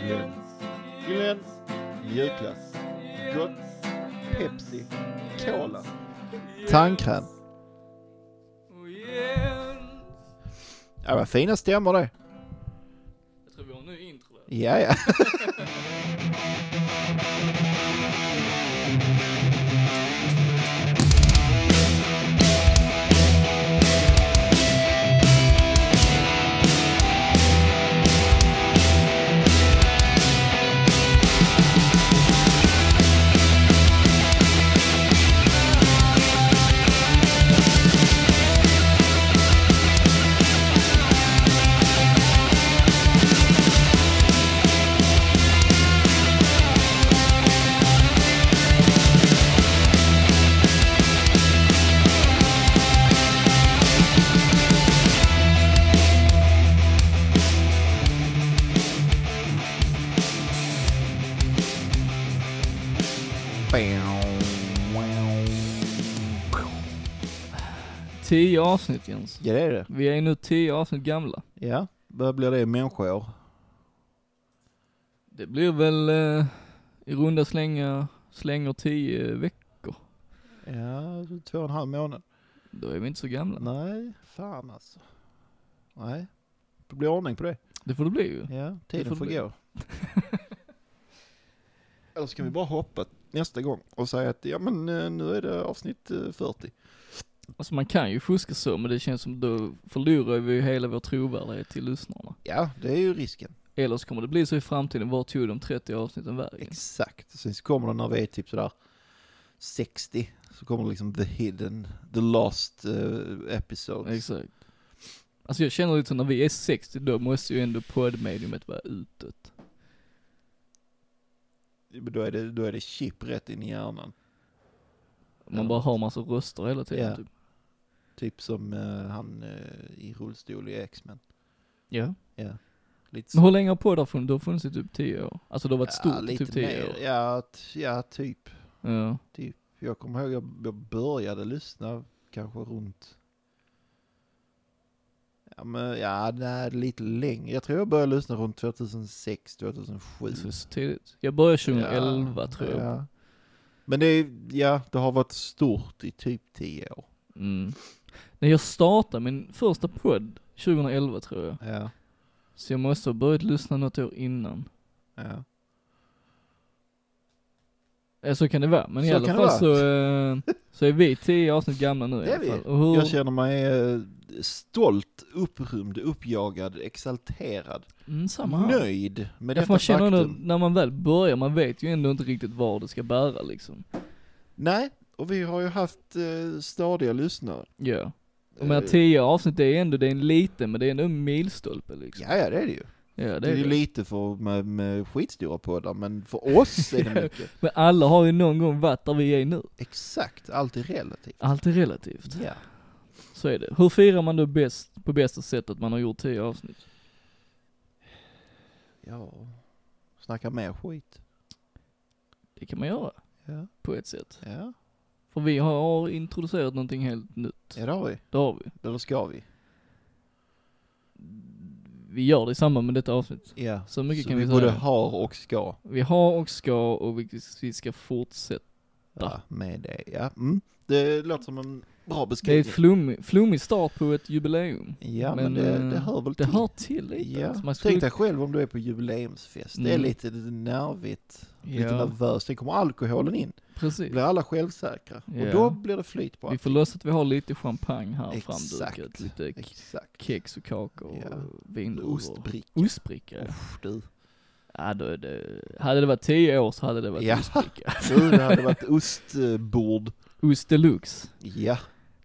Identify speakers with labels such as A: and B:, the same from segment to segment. A: Glens, Glens, mjukglass, gott, Pepsi, Cola.
B: Tandkräm. Ja, vad fina stämmor det.
C: Jag tror vi har en ny intro där.
B: Ja, ja.
C: Tio avsnitt Jens.
B: Ja, det är det.
C: Vi är nu tio avsnitt gamla.
B: Ja, vad blir det i människor?
C: Det blir väl eh, i runda slängar, slänger tio veckor.
B: Ja, två och en halv månad.
C: Då är vi inte så gamla.
B: Nej, fan alltså. Nej, det blir ordning på det.
C: Det får det bli ju.
B: Ja,
C: får
B: tiden får,
C: bli.
B: gå. Eller ska vi bara hoppa nästa gång och säga att ja men eh, nu är det avsnitt eh, 40.
C: Alltså man kan ju fuska så, men det känns som då förlorar vi ju hela vår trovärdighet till lyssnarna.
B: Ja, det är ju risken.
C: Eller så kommer det bli så i framtiden, vart tog de 30 avsnitten vägen?
B: Exakt. Sen så kommer det när vi är typ sådär 60 så kommer det liksom the hidden, the lost eh, episodes.
C: Exakt. Alltså jag känner lite så när vi är 60, då måste ju ändå poddmediumet vara utåt.
B: Men Då är det, då är det chip rätt in i hjärnan.
C: Man bara har massa röster hela tiden
B: Ja.
C: typ.
B: Typ som eh, han eh, i rullstol i X-Men.
C: Ja.
B: Ja. Lite
C: Men hur länge har poddar funnits? Det har funnits i typ 10 år. Alltså det har varit
B: ja,
C: stort i
B: lite
C: typ 10
B: mer.
C: år.
B: Ja, t- ja, typ.
C: Ja.
B: Jag kommer ihåg jag jag började lyssna kanske runt... Ja, men ja, nej, lite längre. Jag tror jag började lyssna runt 2006, 2007.
C: Så, så tidigt. Jag började 2011 tror jag.
B: Mm. Ja. Men det, är, ja, det har varit stort i typ 10 år.
C: Mm. När jag startade min första podd, 2011 tror jag.
B: Ja.
C: Så jag måste ha börjat lyssna något år innan.
B: ja.
C: Eh, Så kan det vara, men i
B: Så
C: alla
B: kan
C: fall
B: det
C: så, eh, så är vi 10 avsnitt gamla nu
B: Det
C: i
B: är
C: alla
B: vi.
C: fall. Och hur,
B: Jag känner mig eh, stolt, upprymd, uppjagad, exalterad,
C: mm, samma här.
B: nöjd med
C: Ja, för
B: detta
C: man känner
B: faktum.
C: ändå, när man väl börjar, man vet ju ändå inte riktigt var det ska bära liksom.
B: Nej, och vi har ju haft eh, stadiga lyssnare.
C: Ja. Och med
B: Eh,
C: 10 avsnitt, det är ändå, det är en liten, men det är ändå en milstolpe liksom.
B: Ja, ja, det är det ju.
C: Ja, det är
B: Det är ju
C: det.
B: lite för med, med skitstora poddar, men för oss är det mycket.
C: Men alla har ju någon gång varit där vi är nu.
B: Exakt, allt är relativt.
C: Allt är relativt.
B: Ja.
C: Så är det. Hur firar man då bäst, på bästa sätt att man har gjort 10 avsnitt?
B: ja. Snacka mer skit.
C: Det kan man göra,
B: Ja.
C: på ett sätt.
B: Ja,
C: För vi har introducerat någonting helt nytt.
B: ja det har vi.
C: Det har vi.
B: Eller ska vi?
C: Vi gör det i samband med detta avsnitt.
B: Ja.
C: Så mycket
B: Så
C: kan
B: vi
C: vi
B: både
C: säga.
B: har och ska.
C: Vi har och ska och vi, vi ska fortsätta.
B: Ja, med det, ja. Mm. Det låter som en bra
C: Det är
B: beskrivning.
C: ett flummig, flummig start på ett jubileum.
B: ja, men, det,
C: eh,
B: det hör väl
C: Det
B: till.
C: hör till lite.
B: Ja.
C: Alltså, man skulle,
B: Tänk dig själv om du är på jubileumsfest. Det är
C: Mm.
B: lite nervigt, lite
C: ja,
B: nervöst. Sen kommer alkoholen in.
C: precis.
B: Då blir alla självsäkra.
C: Ja.
B: Och då blir det flyt på
C: Vi
B: allt.
C: får lösa att vi har lite champagne här framdukat.
B: Exakt.
C: Lite k-
B: Exakt.
C: kex och kakor
B: Ja.
C: och vindruvor.
B: Ostbricka.
C: Ostbricka. ja.
B: Uff, du.
C: Ja, då är det, hade det varit 10 år så hade det varit
B: Ja.
C: ostbricka.
B: Du, det hade varit ostbord.
C: Ost deluxe.
B: Ja,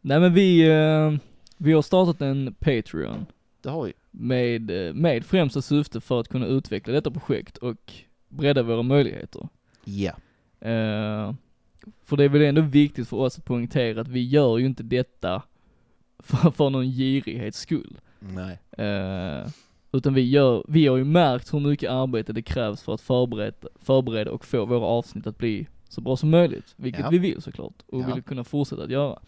C: Nej men vi, eh, vi har startat en Patreon.
B: det har vi.
C: med, eh, med främsta syfte för att kunna utveckla detta projekt och bredda våra möjligheter.
B: Ja.
C: Eh, för det är väl ändå viktigt för oss att poängtera att vi gör ju inte detta för, för någon girighets skull.
B: Nej.
C: Eh, utan vi, gör, vi har ju märkt hur mycket arbete det krävs för att förbereda, förbereda och få våra avsnitt att bli så bra som möjligt. Vilket
B: Ja.
C: vi vill såklart och
B: Ja.
C: vill kunna fortsätta att göra.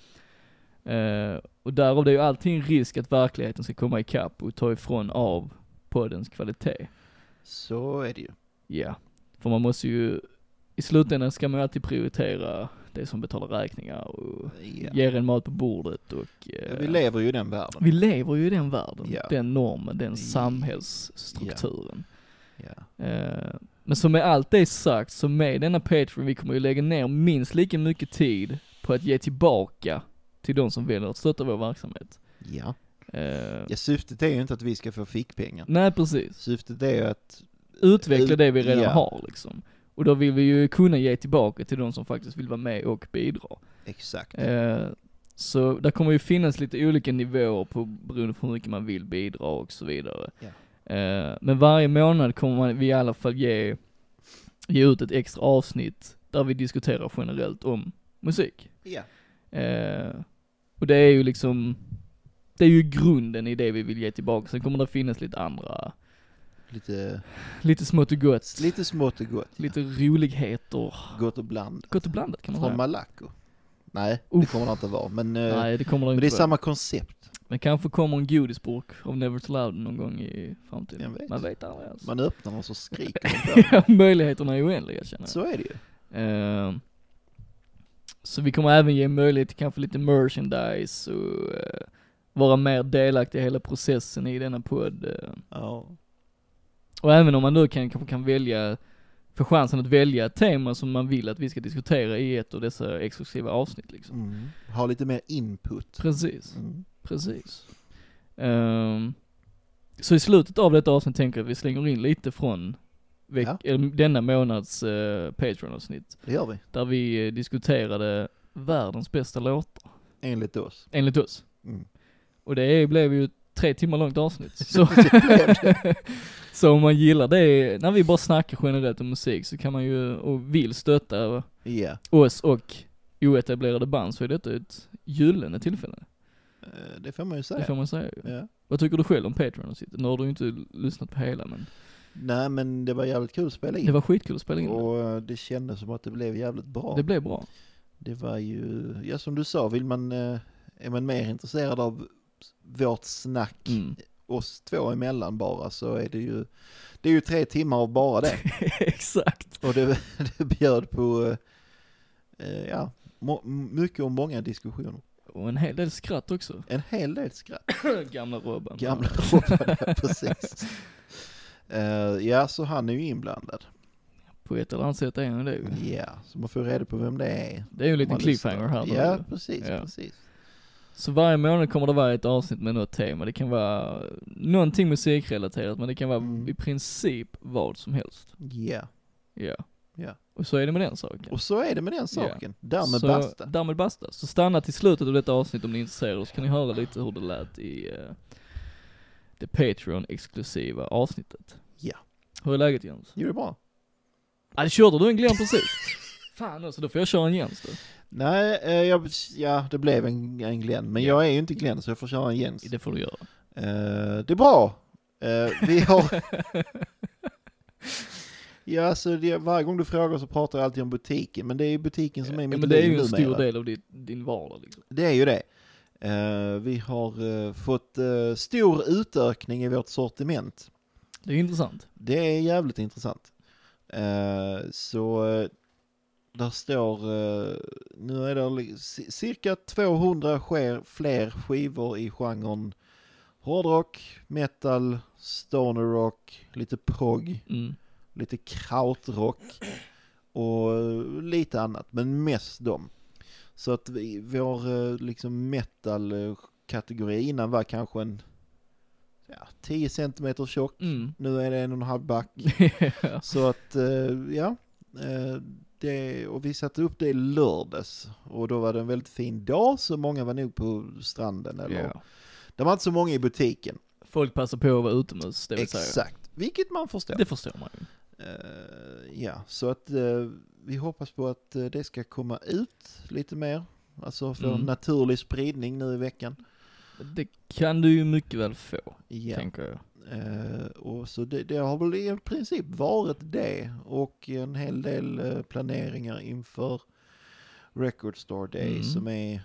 C: Eh, och därav det är ju alltid en risk att verkligheten ska komma ikapp och ta ifrån av poddens kvalitet.
B: Så är det ju.
C: Ja, för man måste ju, i slutändan ska man ju alltid prioritera det som betalar räkningar och ger en mat på bordet och... eh,
B: Ja, Vi lever ju i den världen.
C: vi lever ju i den världen,
B: Ja.
C: den normen, den
B: Ja.
C: samhällsstrukturen.
B: Ja.
C: Eh, Men som med allt det sagt, så med denna Patreon, vi kommer ju lägga ner minst lika mycket tid på att ge tillbaka till de som väljer att stötta vår verksamhet.
B: Ja.
C: Eh,
B: ja, syftet är ju inte att vi ska få fickpengar.
C: Nej precis,
B: Syftet är ju att
C: utveckla det vi redan
B: Ja.
C: har liksom. Och då vill vi ju kunna ge tillbaka till de som faktiskt vill vara med och bidra.
B: Exakt.
C: Eh, Så där kommer ju finnas lite olika nivåer på, beroende på hur mycket man vill bidra och så vidare.
B: Ja.
C: Eh, Men varje månad kommer man, vi i alla fall ge, ge ut ett extra avsnitt där vi diskuterar generellt om musik.
B: Ja.
C: Eh, Och det är ju liksom, det är ju grunden i det vi vill ge tillbaka. Sen kommer det finnas lite andra,
B: Lite,
C: lite smått och gott,
B: lite smått och gott.
C: lite roligheter.
B: Gott och blandat.
C: Gott och blandat kan man
B: Från
C: säga.
B: Malaco. Nej, det
C: Uff.
B: kommer det inte vara. Men, eh,
C: Nej, det kommer det
B: men
C: inte
B: det är
C: vara.
B: samma koncept.
C: Men kanske kommer en godisburk av Never to Loud någon gång i framtiden.
B: Jag vet.
C: Man vet aldrig alltså.
B: Man öppnar den och så skriker man på
C: Möjligheterna är oändliga känner
B: den.
C: jag.
B: Så är det ju.
C: Eh, så vi kommer även ge möjlighet till kanske lite merchandise och eh, vara mer delaktig i hela processen i denna podd. eh.
B: Ja.
C: Och även om man då kan, kanske kan välja, få chansen att välja ett tema som man vill att vi ska diskutera i ett av dessa exklusiva avsnitt liksom.
B: Mm. Ha lite mer input.
C: Precis.
B: Mm.
C: Precis. Ehm, så i slutet av detta avsnitt tänker jag att vi slänger in lite från veck-
B: Ja.
C: eller denna månads eh, Patreon-avsnitt.
B: Det gör vi.
C: Där vi eh, diskuterade världens bästa låtar,
B: Enligt oss.
C: enligt oss.
B: Mm.
C: Och det är- blev ju ett tre timmar långt avsnitt. Så, så om man gillar det, när vi bara snackar generellt om musik så kan man ju, och vill stötta
B: Ja.
C: oss och oetablerade band så är detta ett gyllene tillfälle.
B: Eh, Det får man ju
C: Det
B: säga.
C: får man säga ju.
B: Ja.
C: Vad tycker du själv om Patreon och sitt? Nu har du ju inte lyssnat på hela men
B: Nej men det var jävligt kul att spela in.
C: det var skitkul att spela in det.
B: och eh, det kändes som att det blev jävligt bra.
C: Det blev bra.
B: Det var ju, ja som du sa, vill man, eh, är man mer intresserad av vårt snack
C: Mm.
B: oss två emellan bara så är det ju, det är ju tre timmar av bara det.
C: Exakt.
B: Och det, det bjöd på, eh, eh, ja, må, mycket och många diskussioner.
C: Och en hel del skratt också.
B: En hel del skratt.
C: Gamla Robban.
B: Gamla Robban, ja, precis. Eh, ja, så han är ju inblandad.
C: På ett eller annat sätt är han det ju.
B: Ja, så man får reda på vem det är.
C: Det är ju Mm. en liten
B: Man lyssnar.
C: cliffhanger här nu.
B: Ja, precis,
C: Ja.
B: precis.
C: Så varje månad kommer det vara ett avsnitt med något tema. Det kan vara någonting musikrelaterat men det kan vara
B: Mm.
C: i princip vad som helst.
B: Ja,
C: Ja.
B: Ja.
C: Och så är det med den saken.
B: och så är det med den saken. Därmed
C: så,
B: basta.
C: Därmed basta. Så stanna till slutet av detta avsnitt om ni är intresserade, så kan ni höra lite hur det lät i eh, det Patreon-exklusiva avsnittet.
B: Ja.
C: Hur är läget Jens?
B: Jo, det är bra.
C: Ja, det körde du en Glenn precis? Fan också, då får jag köra en Jens då.
B: Nej, eh, jag, ja, det blev en, en Glenn, men
C: Ja.
B: jag är ju inte Glenn så jag får köra en Jens.
C: Det får du göra.
B: Eh, det är bra. Eh, vi har... ja, alltså det, varje gång du frågar så pratar jag alltid om butiken, men det är ju butiken som är
C: ja,
B: mitt
C: men det är
B: liv
C: ju en stor
B: numera.
C: del av din, din vardag liksom.
B: Det är ju det. Eh, vi har eh, fått eh, stor utökning i vårt sortiment.
C: Det är intressant.
B: Det är jävligt intressant. Eh, så eh, där står, eh, nu är det li- ci- cirka 200 sker, fler skivor i genren hårdrock, metal, stoner rock, lite prog,
C: Mm.
B: lite krautrock och eh, lite annat, men mest dem. Så att vi, vår eh, liksom metal-kategori innan var kanske en ja, 10 centimeter tjock,
C: Mm.
B: nu är det en och en halv back.
C: ja.
B: Så att, eh, ja. eh, Det, och vi satte upp det i lördags och då var det en väldigt fin dag så många var nog på stranden eller
C: Ja.
B: Det var inte så många i butiken.
C: Folk passar på att vara utomhus, det vill säga.
B: Exakt, vilket man förstår.
C: Det förstår man ju.
B: Eh, ja, så att eh, vi hoppas på att eh, det ska komma ut lite mer. Alltså få
C: Mm.
B: en naturlig spridning nu i veckan.
C: Det kan du ju mycket väl få,
B: Ja.
C: tänker jag.
B: Eh, och så det, det har väl i princip varit det och en hel del eh, planeringar inför Record Store Day
C: Mm.
B: som är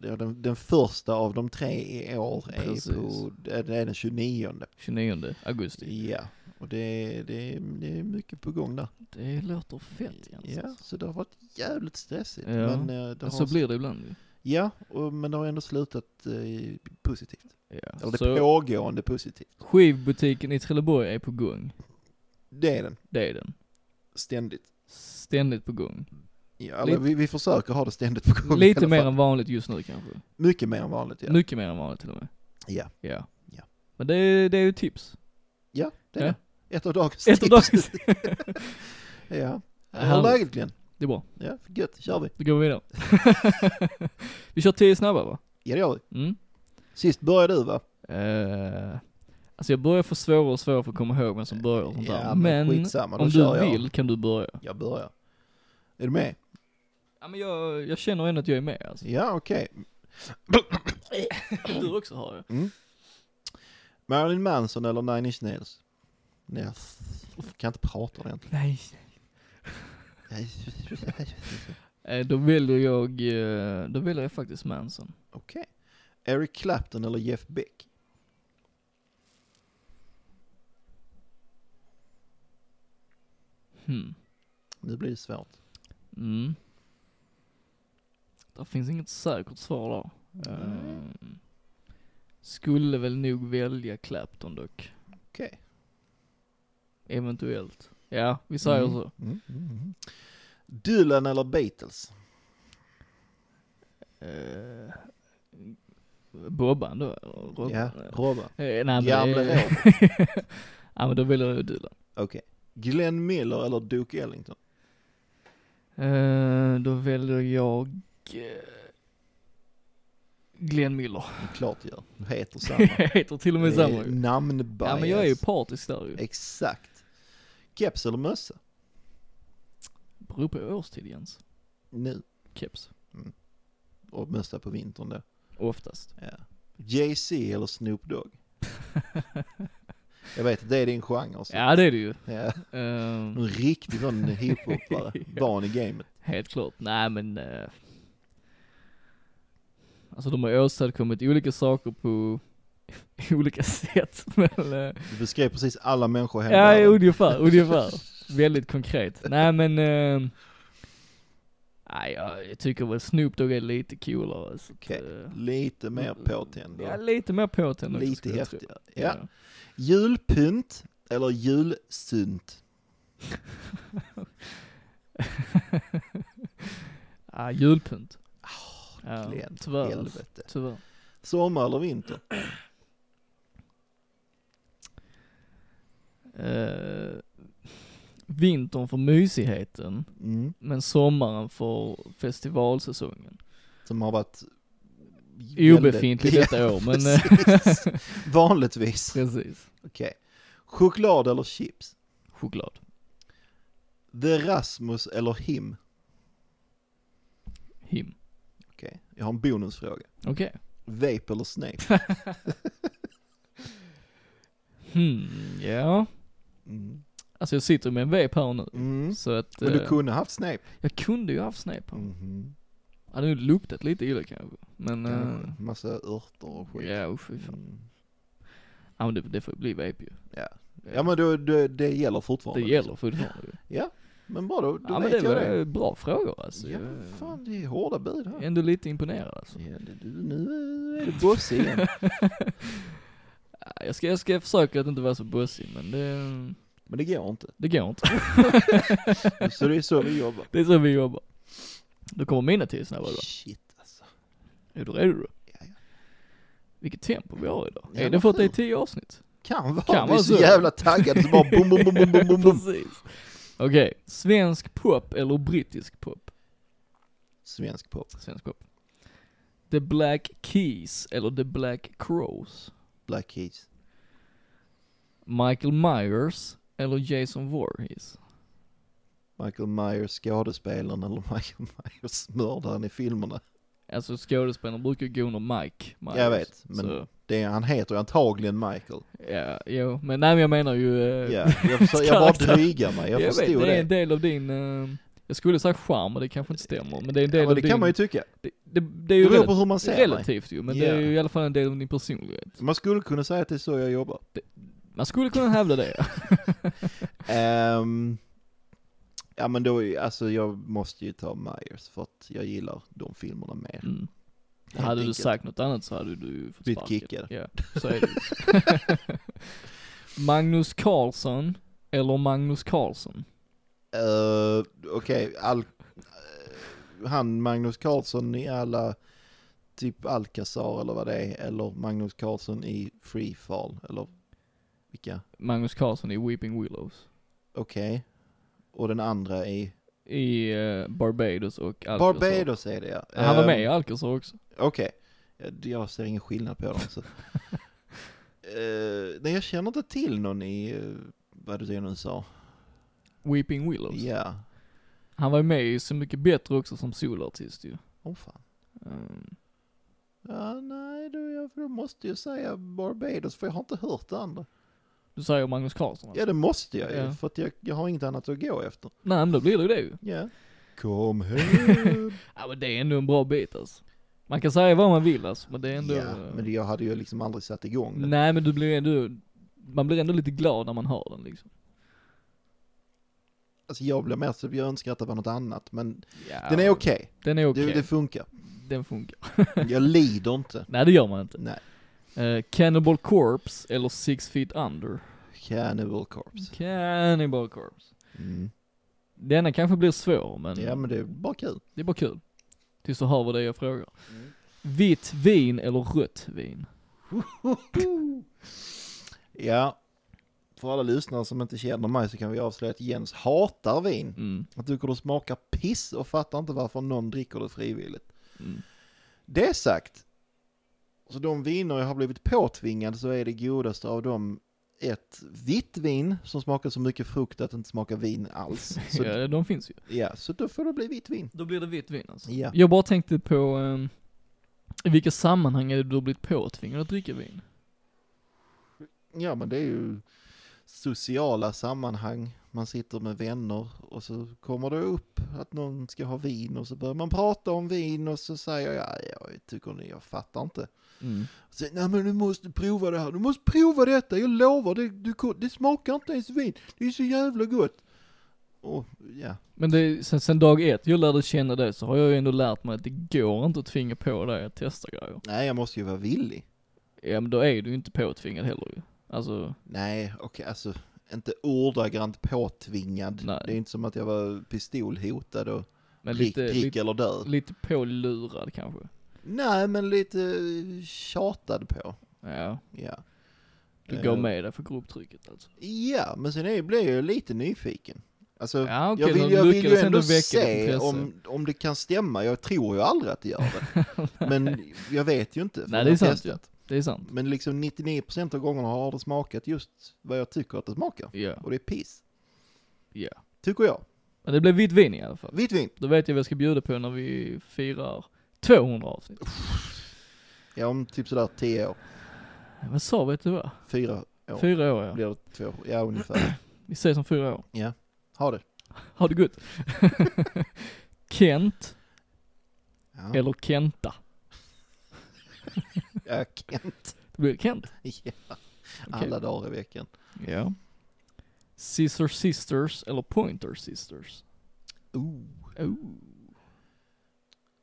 B: det är den, den första av de tre i år är,
C: Precis.
B: på, det är den 29.
C: 29 augusti.
B: Ja, Och det, är- det, är- det är mycket på gång där.
C: Det låter fett Jens.
B: Ja,
C: alltså.
B: så det har varit jävligt stressigt.
C: Ja. Alltså,
B: Men, eh, det har,
C: Men så blir det ibland ju.
B: ja, och, men det har ändå slutat eh, positivt. Eller det
C: Så
B: pågående positivt.
C: skivbutiken i Trelleborg är på gång.
B: Det är den.
C: Det är den.
B: Ständigt.
C: Ständigt på gång.
B: Ja, eller,
C: Lite-
B: vi, vi försöker ha det ständigt på gång. i
C: Lite
B: alla
C: mer
B: fall.
C: än vanligt just nu kanske.
B: Mycket mer än vanligt, ja.
C: Mycket mer än vanligt till och med.
B: Ja.
C: Ja.
B: Ja.
C: Men det är, det är ju tips.
B: Ja, det är
C: Ja.
B: det. Ett av dagens
C: Ett av dagens...
B: tips. Ja. Hur är
C: Härligt.
B: läget Glenn?
C: Det är bra.
B: Ja, gött. Kör vi.
C: Då går vi vidare. vi kör tio snabba va?
B: Ja, det gör vi.
C: Mm.
B: Sist började du va?
C: Eh, alltså jag börjar få svårare och svårare för att komma ihåg vem som börjar och sånt
B: Ja,
C: där.
B: men
C: Men,
B: skitsamma, då
C: om
B: kör
C: du
B: jag.
C: vill kan du börja.
B: Jag börjar. Är du med?
C: Ja, men jag, jag känner ändå att jag är med alltså.
B: Ja, okej.
C: Du också har jag.
B: Marilyn Manson eller Nine Inch Nails? Nej, jag kan inte prata ordentligt.
C: Nej. Eh, då väljer jag, eh, då väljer jag faktiskt Manson.
B: Okej. Eric Clapton eller Jeff Beck?
C: Hmm.
B: Nu blir det svårt.
C: Mm. Där finns inget säkert svar där. Eh, skulle väl nog välja Clapton dock.
B: Okej.
C: Eventuellt. Ja, vi säger
B: Mm.
C: så.
B: Mm, mm, mm. Dylan eller Beatles?
C: Eh, Bobban då? eller Robban?
B: Ja,
C: Eh,
B: Robba.
C: nej, men
B: Gamle
C: det-
B: Robert.
C: Ja men då väljer jag Dylan.
B: Okej. Glenn Miller eller Duke Ellington?
C: Eh, då väljer jag eh, Glenn Miller.
B: Klart jag gör. Du heter samma.
C: jag heter till och med
B: Det är
C: samma. ju.
B: Namnbias.
C: Ja men jag är ju partisk där ju.
B: Exakt. Keps eller mössa?
C: Beror på årstid Jens.
B: Nu.
C: Keps.
B: Och mössa på vintern då.
C: Oftast.
B: Ja. Jay-Z eller Snoop Dogg? jag vet att det är din genre. Så.
C: Ja det är det ju.
B: Ja.
C: Eh,
B: En riktig sån hiphopare.
C: Ja.
B: Van i gamet.
C: Helt klart. Nej men... Eh, alltså de har åstadkommit olika saker på olika sätt. Men, eh,
B: Du beskrev precis alla människor i hela
C: ja,
B: världen.
C: ungefär, ungefär. Väldigt konkret. Nej men... Eh, nej, jag, jag tycker väl Snoop Dogg är lite coolare. Så att,
B: Okej.
C: eh,
B: Lite mer påtänd.
C: Ja,
B: och
C: lite mer påtänd också,
B: Lite
C: skulle jag tro.
B: häftigare. Ja. Julpynt eller julsynt?
C: Ja, Ah, julpynt. ja,
B: Glenn,
C: tyvärr. alltså.
B: Ah, Helvete.
C: Tyvärr.
B: Sommar eller vinter?
C: Eh, vintern för mysigheten.
B: Mm.
C: Men sommaren för festivalsäsongen.
B: Som har varit...
C: Obefintlig
B: väldigt-
C: detta år, men eh,
B: Precis. Vanligtvis.
C: precis.
B: Okej. Choklad eller chips?
C: Choklad.
B: The Rasmus eller Him?
C: Him.
B: Okej, jag har en bonusfråga.
C: Okej.
B: Vape eller Snape?
C: Hmm, ja.
B: Mm.
C: Alltså jag sitter med en vape här nu.
B: Mm.
C: Så att,
B: Men du
C: eh,
B: kunde haft Snape?
C: jag kunde ju haft snap mm.
B: Mhm.
C: Hade ju luktat lite illa kanske. Men, eh,
B: Kanske. Massa örter och skit.
C: ja usch fy fan.
B: Mm.
C: Ja men det, det får bli vape ju.
B: Ja. ja, men då, då, det gäller fortfarande.
C: Det gäller fortfarande ju.
B: Men bara då, då
C: Ja men
B: vet
C: det
B: jag det.
C: var bra frågor alltså.
B: Ja,
C: Jag-
B: fan det är hårda bud här.
C: Ändå lite imponerad alltså.
B: Ja, det, du, nu är det bosse igen.
C: Ja, Jag ska, jag ska försöka att inte vara så bussig men det,
B: Men det går inte.
C: det går inte.
B: Så det är så vi jobbar.
C: Det är så vi jobbar. Då kommer mina tio snabba då.
B: Shit alltså.
C: Är du redo då?
B: Ja, ja.
C: Vilket tempo vi har idag.
B: Ja,
C: är det
B: vad
C: för att det är
B: kul.
C: tio avsnitt?
B: Kan vara.
C: Kan
B: vi är
C: vara
B: så,
C: så.
B: jävla taggade så bara bom, bom, bom, bom, bom, bom.
C: Precis. Okej, svensk pop eller brittisk pop?
B: Svensk pop.
C: Svensk pop. The Black Keys eller The Black Crows?
B: Black Keys.
C: Michael Myers eller Jason Voorhees?
B: Michael Myers skådespelaren eller Michael Myers mördaren i filmerna.
C: Alltså skådespelaren brukar ju gå under Mike Myers.
B: Jag vet, men-
C: Så,
B: Det är, han heter ju antagligen Michael.
C: ja, jo. Men nej men jag menar ju...
B: Ja,
C: eh,
B: jag, försöker, jag bara
C: Karaktär.
B: drygar mig, jag,
C: vet,
B: förstod
C: Det
B: det.
C: är en del av din... eh, jag skulle säga charm, och det kanske inte stämmer, men det är en del
B: ja,
C: av
B: men det
C: din...
B: kan man ju tycka.
C: det, det, det är
B: Det
C: ju
B: beror
C: rel-
B: på hur man ser mig.
C: relativt ju, men det är
B: Ja.
C: ju i alla fall en del av din personlighet.
B: Man skulle kunna säga att det är så jag jobbar.
C: Man skulle kunna hävda det. ja.
B: Ehm, ja men då, är- alltså jag måste ju ta Myers för att jag gillar de filmerna mer.
C: Mm.
B: helt
C: Hade du
B: enkelt.
C: sagt något annat så hade du ju fått
B: Blivit
C: sparken.
B: kickad.
C: Ja, så är det ju. Magnus Carlsson eller Magnus Carlsson?
B: Eh, Okej, all, eh, han Magnus Carlsson i alla, typ Alcazar eller vad det är, eller Magnus Carlsson i Free Fall, eller vilka?
C: Magnus Carlsson i Weeping Willows.
B: Okej. Och den andra i?
C: I eh, Barbados och Alcazar.
B: Barbados är det ja.
C: Han var
B: Ehm,
C: med i Alcazar också.
B: Okej. Jag- Jag ser ingen skillnad på dem. Så. Eh, nej, jag känner inte till någon i eh, vad du nu sa.
C: Weeping Willows.
B: Ja.
C: Han var ju med i Så Mycket Bättre också som solartist ju.
B: Åh fan.
C: Ehm,
B: Ja, nej, du, jag då måste ju säga Barbados för jag har inte hört det andra.
C: Du säger Magnus Carlsson alltså.
B: Ja, det måste jag ju
C: Ja.
B: för att jag, jag har inget annat att gå efter.
C: Nej men då blir det ju det ju.
B: Ja. Kom hem.
C: Ja men det är ändå en bra bit alltså. Man kan säga vad man vill alltså, men det är ändå... Mm.
B: ja, men jag hade ju liksom aldrig satt igång den.
C: Nej men du blir ändå, man blir ändå lite glad när man hör den liksom.
B: Alltså jag blev mer så, jag önskar att det var något annat, men
C: Ja,
B: den är okej.
C: Den är okej.
B: Det, det funkar.
C: Den funkar.
B: Jag lider inte.
C: Nej det gör man inte.
B: Nej.
C: Eh, Cannibal Corpse eller Six Feet Under?
B: Cannibal Corpse.
C: Cannibal Corpse.
B: Mm.
C: Denna kanske blir svår men,
B: Ja men det är bara kul.
C: det är bara kul. Tills du hör vad det är jag frågar. Vitt vin eller rött vin?
B: Ja, för alla lyssnare som inte känner mig så kan vi avslöja att Jens hatar vin.
C: Mm.
B: Han tycker det smakar piss och fattar inte varför någon dricker det frivilligt.
C: Mm.
B: Det sagt, så de viner jag har blivit påtvingad så är det godaste av dem ett vitt vin som smakar så mycket frukt att det inte smakar vin alls. Så,
C: ja, de finns ju.
B: ja, så då får det bli vitt vin.
C: Då blir det vitt vin alltså.
B: Ja.
C: Jag bara tänkte på, ehm, i vilka sammanhang är det du har blivit påtvingad att dricka vin?
B: Ja, men det är ju sociala sammanhang. Man sitter med vänner och så kommer det upp att någon ska ha vin och så börjar man prata om vin och så säger jag, "Ja, jag tycker ni, jag fattar inte.
C: Mm.
B: Så, Nej men du måste prova det här, du måste prova detta, jag lovar, det, du, ko- det smakar inte ens vin, det är så jävla gott. Och ja,
C: Men det, sen, sen dag ett jag lärde känna dig så har jag ju ändå lärt mig att det går inte att tvinga på dig att testa grejer.
B: nej jag måste ju vara villig.
C: Ja men då är du ju inte påtvingad heller ju. Alltså,
B: Nej, okej alltså, inte ordagrant påtvingad.
C: Nej.
B: Det är inte som att jag var pistolhotad och
C: men
B: prick,
C: lite,
B: prick
C: lite,
B: eller död.
C: lite pålurad kanske.
B: Nej, men lite eh, tjatad på.
C: Ja,
B: Ja.
C: du
B: Eh,
C: går med dig för grupptrycket alltså.
B: Ja, men sen är, blir jag lite nyfiken. Alltså,
C: Ja, okej,
B: jag
C: men
B: vill,
C: du
B: jag vill ju
C: lyckades
B: ändå
C: ändå väcka ditt
B: se
C: intresse.
B: om, om det kan stämma. Jag tror ju aldrig att det gör det. men jag vet ju inte. för
C: Nej det
B: jag
C: är
B: har
C: sant ju.
B: testat.
C: Det är sant.
B: Men liksom 99% av gångerna har det smakat just vad jag tycker att det smakar.
C: Ja,
B: Och det är piss.
C: ja.
B: Tycker jag.
C: Men det blev vitt vin i alla fall.
B: Vitt vin.
C: Då vet jag vad jag ska bjuda på när vi firar 200 avsnitt.
B: Ja, om typ sådär 10 år.
C: Vad sa vet du vad?
B: 4 år.
C: Fyra år ja.
B: Blir det två år. Ja, ungefär.
C: Vi ses om fyra år.
B: Ha det.
C: Ha det gott. Kent
B: Ja,
C: eller Kenta?
B: ja Kent.
C: Det blir Kent.
B: Ja.
C: Okej.
B: Alla dagar i veckan.
C: Ja. Scissor Sisters eller Pointer Sisters?
B: Ooh.
C: Oh.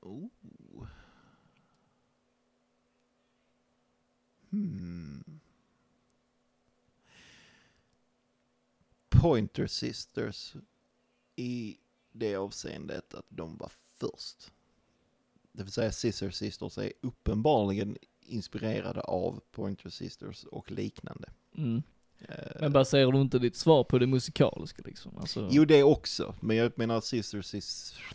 B: Oh. Hmm. Pointer Sisters i det avseendet att de var först. Det vill säga Sister Sisters är uppenbarligen inspirerade av Pointer Sisters och liknande.
C: Mm.
B: Eh,
C: Men baserar du inte ditt svar på det musikaliska liksom? Alltså,
B: Jo, det också, men jag menar Sister Sisters...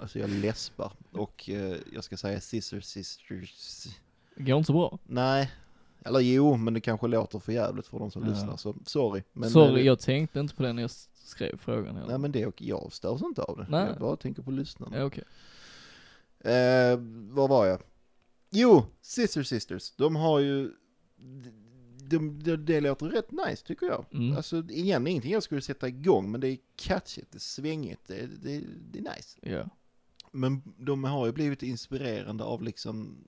B: Alltså jag läspar och eh, jag ska säga Sister Sisters...
C: det går inte så bra.
B: Nej, eller jo, men det kanske låter för jävligt för de som
C: Ja.
B: lyssnar, så sorry. Men,
C: Sorry,
B: eh,
C: jag tänkte inte på det när jag s- skrev frågan heller.
B: Nej men det, och jag störs inte av det.
C: Nej.
B: Jag bara tänker på lyssnarna.
C: Ja, okej.
B: Eh, vad var jag? Jo, Sister Sisters, de har ju... De, de, de, det låter rätt nice tycker jag.
C: Mm.
B: Alltså igen, ingenting jag skulle sätta igång, men det är catchigt, det är svängigt, det, det, det är nice.
C: Ja.
B: Men de har ju blivit inspirerande av liksom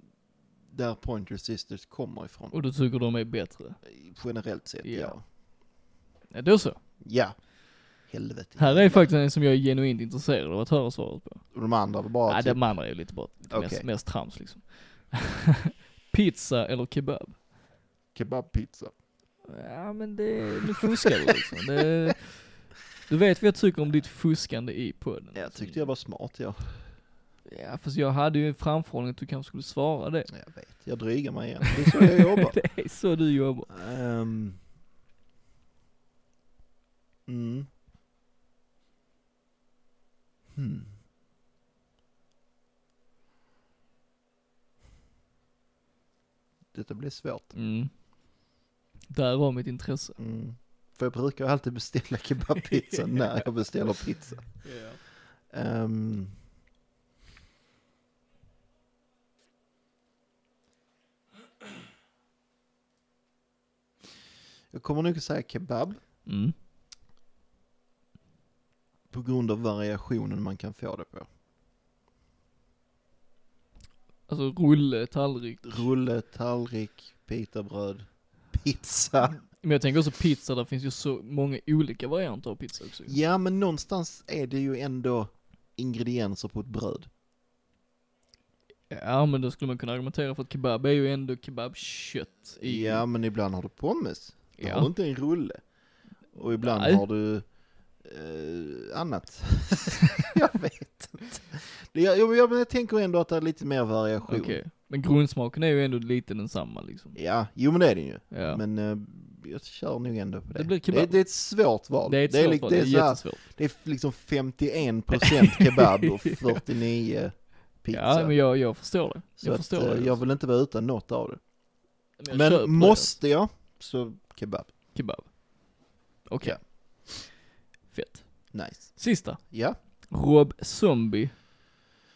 B: där Pointer Sisters kommer ifrån.
C: Och du tycker de är bättre?
B: Generellt sett,
C: Ja.
B: ja.
C: Ja, då så.
B: Ja. Helvete.
C: Här är faktiskt en som jag är genuint intresserad av att höra svaret på.
B: Och de andra var bara
C: Nej,
B: typ,
C: de andra är ju lite bort, lite
B: Okej.
C: mest, mest trams liksom. Pizza eller kebab?
A: Kebabpizza.
C: Ja men det, nu fuskar du liksom. Det, du vet vad jag tycker om ditt fuskande i podden. liksom.
B: jag tyckte jag var smart jag.
C: Ja fast jag hade ju en framförhållning att du kanske skulle svara det.
B: Jag vet, jag drygar mig igen. Det är så jag jobbar.
C: det är så du jobbar.
B: Ehm. Mm. Hmm. Detta blir svårt.
C: Mm. Därav mitt intresse.
B: Mm. För jag brukar alltid beställa kebabpizza när jag beställer pizza. Ehm. Jag kommer nog att säga kebab
C: Mm.
B: på grund av variationen man kan få det på.
C: Alltså rulle, tallrik.
B: Rulle, tallrik, pitabröd, pizza.
C: Men jag tänker också pizza, där finns ju så många olika varianter av pizza också.
B: Ja, men någonstans är det ju ändå ingredienser på ett bröd.
C: Ja men då skulle man kunna argumentera för att kebab är ju ändå kebabkött i...
B: Ja, men ibland har du pommes. Då
C: Ja.
B: har du inte en rulle. Och ibland
C: Nej.
B: har du eh, annat. jag vet inte. Det, jag, jag, jag tänker ändå att det är lite mer variation.
C: Okej. Men grundsmaken är ju ändå lite densamma liksom.
B: Ja, jo men det är det ju.
C: Ja.
B: Men eh, jag kör nog ändå på det.
C: Det blir kebab.
B: det, det är ett svårt val.
C: det är ett
B: det är,
C: svårt
B: li-
C: val,
B: det är,
C: det är
B: så här,
C: jättesvårt.
B: det är liksom 51% kebab och 49 pizza.
C: Ja men jag, jag förstår det.
B: så
C: jag
B: att,
C: förstår
B: eh,
C: det.
B: jag vill inte vara utan något av det.
C: jag köper
B: Men
C: det.
B: måste jag, så kebab.
C: Kebab. Okej.
B: Ja.
C: Fett.
B: Nice.
C: Sista.
B: Ja.
C: Rob Zombie.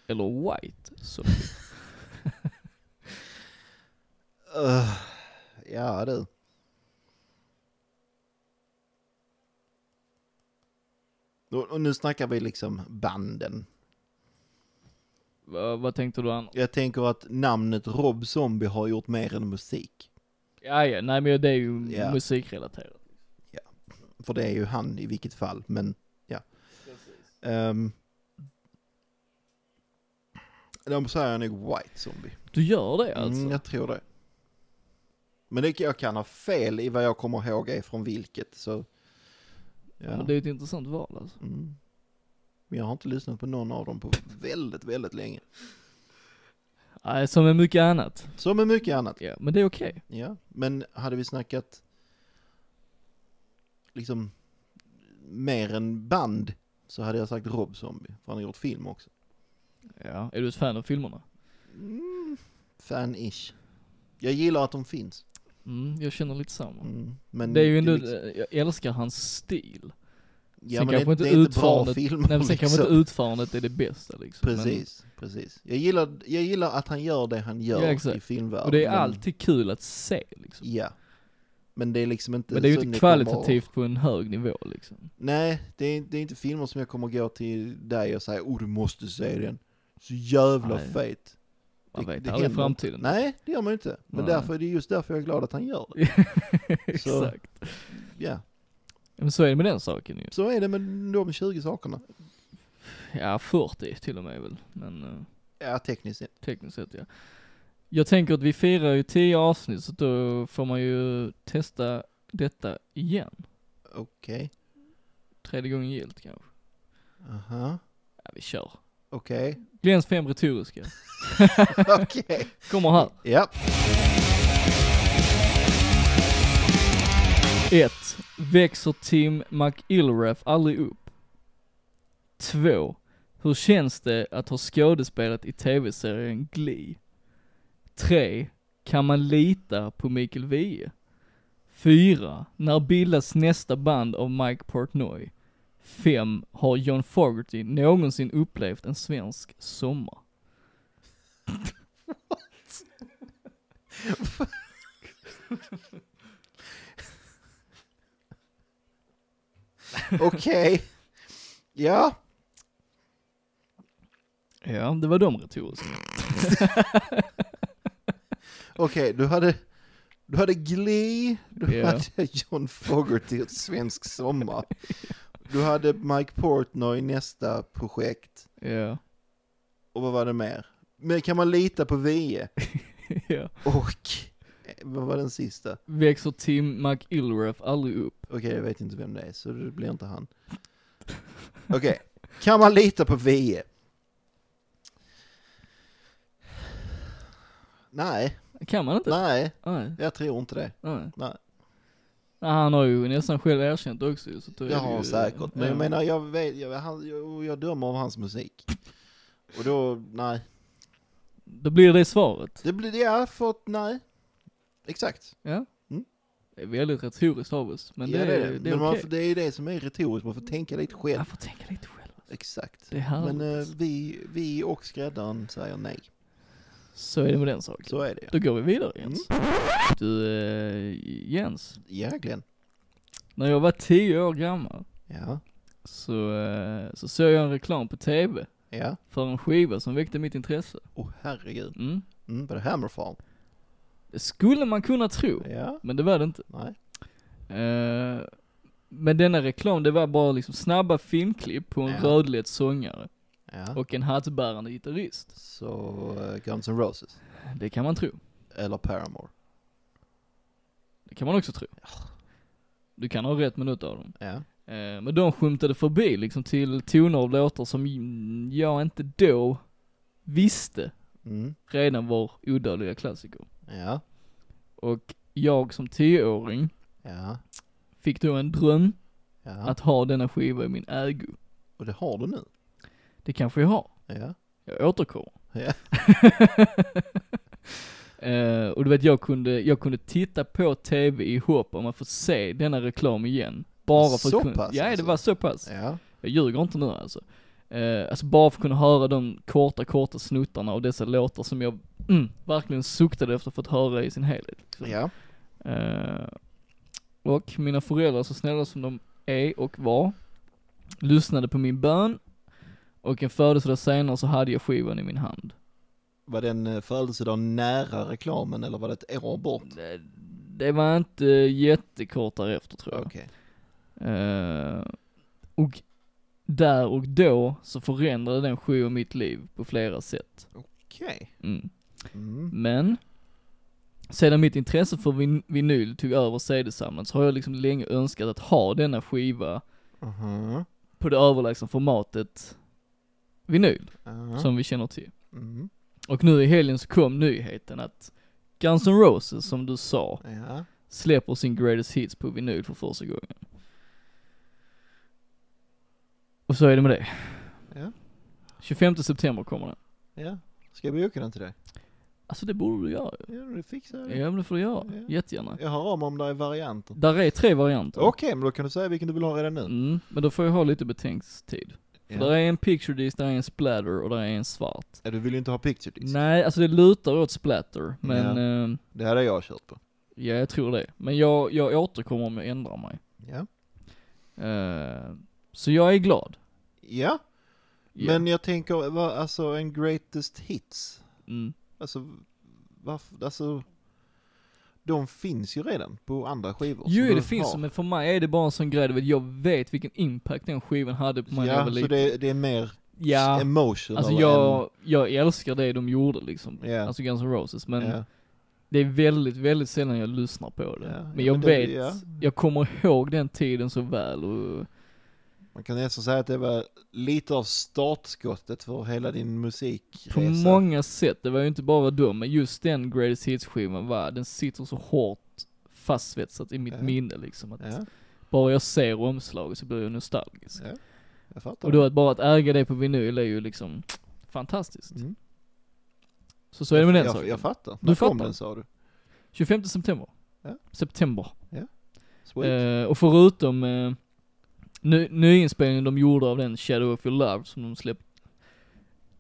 C: Eller White Zombie.
B: Öh, ja du. Och, och nu snackar vi liksom banden.
C: Va, vad tänkte du annars?
B: Jag tänker att namnet Rob Zombie har gjort mer än musik.
C: Ja, ja, nej men det är ju
B: Ja.
C: musikrelaterat.
B: För det är ju han i vilket fall, men ja. Um, de säger nog White Zombie.
C: Du gör det alltså?
B: Mm, jag tror det. Men det, jag kan ha fel i vad jag kommer ihåg är från vilket, så... Ja.
C: Men det är ett intressant val alltså.
B: Mm. Men jag har inte lyssnat på någon av dem på väldigt, väldigt länge.
C: Nej, som är mycket annat.
B: Som med mycket annat.
C: Ja, men det är okej.
B: Ja, men hade vi snackat liksom mer än band så hade jag sagt Rob Zombie, för han har gjort film också.
C: Ja. Är du ett fan av filmerna?
B: Mm, fan-ish. Jag gillar att de finns.
C: Mm, jag känner lite samma.
B: Mm, men
C: det är ju ändå, eh,
B: är liksom-
C: jag älskar hans stil.
B: ja,
C: sen
B: men
C: kanske
B: det,
C: inte
B: det är inte bra
C: utförandet-
B: filmer
C: Nej men sen kanske
B: liksom.
C: inte utförandet är det bästa liksom.
B: Precis, precis. Jag gillar, jag gillar att han gör det han gör
C: Ja, exakt.
B: i
C: Men,
B: filmvärlden.
C: och det är
B: men-
C: alltid kul att se liksom.
B: Ja. Men det är liksom inte...
C: Men det är ju
B: så
C: inte
B: ni kommer-
C: kvalitativt på en hög nivå liksom.
B: Nej, det är, det är inte filmer som jag kommer gå till dig och säga oh du måste se den. Så jävla
C: Nej.
B: fet.
C: Man
B: Det-
C: vet aldrig i
B: det händer inte.
C: framtiden.
B: Nej, det gör man ju inte. Men
C: Nej.
B: därför, det är just därför jag är glad att han gör det. så-
C: Exakt.
B: Ja,
C: Ja, Men så är det med den saken ju.
B: så är det med de 20 sakerna.
C: Ja, 40 till och med väl. Men eh,
B: Ja, tekniskt sett.
C: tekniskt sett ja. Jag tänker att vi firar ju 10 avsnitt så då får man ju testa detta igen.
B: Okej.
C: Tredje gången gillt kanske.
B: Aha.
C: Ja, vi kör.
B: Okej.
C: Glens fem retoriska.
B: Okej.
C: Kommer här.
B: Ja.
C: 1. Växer Tim McIlrath aldrig upp? 2. Hur känns det att ha skådespelat i tv-serien Glee? 3. Kan man lita på Mikael Wiehe? 4. När bildas nästa band av Mike Portnoy? 5. Har John Fogerty någonsin upplevt en svensk sommar?
B: Okej. Ja.
C: Ja, det var de retoriska.
B: Okej, du hade... Du hade Glee, du
C: Ja.
B: hade John Fogerty och Svensk Sommar. Du hade Mike Portnoy i nästa projekt.
C: Ja,
B: Och vad var det mer? Men kan man lita på VE?
C: ja.
B: Och... eh, Vad var den sista?
C: Växer Tim McIlref aldrig upp?
B: Okej, jag vet inte vem det är, så det blir inte han. Okej, kan man lita på VE? Nej,
C: Kan man inte?
B: nej,
C: Nej.
B: jag tror inte det.
C: Nej.
B: Nej.
C: Nej, han har ju nästan själv erkänt också ju, så då är
B: Det
C: det
B: har
C: ju,
B: han säkert, men
C: ja.
B: jag menar, jag, vet, jag, han, jag, jag dömer av hans musik. Och då, nej.
C: Då blir det svaret.
B: Det blir, ja, för att, nej. Exakt.
C: Ja.
B: Mm.
C: Det är väldigt retoriskt av oss, men
B: ja,
C: det,
B: det,
C: är,
B: det.
C: det är
B: men man,
C: okej.
B: får- det är ju det som är retoriskt, man får tänka lite själv.
C: Man får tänka lite själv.
B: Exakt.
C: Det är härligt.
B: Men eh, vi, vi och skräddaren säger nej.
C: Så är det med den saken.
B: Så är det. Mm.
C: Då går vi vidare Jens. Du eh, Jens,
B: Ja, Glenn.
C: när jag var 10 år gammal
B: Ja,
C: så, eh, så såg jag en reklam på TV
B: ja.
C: för en skiva som väckte mitt intresse.
B: Åh oh, herregud.
C: Mm.
B: Mm, var det Hammerfall?
C: Det skulle man kunna tro,
B: Ja,
C: men det var det inte.
B: nej.
C: Eh, men denna reklam, det var bara liksom snabba filmklipp på en
B: Ja.
C: rödlätt sångare
B: Ja.
C: och en hattbärande gitarrist.
B: Så eh, Guns N' Roses.
C: Det kan man tro.
B: Eller Paramore.
C: Det kan man också tro. Du kan ha rätt minut av dem.
B: Ja.
C: Eh, men de skymtade förbi liksom till toner och låtar som jag inte då visste
B: Mm.
C: redan var odödliga klassiker.
B: Ja.
C: Och jag som tioåring
B: Ja.
C: fick då en dröm
B: Ja.
C: att ha denna skiva i min ägo.
B: Och det har du nu.
C: Det kanske jag har.
B: Ja.
C: Jag återkommer.
B: Ja.
C: Eh, och du vet, jag kunde, jag kunde titta på TV i hopp om att få se denna reklam igen. Bara för
B: Så
C: att kunna,
B: pass
C: Ja, det
B: alltså?
C: var så pass.
B: Ja.
C: Jag ljuger inte nu alltså. Eh, alltså bara för att kunna höra de korta, korta snuttarna av dessa låtar som jag mm, verkligen suktade efter att få höra i sin helhet. liksom.
B: Ja.
C: Eh, och mina föräldrar, så snälla som de är och var, lyssnade på min bön. Och en födelsedag senare så hade jag skivan i min hand.
B: Var den eh, födelsedag nära reklamen eller var det ett år bort?
C: Det, det var inte jättekort därefter tror jag.
B: Okej.
C: Eh, och där och då så förändrade den skivan mitt liv på flera sätt.
B: Okej.
C: Mm.
B: Mm.
C: Men, sedan mitt intresse för vin- vinyl tog över CD-samlandet så har jag liksom länge önskat att ha denna skiva
B: Mhm.
C: på det överlägsna formatet vinyl,
B: Ja.
C: som vi känner till.
B: Mm.
C: Och nu i helgen så kom nyheten att Guns N' Roses, som du sa,
B: Ja.
C: släpper sin Greatest Hits på vinyl för första gången. Och så är det med det.
B: Ja.
C: 25 september kommer den.
B: Ja. Ska jag boka den till dig?
C: Alltså det borde du göra
B: Ja, du fixar jag
C: ju.
B: det.
C: Ja men det får du göra,
B: Ja.
C: jättegärna.
B: Jag hör om om det är varianter.
C: Där är tre varianter.
B: Okej, men då kan du säga vilken du vill ha redan nu.
C: Mm, men då får jag ha lite betänkstid. För där
B: Ja.
C: är en picture disc, där är en splatter och där är en svart.
B: Ja, Du vill ju inte ha picture disc.
C: Nej, alltså det lutar åt splatter, men eh,
B: Det hade jag kört på.
C: ja jag tror det. Men jag, jag återkommer om jag ändrar mig.
B: Ja.
C: Eh, så jag är glad.
B: Ja,
C: Ja.
B: men jag tänker, va, alltså en greatest hits.
C: Mm.
B: Alltså, varför, alltså. De finns ju redan på andra skivor.
C: Jo,
B: som
C: det
B: du
C: finns
B: har.
C: men för mig är det bara en sån grej, du vet, jag vet vilken impact den skivan hade på mig när jag
B: Ja,
C: var
B: så
C: liten.
B: det, det är mer
C: Ja,
B: emotional
C: alltså
B: än-
C: jag, jag älskar det de gjorde liksom.
B: Ja.
C: Alltså Guns N' Roses, men
B: ja.
C: det är väldigt, väldigt sällan jag lyssnar på det.
B: Ja, ja,
C: men jag
B: men det-
C: vet,
B: ja.
C: jag kommer ihåg den tiden så väl och
B: Man kan nästan säga att det var lite av startskottet för hela din
C: på
B: musikresa.
C: många sätt, det var ju inte bara dum, men just den Greatest Hits-skivan var, den sitter så hårt fastsvetsat i mitt
B: Ja.
C: minne liksom. Att
B: Ja,
C: Bara jag ser omslaget så blir jag nostalgisk.
B: Ja. jag fattar.
C: Och då att bara att äga det på vinyl är ju liksom fantastiskt.
B: Mm.
C: Så så är det med den
B: jag,
C: saken.
B: jag fattar.
C: Du
B: När kom
C: fattar.
B: den sa du?
C: 25 september.
B: Ja.
C: September.
B: Sweet.
C: Eh, och förutom eh, ny, nyinspelningen de gjorde av den Shadow of Your Love som de släppte.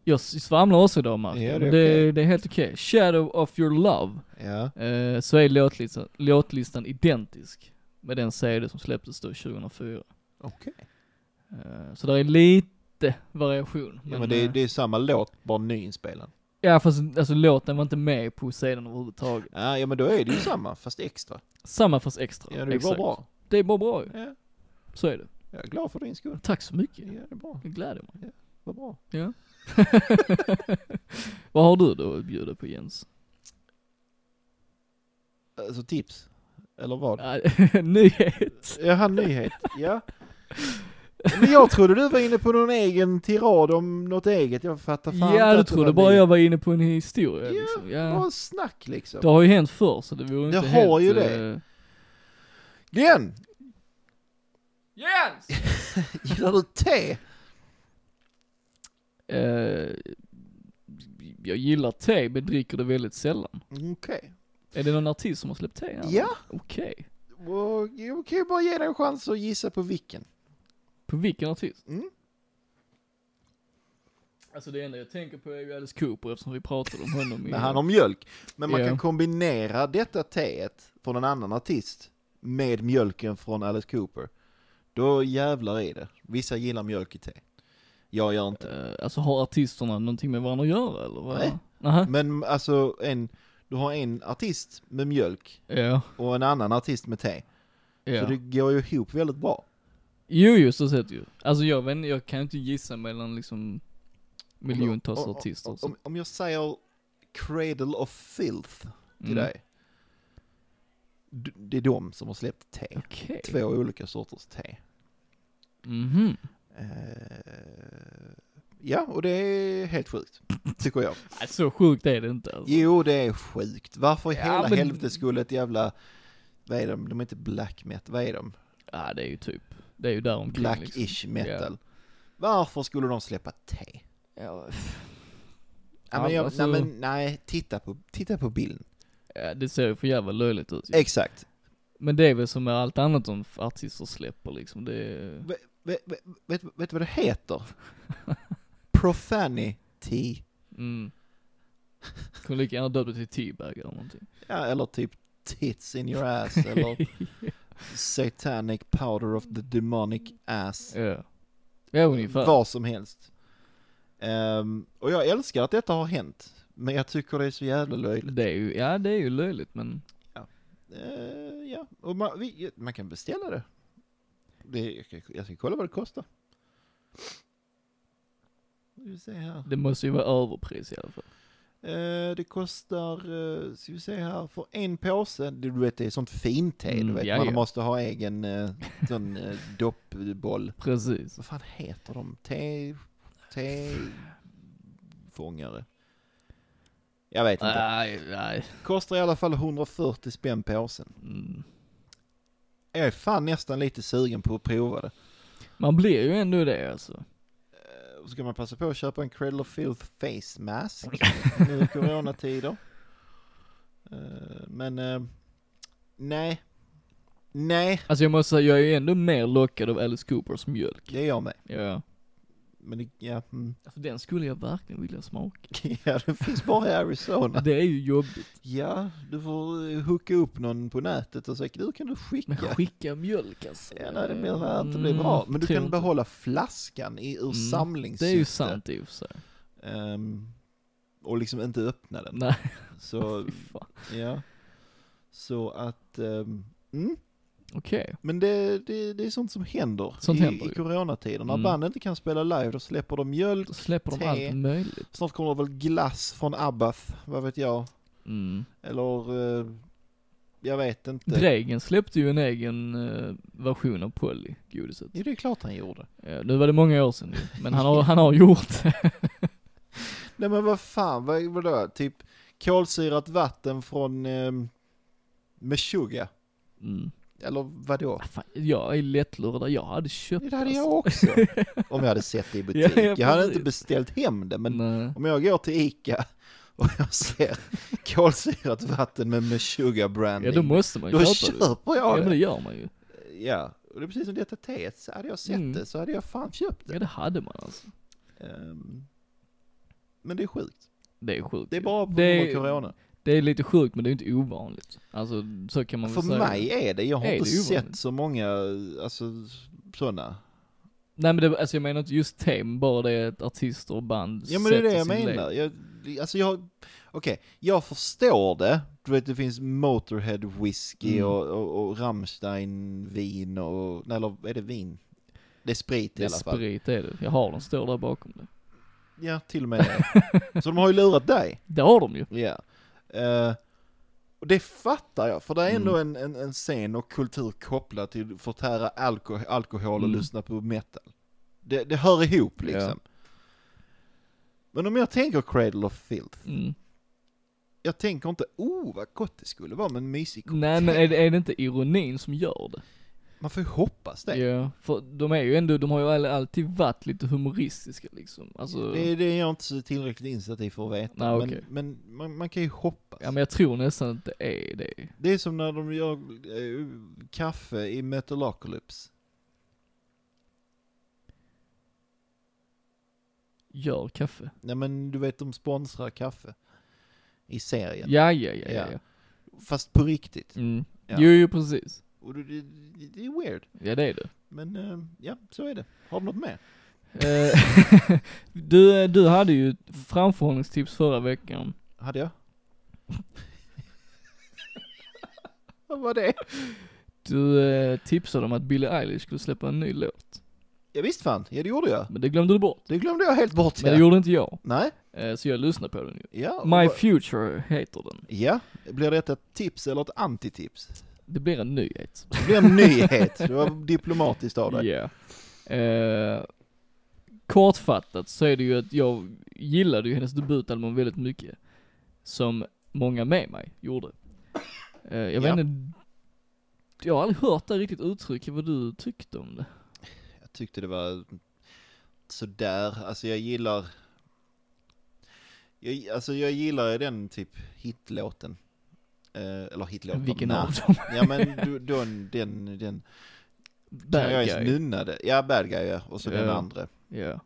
C: Jag s- svamlar också idag Martin.
B: Ja, det är
C: men
B: okej.
C: det är helt okej. Shadow of Your Love.
B: Ja,
C: Eh, så är låtlistan, låtlistan identisk med den CD som släpptes då 2004.
B: okej.
C: Eh, så där är lite variation.
B: Ja, men det, är-
C: eh,
B: det är samma låt, bara nyinspelad.
C: Ja fast alltså låten var inte med i Poseidon överhuvudtaget.
B: Ja, ja men då är det ju samma, fast extra.
C: Samma fast extra.
B: Ja, det är bara
C: Exakt.
B: bra.
C: Det är bara bra ju.
B: Ja,
C: Så är det.
B: jag är glad för din skull.
C: Tack så mycket.
B: Ja, det är bra.
C: Det gläder mig.
B: Vad bra.
C: Vad har du då att bjuda på Jens?
B: Alltså tips? Eller vad?
C: Ja, Nyhet.
B: Jaha, nyhet. Ja. Men jag trodde du var inne på någon egen tirad om något eget. Jag fattar fan
C: Ja
B: inte
C: du
B: att det
C: trodde
B: var
C: bara
B: nyhet.
C: jag var inne på en historia
B: Ja,
C: liksom.
B: Bara
C: Ja.
B: snack liksom.
C: Det har ju hänt förr så det vore
B: Det
C: inte helt...
B: har ju det.
C: eh,
B: Glenn!
C: Jens!
B: Gillar du te?
C: Eh, jag gillar te men dricker det väldigt sällan.
B: Okej.
C: Är det någon artist som har släppt te? här?
B: Ja.
C: Okej.
B: Och jag kan ju bara ge dig en chans att gissa på vilken.
C: På vilken artist?
B: Mm.
C: Alltså det enda jag tänker på är ju Alice Cooper eftersom vi pratade om honom i...
B: Men han har mjölk. Men man
C: Ja.
B: kan kombinera detta teet från en annan artist med mjölken från Alice Cooper. Då jävlar är det. Vissa gillar mjölk i te. Jag gör inte.
C: Eh, alltså har artisterna någonting med varandra att göra eller? Vad?
B: Nej.
C: Nähä.
B: Men alltså en, du har en artist med mjölk
C: Ja.
B: och en annan artist med te.
C: ja.
B: Så det går ju ihop väldigt bra.
C: Jo, jo, så sett ju. Alltså jag vet inte, jag kan inte gissa mellan liksom miljontals
B: Om- om-
C: artister. så.
B: Om, om jag säger Cradle of Filth till
C: Mm.
B: dig. D- Det är de som har släppt te.
C: Okej.
B: Två olika sorters te.
C: Mhm.
B: Eh, ja, och det är helt sjukt. Tycker jag.
C: Nej, så sjukt är det inte alltså.
B: Jo, det är sjukt. Varför i
C: Ja,
B: hela
C: men-
B: helvete skulle ett jävla... Vad är de? De är inte black metal. Vad är de?
C: Ja, det är ju typ, det är ju däromkring liksom.
B: Black-ish metal. Varför skulle de släppa te?
C: Ja,
B: Ja, men
C: Ja,
B: jag,
C: alltså-
B: nej, men, nej, titta på, titta på bilden.
C: ja, det ser ju för jävla löjligt ut ju.
B: Exakt.
C: Men det är väl som med allt annat som artister släpper liksom, det är...
B: Vet, vet, vet du vad det heter? Profanity.
C: Mm. Kunde lika gärna döpt det till T-bag eller någonting.
B: Ja, eller typ tits in your ass, eller satanic powder of the demonic ass.
C: Ja. Ja, ungefär.
B: Vad som helst. Ehm, och jag älskar att detta har hänt. Men jag tycker det är så jävla löjligt.
C: Det är ju, ja det är ju löjligt men,
B: Ehm, ja, och man, vi, man kan beställa det. det jag, ska, jag ska kolla vad det kostar. Vi ser här.
C: det måste ju vara överpris i alla fall.
B: Eh, det kostar, uh, ska vi se här, för en påse, du vet det är sånt fint te, du
C: Mm,
B: vet,
C: ja,
B: man
C: ja.
B: måste ha egen eh, sån eh, doppboll.
C: Precis.
B: Vad fan heter de? Te... Tefångare? Jag vet inte.
C: Nej, nej.
B: Kostar i alla fall 140 spänn påsen.
C: Mm.
B: Jag är fan nästan lite sugen på att prova det.
C: Man blir ju ändå det alltså.
B: Eh, Och så kan man passa på att köpa en Cradle of Filth face mask nu i coronatider. Eh, Men eh, nej, nej,
C: Alltså jag måste säga, jag är ju ändå mer lockad av Alice Coopers mjölk.
B: det är jag med.
C: Ja.
B: Men det, ja, mm.
C: Alltså den skulle jag verkligen vilja smaka.
B: ja, det finns bara i Arizona.
C: Det är ju jobbigt.
B: Ja, du får eh, hooka upp någon på nätet och säga, du kan du skicka.
C: Men skicka mjölk alltså.
B: Ja, nej, det blir väl inte blir bra. Men du
C: tror
B: kan
C: inte.
B: behålla flaskan i, ur
C: Mm,
B: samlingssyfte.
C: Det är ju sant i och för sig.
B: Ehm, och liksom inte öppna den.
C: Nej,
B: Så,
C: fy fan.
B: ja. Så att, ehm, mm.
C: Okej.
B: Men det, det, det är sånt som händer
C: Sånt
B: i,
C: händer
B: i
C: ju.
B: coronatider. När
C: Mm.
B: band inte kan spela live, då släpper de mjölk.
C: Då släpper de
B: Te.
C: allt möjligt.
B: Snart kommer det väl glass från Abbath, vad vet jag.
C: Mm.
B: Eller, eh, jag vet inte.
C: Dregen släppte ju en egen eh, version av Polly, godiset.
B: Jo, det är klart han gjorde.
C: Ja, nu var det många år sedan nu, men han har, han har gjort det.
B: Nej men vad fan, vad, vadå? Typ kolsyrat vatten från eh, Meshuggah?
C: Mm.
B: Eller vadå?
C: Ah, Fan, jag är lättlurad, jag hade köpt
B: Det hade jag
C: alltså.
B: också. Om jag hade sett det i butik.
C: Ja, ja,
B: jag hade
C: precis.
B: inte beställt hem det, men
C: Nej.
B: om jag går till Ica och jag ser kolsyrat vatten med Meshuggah branding.
C: Ja då måste man ju
B: Då
C: köpa det.
B: köper
C: Ja
B: jag
C: men det
B: det.
C: gör man ju.
B: Ja, och det är precis som detta teet. Så hade jag sett
C: Mm.
B: det så hade jag fan köpt
C: Ja
B: det.
C: det hade man alltså.
B: Ehm, Men det är sjukt.
C: Det är sjukt.
B: Det är
C: ju.
B: bara på
C: Det
B: grund av
C: är-
B: corona.
C: Det är lite sjukt men det är inte ovanligt. Alltså så kan man väl
B: För
C: säga.
B: mig är det, jag har
C: Är
B: inte
C: det ovanligt?
B: sett så många, alltså sådana.
C: Nej men det, alltså jag menar inte just tem, bara det att artister och band
B: Ja men det är
C: sätter
B: det jag
C: sin
B: menar.
C: lek.
B: Jag, alltså jag, okej, jag förstår det. Du vet det finns Motorhead whisky
C: Mm.
B: och, och, och Rammstein vin och, nej, eller är det vin? Det är sprit i
C: Det är
B: alla fall.
C: sprit är det. Jag har dem står där bakom det.
B: Ja, till och med det. Så de har ju lurat dig.
C: Det har de ju.
B: Ja. Eh, och det fattar jag, för det är ändå
C: Mm.
B: en, en, en scen och kultur kopplad till förtära alko alkohol och
C: Mm.
B: lyssna på metal. Det, det hör ihop liksom. Men om jag tänker Cradle of Filth,
C: Mm.
B: jag tänker inte oh vad gott det skulle vara med en mysig kopp
C: Nej
B: te."
C: men är det, är det inte ironin som gör det?
B: Man får ju hoppas det.
C: Ja, för de är ju ändå, de har ju all- alltid varit lite humoristiska liksom. Alltså,
B: Det, är- det är jag inte så tillräckligt insatt i för att veta.
C: Nej,
B: men
C: okej.
B: men man, man kan ju hoppas.
C: ja men jag tror nästan att det är det.
B: Det är som när de gör eh, kaffe i Metalocalypse.
C: Gör kaffe.
B: Nej men du vet de sponsrar kaffe. I serien.
C: Ja, ja, ja, ja.
B: Ja.
C: ja.
B: Fast på riktigt.
C: Mm.
B: Ja.
C: Jo, jo precis.
B: Och det, det, det är weird.
C: Ja det är det.
B: Men eh, ja, så är det. Har du något mer?
C: Eh, du, eh, du hade ju framförhållningstips förra veckan.
B: Hade jag? Vad var det?
C: Du eh, tipsade om att Billie Eilish skulle släppa en ny låt.
B: Ja, visst fan, ja det gjorde jag.
C: Men det glömde du bort.
B: Det glömde jag helt bort.
C: Men det
B: ja.
C: gjorde inte jag.
B: Nej,
C: Eh, så jag lyssnade på den ju.
B: ja. och
C: My
B: vad-
C: Future heter den.
B: Ja, blir detta ett tips eller ett antitips?
C: Det blir en nyhet.
B: Det blir en nyhet. Det var diplomatiskt av dig.
C: Ja. Eh, kortfattat så är det ju att jag gillade ju hennes debutalbum väldigt mycket. Som många med mig gjorde. Eh, jag
B: Ja.
C: vet inte, jag har aldrig hört det riktigt uttrycket vad du tyckte om det.
B: Jag tyckte det var sådär. Alltså jag gillar... Jag, alltså jag gillar ju den typ hitlåten. Eh, eller hitlåten.
C: Vilken
B: nej.
C: av dem?
B: Ja men du- den, den, den.
C: Bad
B: jag
C: guy.
B: nunnade. Ja, bad guy ja. Och så den
C: Ja.
B: andra.
C: Ja.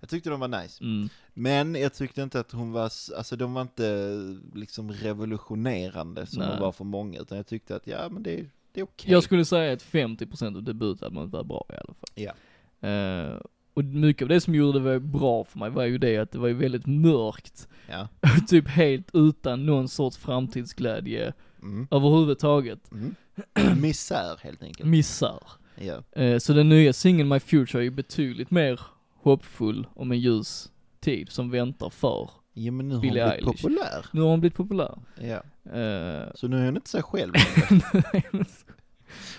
B: Jag tyckte de var nice.
C: Mm.
B: Men jag tyckte inte att hon var, s- alltså de var inte liksom revolutionerande som
C: Nej.
B: de var för många, utan jag tyckte att ja men det, det är okej.
C: Jag skulle säga att 50% av debutalbumet var bra i alla fall.
B: Ja.
C: Eh, och mycket av det som gjorde det var bra för mig var ju det att det var ju väldigt mörkt.
B: Ja.
C: typ helt utan någon sorts framtidsglädje
B: Mm.
C: överhuvudtaget.
B: Mm. Misär helt enkelt.
C: Missar.
B: Ja.
C: Eh, så den nya singeln My Future är ju betydligt mer hoppfull om en ljus tid som väntar för.
B: ja men nu har hon
C: Billie
B: blivit
C: Eilish.
B: populär.
C: Nu har hon blivit populär.
B: Ja.
C: Eh,
B: Så nu är hon inte sig själv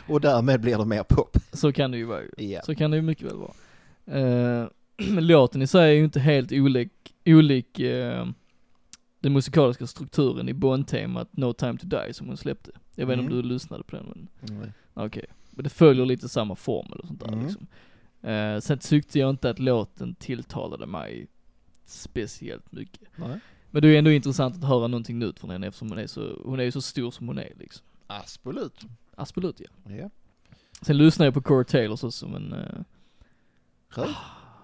B: och därmed blir det mer pop.
C: så kan det ju vara ju.
B: Ja.
C: Så kan det ju mycket väl vara. Eh, låten i sig är ju inte helt olik, olik eh, den musikaliska strukturen i Bond-temat No Time To Die som hon släppte. Jag vet inte
B: Mm.
C: om du lyssnade på den men
B: Mm.
C: okej. Men det följer lite samma formel och sånt där
B: Mm.
C: liksom. Eh, sen tyckte jag inte att låten tilltalade mig speciellt mycket.
B: Nej.
C: Men det är ju ändå intressant att höra någonting nytt från henne eftersom hon är så, hon är ju så stor som hon är liksom.
B: Absolut.
C: Absolut ja.
B: Ja.
C: Sen lyssnar jag på Corey Taylor så som en, eh,
B: Röv.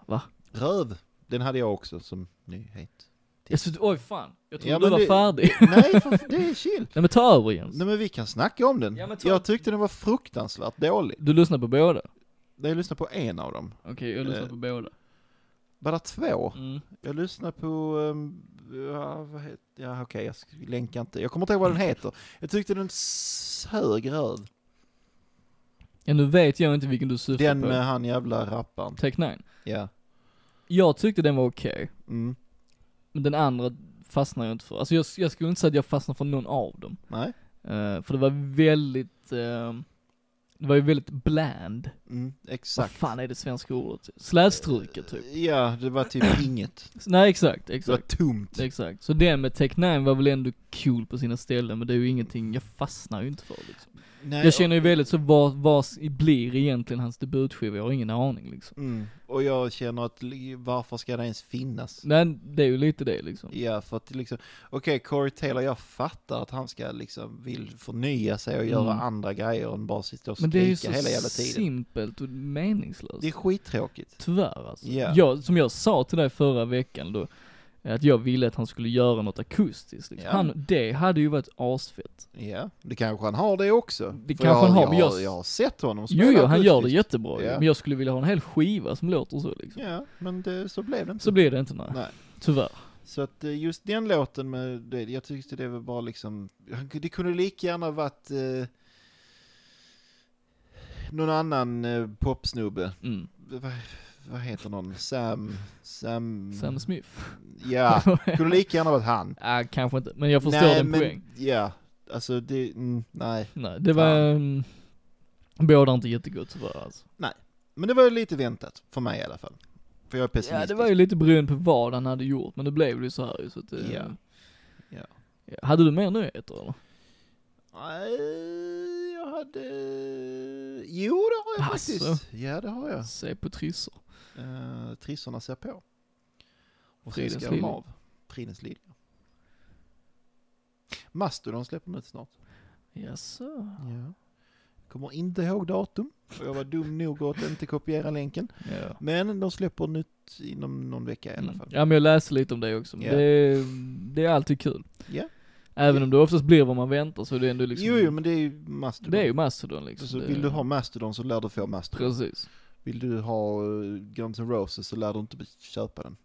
C: Va?
B: Röv. Den hade jag också som nyhet.
C: alltså, oj fan, jag trodde
B: Ja,
C: du
B: men
C: var
B: det-
C: färdig.
B: Nej, för det är chill.
C: Nej men ta över Jens.
B: Nej men vi kan snacka om den.
C: Ja, men ta-
B: Jag tyckte den var fruktansvärt dålig.
C: Du lyssnar på båda?
B: Jag lyssnade på en av dem.
C: Okej, jag lyssnar
B: Eh.
C: på båda.
B: Bara två.
C: Mm.
B: Jag lyssnar på, ehm, ja vad heter, ja okej jag sk- länkar inte. Jag kommer inte ihåg vad den heter. Jag tyckte den sög röv.
C: Ja nu vet jag inte vilken du syftar
B: Den eh,
C: på.
B: med han jävla rapparen.
C: Tech Nine.
B: Ja.
C: Jag tyckte den var okej,
B: Mm.
C: men den andra fastnade jag inte för. Alltså jag, jag skulle inte säga att jag fastnade för någon av dem.
B: Nej.
C: Eh, för det var väldigt, eh, det var ju väldigt bland.
B: Mm,
C: Vad
B: exakt. Eh,
C: fan är det svenska ordet? Slätstruket typ.
B: Ja, det var typ inget.
C: Nej exakt,
B: Det var
C: exakt.
B: tomt.
C: Exakt. Så den med Tech Nine var väl ändå cool på sina ställen, men det är ju ingenting jag fastnar ju inte för liksom.
B: Nej,
C: Jag känner ju väldigt så, vad, vad blir egentligen hans debutskiva? Jag har ingen aning liksom.
B: och, mm. och jag känner att li- varför ska det ens finnas?
C: Nej, det är ju lite det liksom.
B: Ja, för att liksom, okej, Corey Taylor, jag fattar att han ska liksom vill förnya sig och göra
C: Mm.
B: andra grejer än bara sitta och
C: Men det är ju
B: skrika
C: så
B: hela jävla tiden.
C: simpelt och meningslöst.
B: Det är skittråkigt.
C: Tyvärr alltså.
B: Ja.
C: Jag, som jag sa till dig förra veckan då, Att jag ville att han skulle göra något akustiskt. Liksom.
B: Ja.
C: Han, det hade ju varit asfett.
B: Ja, det kanske han har det också.
C: Det
B: För
C: kanske han har, men
B: jag,
C: jag-
B: jag har sett honom
C: Jo, jo, han gör det
B: akustiskt.
C: jättebra ju,
B: Ja.
C: men jag skulle vilja ha en hel skiva som låter så liksom.
B: Ja, men det, så blev det inte.
C: Så blir det inte, nej.
B: Nej.
C: Tyvärr.
B: Så att eh, just den låten med det, jag tyckte det var bara liksom, han- det kunde lika gärna varit eh, någon annan eh, popsnubbe.
C: Mm.
B: Vad, vad heter någon? Sam, Sam,
C: Sam Smith.
B: Ja, kunde lika gärna varit han.
C: Ah, kanske inte, men jag förstår din poäng.
B: Ja, alltså det, mm, nej.
C: Nej, det var... Um, båda inte jättegott tyvärr alltså.
B: Men det var ju lite väntat, för mig i alla fall. För jag är pessimistisk.
C: Ja, det var ju lite beroende på vad han hade gjort, men det blev det ju så här ju, så att, eh,
B: Ja. Ja.
C: ja. Hade du mer nyheter eller?
B: Nej, jag hade... Jo, det har jag
C: Asså.
B: faktiskt. Ja, det har jag.
C: Se på trissor.
B: Uh, trissorna ser på. Och sen
C: Fridens
B: ska de
C: lilja.
B: av. Fridens lilja. Mastodon släpper nytt snart.
C: Jaså?
B: Ja. Kommer inte ihåg datum. För jag var dum nog att inte kopiera länken.
C: Ja.
B: Men de släpper nytt inom någon vecka i alla
C: Mm.
B: fall.
C: Ja men jag läste lite om det också, men
B: Ja.
C: det, det är alltid kul.
B: Ja.
C: Även
B: Ja.
C: om det oftast blir vad man väntar så är det ändå liksom,
B: Jo, jo, men det är ju Mastodon.
C: det är ju Mastodon liksom.
B: så
C: det,
B: vill du ha Mastodon så lär du få Mastodon.
C: Precis.
B: Vill du ha eh, Guns N' Roses så lär du inte köpa den.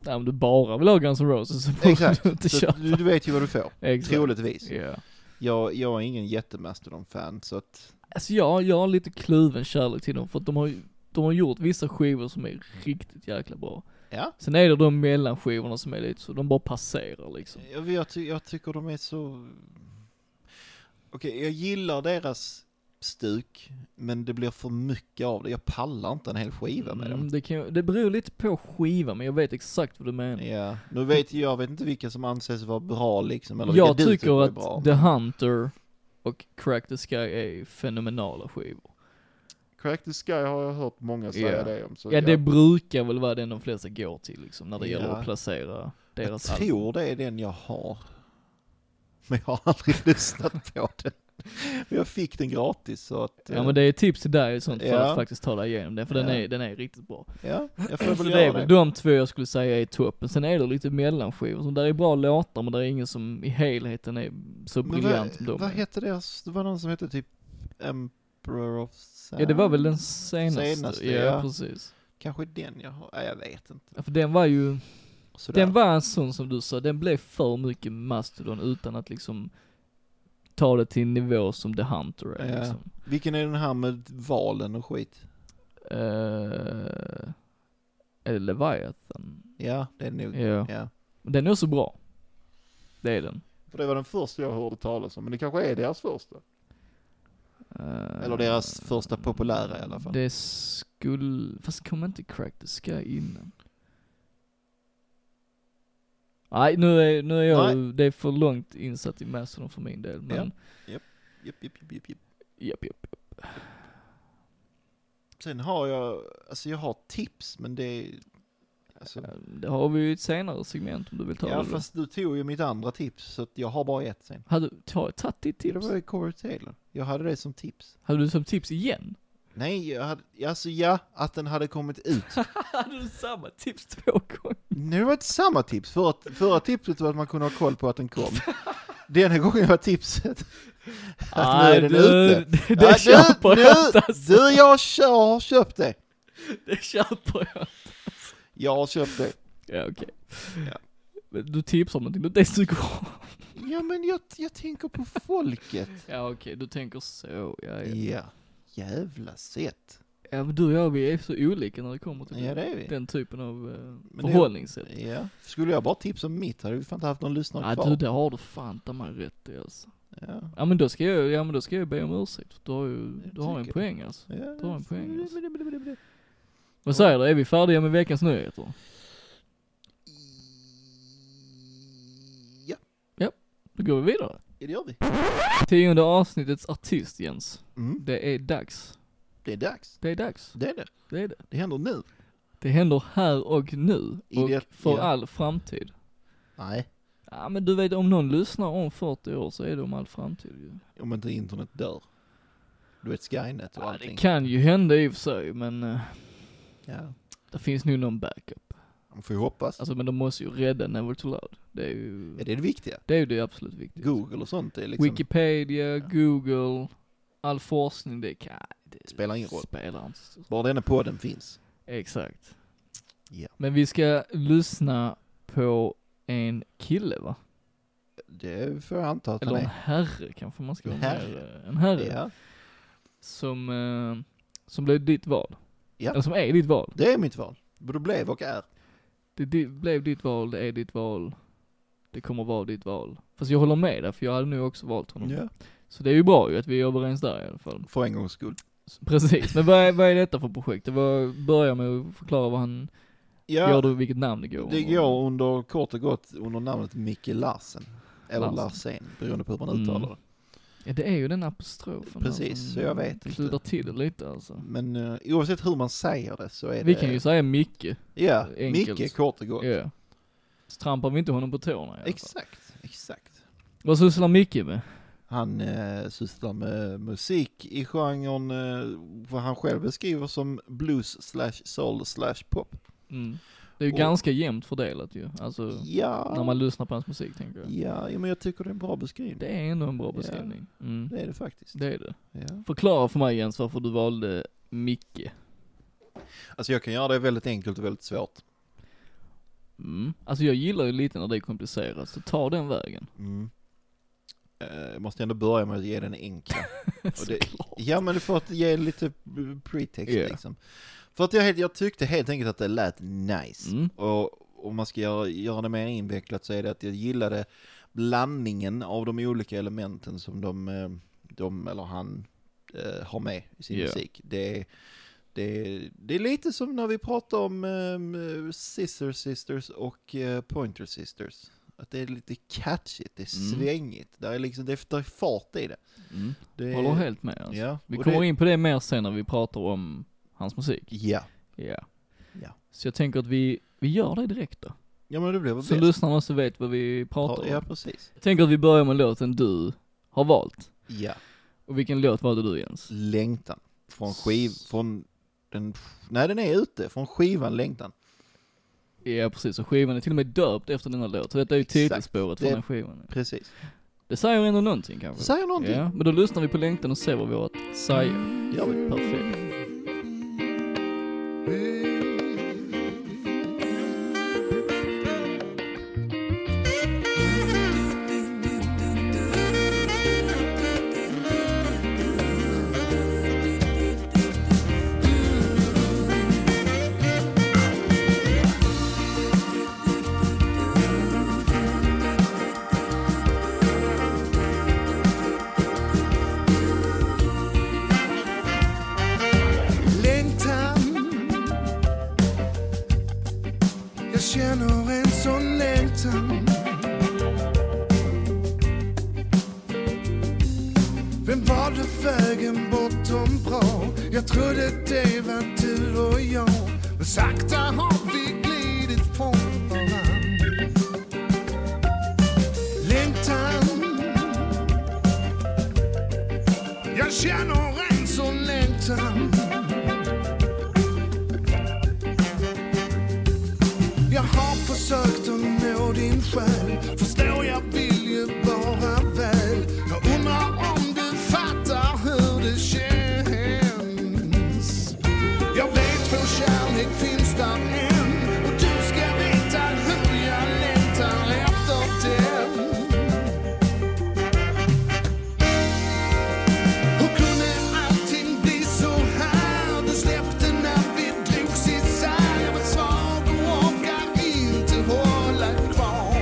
C: Nej, om du bara vill ha Guns N' Roses så får
B: Exakt.
C: du inte
B: Så
C: köpa.
B: du, du vet ju vad du får.
C: Exakt.
B: Troligtvis.
C: Ja.
B: Jag, jag är ingen jättemastodon-fan så att...
C: Alltså jag, jag har lite kluven kärlek till dem för att de har, ju- de har gjort vissa skivor som är riktigt jäkla bra.
B: Ja.
C: Sen är det de mellanskivorna som är lite så, de bara passerar liksom.
B: Jag, jag, ty, jag tycker de är så... Okej, jag gillar deras stuk, men det blir för mycket av det. Jag pallar inte en hel skiva med
C: Mm,
B: dem.
C: det, kan, ju- det beror lite på skiva men jag vet exakt vad du menar.
B: Ja, nu vet ju- jag vet inte vilka som anses vara bra liksom, eller
C: jag
B: vilka du
C: tycker
B: tycker är
C: att
B: bra.
C: The Hunter och Crack the Sky är fenomenala skivor.
A: Crack the Sky har jag hört många säga
C: Ja.
A: det om. Så
C: Ja det
A: jag,
C: brukar väl vara den de flesta går till liksom när det gäller
B: Ja.
C: att placera
B: Jag
C: deras album.
B: tror det är den jag har. Men jag har aldrig lyssnat på den. Men jag fick den gratis så att... eh,
C: Ja men det är tips till dig och sånt för
B: Ja.
C: att faktiskt ta dig igenom den för den,
B: Ja.
C: är, den är riktigt bra.
B: ja, jag får
C: Så
B: väl
C: det är
B: göra det.
C: väl de två jag skulle säga är toppen. Sen är det lite mellanskivor, som där är bra låtar men där är ingen som i helheten är så
B: Men
C: briljant som
B: vad,
C: de
B: vad
C: är.
B: hette deras, det var någon som hette typ Emperor of Sound?
C: Ja det var väl den senaste,
B: Senaste,
C: ja,
B: ja.
C: precis.
B: Kanske den jag har, nej jag vet inte.
C: Ja, för den var ju,
B: Sådär.
C: den var en sån som du sa, den blev för mycket Mastodon utan att liksom ta det till en nivå som The Hunter är
B: Ja.
C: liksom.
B: Vilken är den här med valen och skit?
C: Eh, är det Leviathan?
B: Ja, det är nog.
C: Ja.
B: Ja.
C: Den är också bra. Det är den.
A: för det var den första jag hörde talas om, men det kanske är deras första.
C: Eh,
B: Eller deras första populära i alla fall.
C: Det skulle, fast kom inte Crack the Sky innan? Nej nu är, nu är jag, det är för långt insatt i Mastodon för min del men,
B: Ja.
C: japp
B: Jupp, jupp, jupp, jupp, jupp.
C: japp japp.
B: Sen har jag, alltså jag har tips men det är, alltså,
C: Eh, Det har vi ju ett senare segment om du vill ta
B: ja
C: det. då.
B: fast du tog ju mitt andra tips så att jag har bara ett sen.
C: Hade du ta- tagit ditt
B: Det
C: tips?
B: var ju Corey Taylor. Jag hade det som tips.
C: Hade du som tips igen?
B: Nej, jag hade, alltså ja, att den hade kommit ut.
C: Hade du samma tips två gånger?
B: Nu var det samma tips. Förra, förra tipset var att man kunde ha koll på att den kom. Denna gången var tipset att nu är den
C: du,
B: ute.
C: det, det
B: Ja,
C: köper
B: du,
C: jag inte
B: du,
C: alltså.
B: du, jag kö- har köpt det.
C: Det köper jag
B: Jag har köpt det.
C: Ja okej.
B: Ja.
C: Men Du tipsar om någonting du inte ens tycker om.
B: Ja, men jag, jag tänker på folket.
C: Ja okej, du tänker så. Ja, ja.
B: Ja, jävla sätt.
C: ja men du och jag vi är så olika när det kommer till
B: Ja, det är vi.
C: den typen av eh,
B: det-
C: förhållningssätt.
B: Ja. Skulle jag bara tipsa om mitt hade vi fan inte haft någon lyssnare
C: Ja du,
B: kvar.
C: det har du fan ta mig rätt i alltså.
B: Ja,
C: Ja men då ska jag, ja men då ska jag be om ursäkt. Du har ju, du har en
B: tycker-
C: poäng alltså.
B: ja.
C: Du har en poäng alltså. Vad säger du, är vi färdiga med veckans nyheter?
B: Ja,
C: Då går vi vidare.
B: det gör vi.
C: Tionde avsnittets artist Jens.
B: Mm.
C: Det är dags.
B: Det är dags.
C: Det är dags.
B: Det är det.
C: Det är det.
B: Det händer nu.
C: Det händer här och nu.
B: I
C: Och
B: det-
C: för
B: ja.
C: all framtid.
B: Nej.
C: Ja men du vet om någon lyssnar om 40 år så är det om all framtid ju.
B: Om inte internet dör. Du vet Skynet och
C: Ja, det
B: allting.
C: kan ju hända i och för sig men eh,
B: Ja.
C: det finns nog någon backup.
B: Man får ju hoppas.
C: Alltså men de måste ju rädda Never Too Loud. Det är ju
B: Ja, det är det viktiga.
C: det, är ju det absolut viktiga.
B: Google och sånt är liksom...
C: Wikipedia, Google, all forskning, det, kan, det
B: Spelar ingen roll.
C: Spelar inte så
B: Bara denna podden finns.
C: Exakt.
B: Ja.
C: Men vi ska lyssna på en kille va?
B: Det får jag anta att
C: Eller
B: han
C: en
B: är.
C: herre kanske man ska
B: En
C: vara
B: herre.
C: mer, eh, En herre.
B: Ja.
C: Som, eh, som blev ditt val.
B: Ja.
C: Eller som är ditt val.
B: Det är mitt val. Både blev och är.
C: Det di- blev ditt val, det är ditt val. Det kommer vara ditt val. Fast jag håller med där, för jag hade nog också valt honom.
B: Ja.
C: Så det är ju bra ju att vi är överens där i alla fall.
B: För en gångs skull.
C: S- Precis, men vad är, vad är detta för projekt? Det var, börja med att förklara vad han
B: Ja,
C: gör, och vilket namn det går
B: det
C: under.
B: går under, kort och gott, under namnet Micke Larsen. Eller
C: Larsen.
B: Larsen, beroende på hur man
C: Mm.
B: uttalar det.
C: Ja, det är ju den apostrofen där
B: Precis,
C: som
B: så jag vet inte.
C: Kludar till det lite alltså.
B: Men eh, oavsett hur man säger det så är
C: Vi
B: det...
C: kan ju säga Micke.
B: Ja,
C: enkelt.
B: Micke kort och gott.
C: Ja. Så trampar vi inte honom på tårna i alla fall.
B: Exakt, exakt.
C: Vad sysslar Micke med?
B: Han eh, sysslar med musik i genren, eh, vad han själv beskriver som blues slash soul slash pop.
C: Mm. Det är ju
B: Och-
C: ganska jämnt fördelat ju. Alltså,
B: Ja,
C: när man lyssnar på hans musik tänker jag.
B: ja, ja, men jag tycker det är en bra beskrivning.
C: Det är ändå en bra
B: Ja.
C: beskrivning. Mm.
B: Det är det faktiskt.
C: Det är det.
B: Ja.
C: Förklara för mig Jens varför du valde Micke.
B: Alltså jag kan göra det väldigt enkelt och väldigt svårt.
C: Mm. Alltså jag gillar ju lite när det är komplicerat, så ta den vägen.
B: Mm. Eh, Jag måste ändå börja med att ge den enkla. Och det,
C: Såklart.
B: ja men för att ge lite b- pretext
C: Ja.
B: liksom. För att jag, helt- jag tyckte helt enkelt att det lät nice.
C: Mm.
B: Och om man ska göra, göra det mer invecklat så är det att jag gillade blandningen av de olika elementen som de, eh, de eller han, eh, har med i sin
C: Ja.
B: musik. Det, är- det, är- det är lite som när vi pratar om eh, Sister Sisters och eh, Pointer Sisters. Att det är lite catchigt, det är
C: Mm.
B: svängigt, det är liksom, det är fart i det.
C: Mm.
B: det är,
C: Håller helt med alltså.
B: Ja,
C: Vi
B: och
C: kommer
B: det,
C: in på det mer sen när vi pratar om hans musik.
B: Ja.
C: Ja.
B: Ja.
C: Så jag tänker att vi, vi gör det direkt då.
B: Ja men det blev väl
C: Så
B: bäst.
C: lyssnarna också vet vad vi pratar om.
B: Ja precis.
C: Jag tänker att vi börjar med låten du har valt.
B: Ja.
C: Och vilken låt valde du Jens?
B: Längtan. Från skiv... Från den... Nej den är ute. Från skivan Längtan.
C: Ja precis, och skivan är till och med döpt efter denna låt. Så detta är ju
B: Mm. Exakt.
C: titelspåret från
B: Det-
C: den skivan.
B: Precis.
C: Det säger ändå någonting kanske.
B: Säger någonting.
C: Ja, men då lyssnar vi på längtan och ser vad vi har att säga.
B: Gör vi.
C: Perfekt.
D: längtan Jag känner en sån längtan Vem var det vägen bortom bra? Jag trodde det var du och jag Men sakta har vi glidit från varann Längtan Jag känner en sån längtan Jag har försökt att nå din själ Förstår jag vill ju bara väl Jag undrar om du fattar hur det känns Jag vet vår kärlek finns där än Och du ska veta hur jag längtar efter den Hur kunde allting bli så här? Det släppte när vi drogs isär. Jag var svag och orkar inte hålla kvar.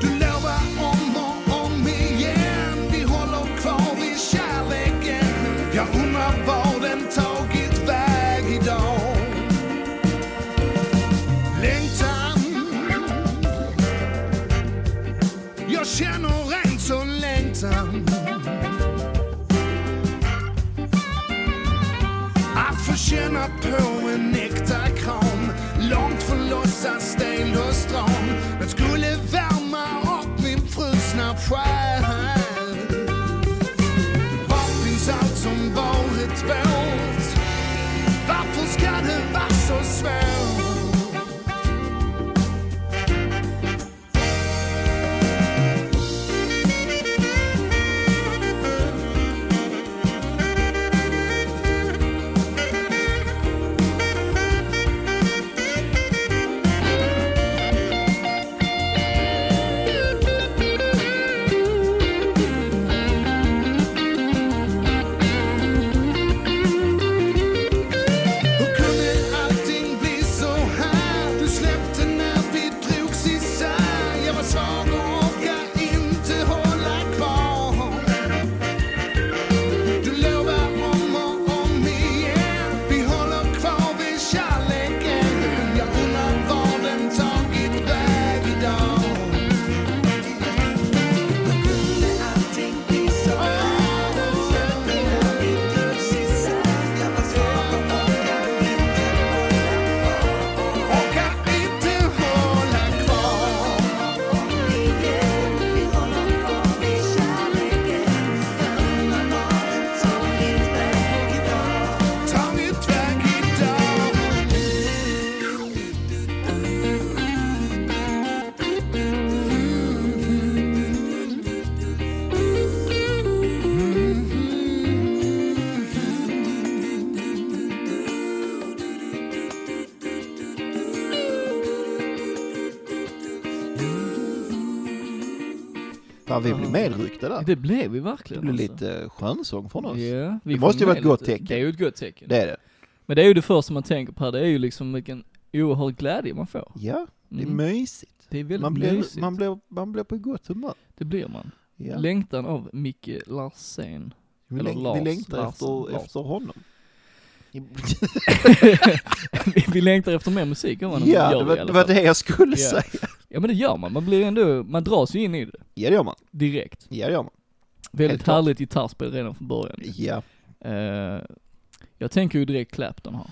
D: Du lovar om och om igen. Vi håller kvar i kärleken. Jag undrar var den tagit väg idag. Längtan. Jag känner en sån längtan. Att få känna på en äkta kram Långt från låtsas stel och stram Den skulle värma upp min frusna själ Var finns allt som varit vårt? Varför ska det vara så svårt?
B: Ja, vi blev medryckta där.
C: Det blev vi
B: Det
C: verkligen.
B: blev
C: alltså.
B: lite skönsång från oss.
C: Ja, vi
B: Det
C: får
B: måste ju vara
C: med
B: ett gott
C: lite.
B: tecken.
C: Det är ju ett gott tecken.
B: Det är det.
C: Men det är ju det första man tänker på här, det är ju liksom vilken oerhörd glädje man får.
B: Ja, det är
C: Mm.
B: mysigt.
C: Det är väldigt
B: Man blir,
C: mysigt.
B: man, blir, man blir på gott humör.
C: Det blir man.
B: Ja.
C: Längtan av Micke Larsen.
B: Vi,
C: eller
B: läng-
C: Lars,
B: vi längtar
C: Lars,
B: efter,
C: Lars.
B: efter honom.
C: vi, vi längtar efter mer musik av honom.
B: ja,
C: gör
B: det
C: vi i
B: var,
C: alla
B: det var
C: fall.
B: det jag skulle
C: Ja.
B: säga.
C: Ja men det gör man, man blir ändå, man dras ju in i det
B: Ja, det gör man.
C: direkt.
B: Ja, det gör man.
C: Väldigt
B: klart.
C: härligt gitarrspel redan från början.
B: Ja.
C: Eh, jag tänker ju direkt Clapton här.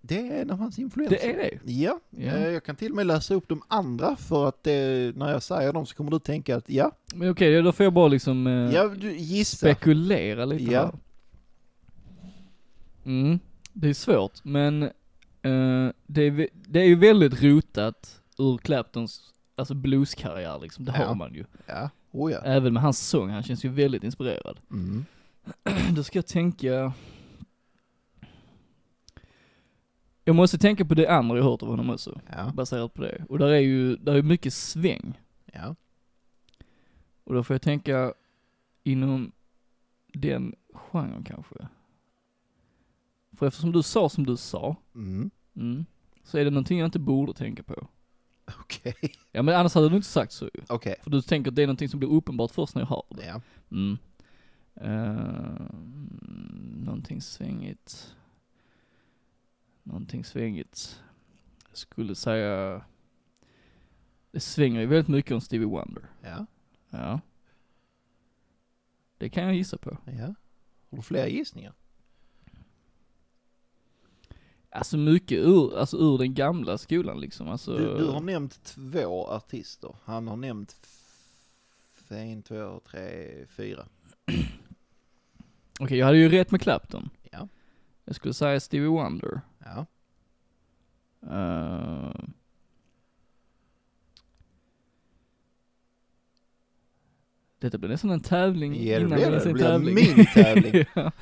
B: Det är en av hans influenser.
C: Det är det.
B: Ja,
C: Ja.
B: eh, jag kan till och med läsa upp de andra för att det, när jag säger dem så kommer du tänka att ja,
C: Men okej, då får jag bara liksom eh,
B: ja du gissa.
C: spekulera lite
B: Ja.
C: här. Mm, det är svårt men eh, det, är, vä- det är ju väldigt rotat ur Claptons alltså blueskarriär liksom, det
B: Ja.
C: har man ju.
B: Ja, oh ja.
C: Även med hans sång, han känns ju väldigt inspirerad.
B: Mm.
C: Då ska jag tänka... Jag måste tänka på det andra jag hört av honom också,
B: Ja,
C: baserat på det. Och där är ju, där är mycket sväng.
B: ja.
C: Och då får jag tänka inom den genren kanske. För eftersom du sa som du sa,
B: Mm.
C: mm, så är det någonting jag inte borde tänka på.
B: Okej,
C: Ja men annars hade du inte sagt så ju.
B: okej.
C: För du tänker att det är någonting som blir uppenbart först när jag hör det.
B: Ja.
C: Mm. Uh, någonting svängigt. Någonting svängigt. Jag skulle säga... Det svänger ju väldigt mycket om Stevie Wonder.
B: ja,
C: Ja. Det kan jag gissa på.
B: ja. Har du fler gissningar?
C: Alltså mycket ur, alltså ur den gamla skolan liksom. Alltså,
B: Du, du har nämnt två artister. Han har nämnt f- en, två, tre, fyra.
C: Okej, jag hade ju rätt med Clapton.
B: Ja,
C: Jag skulle säga Stevie Wonder.
B: ja.
C: Eh. Detta blir nästan en tävling
B: Ja, det
C: innan
B: blir det.
C: ens
B: Det
C: en
B: blir
C: tävling.
B: min tävling.
C: ja.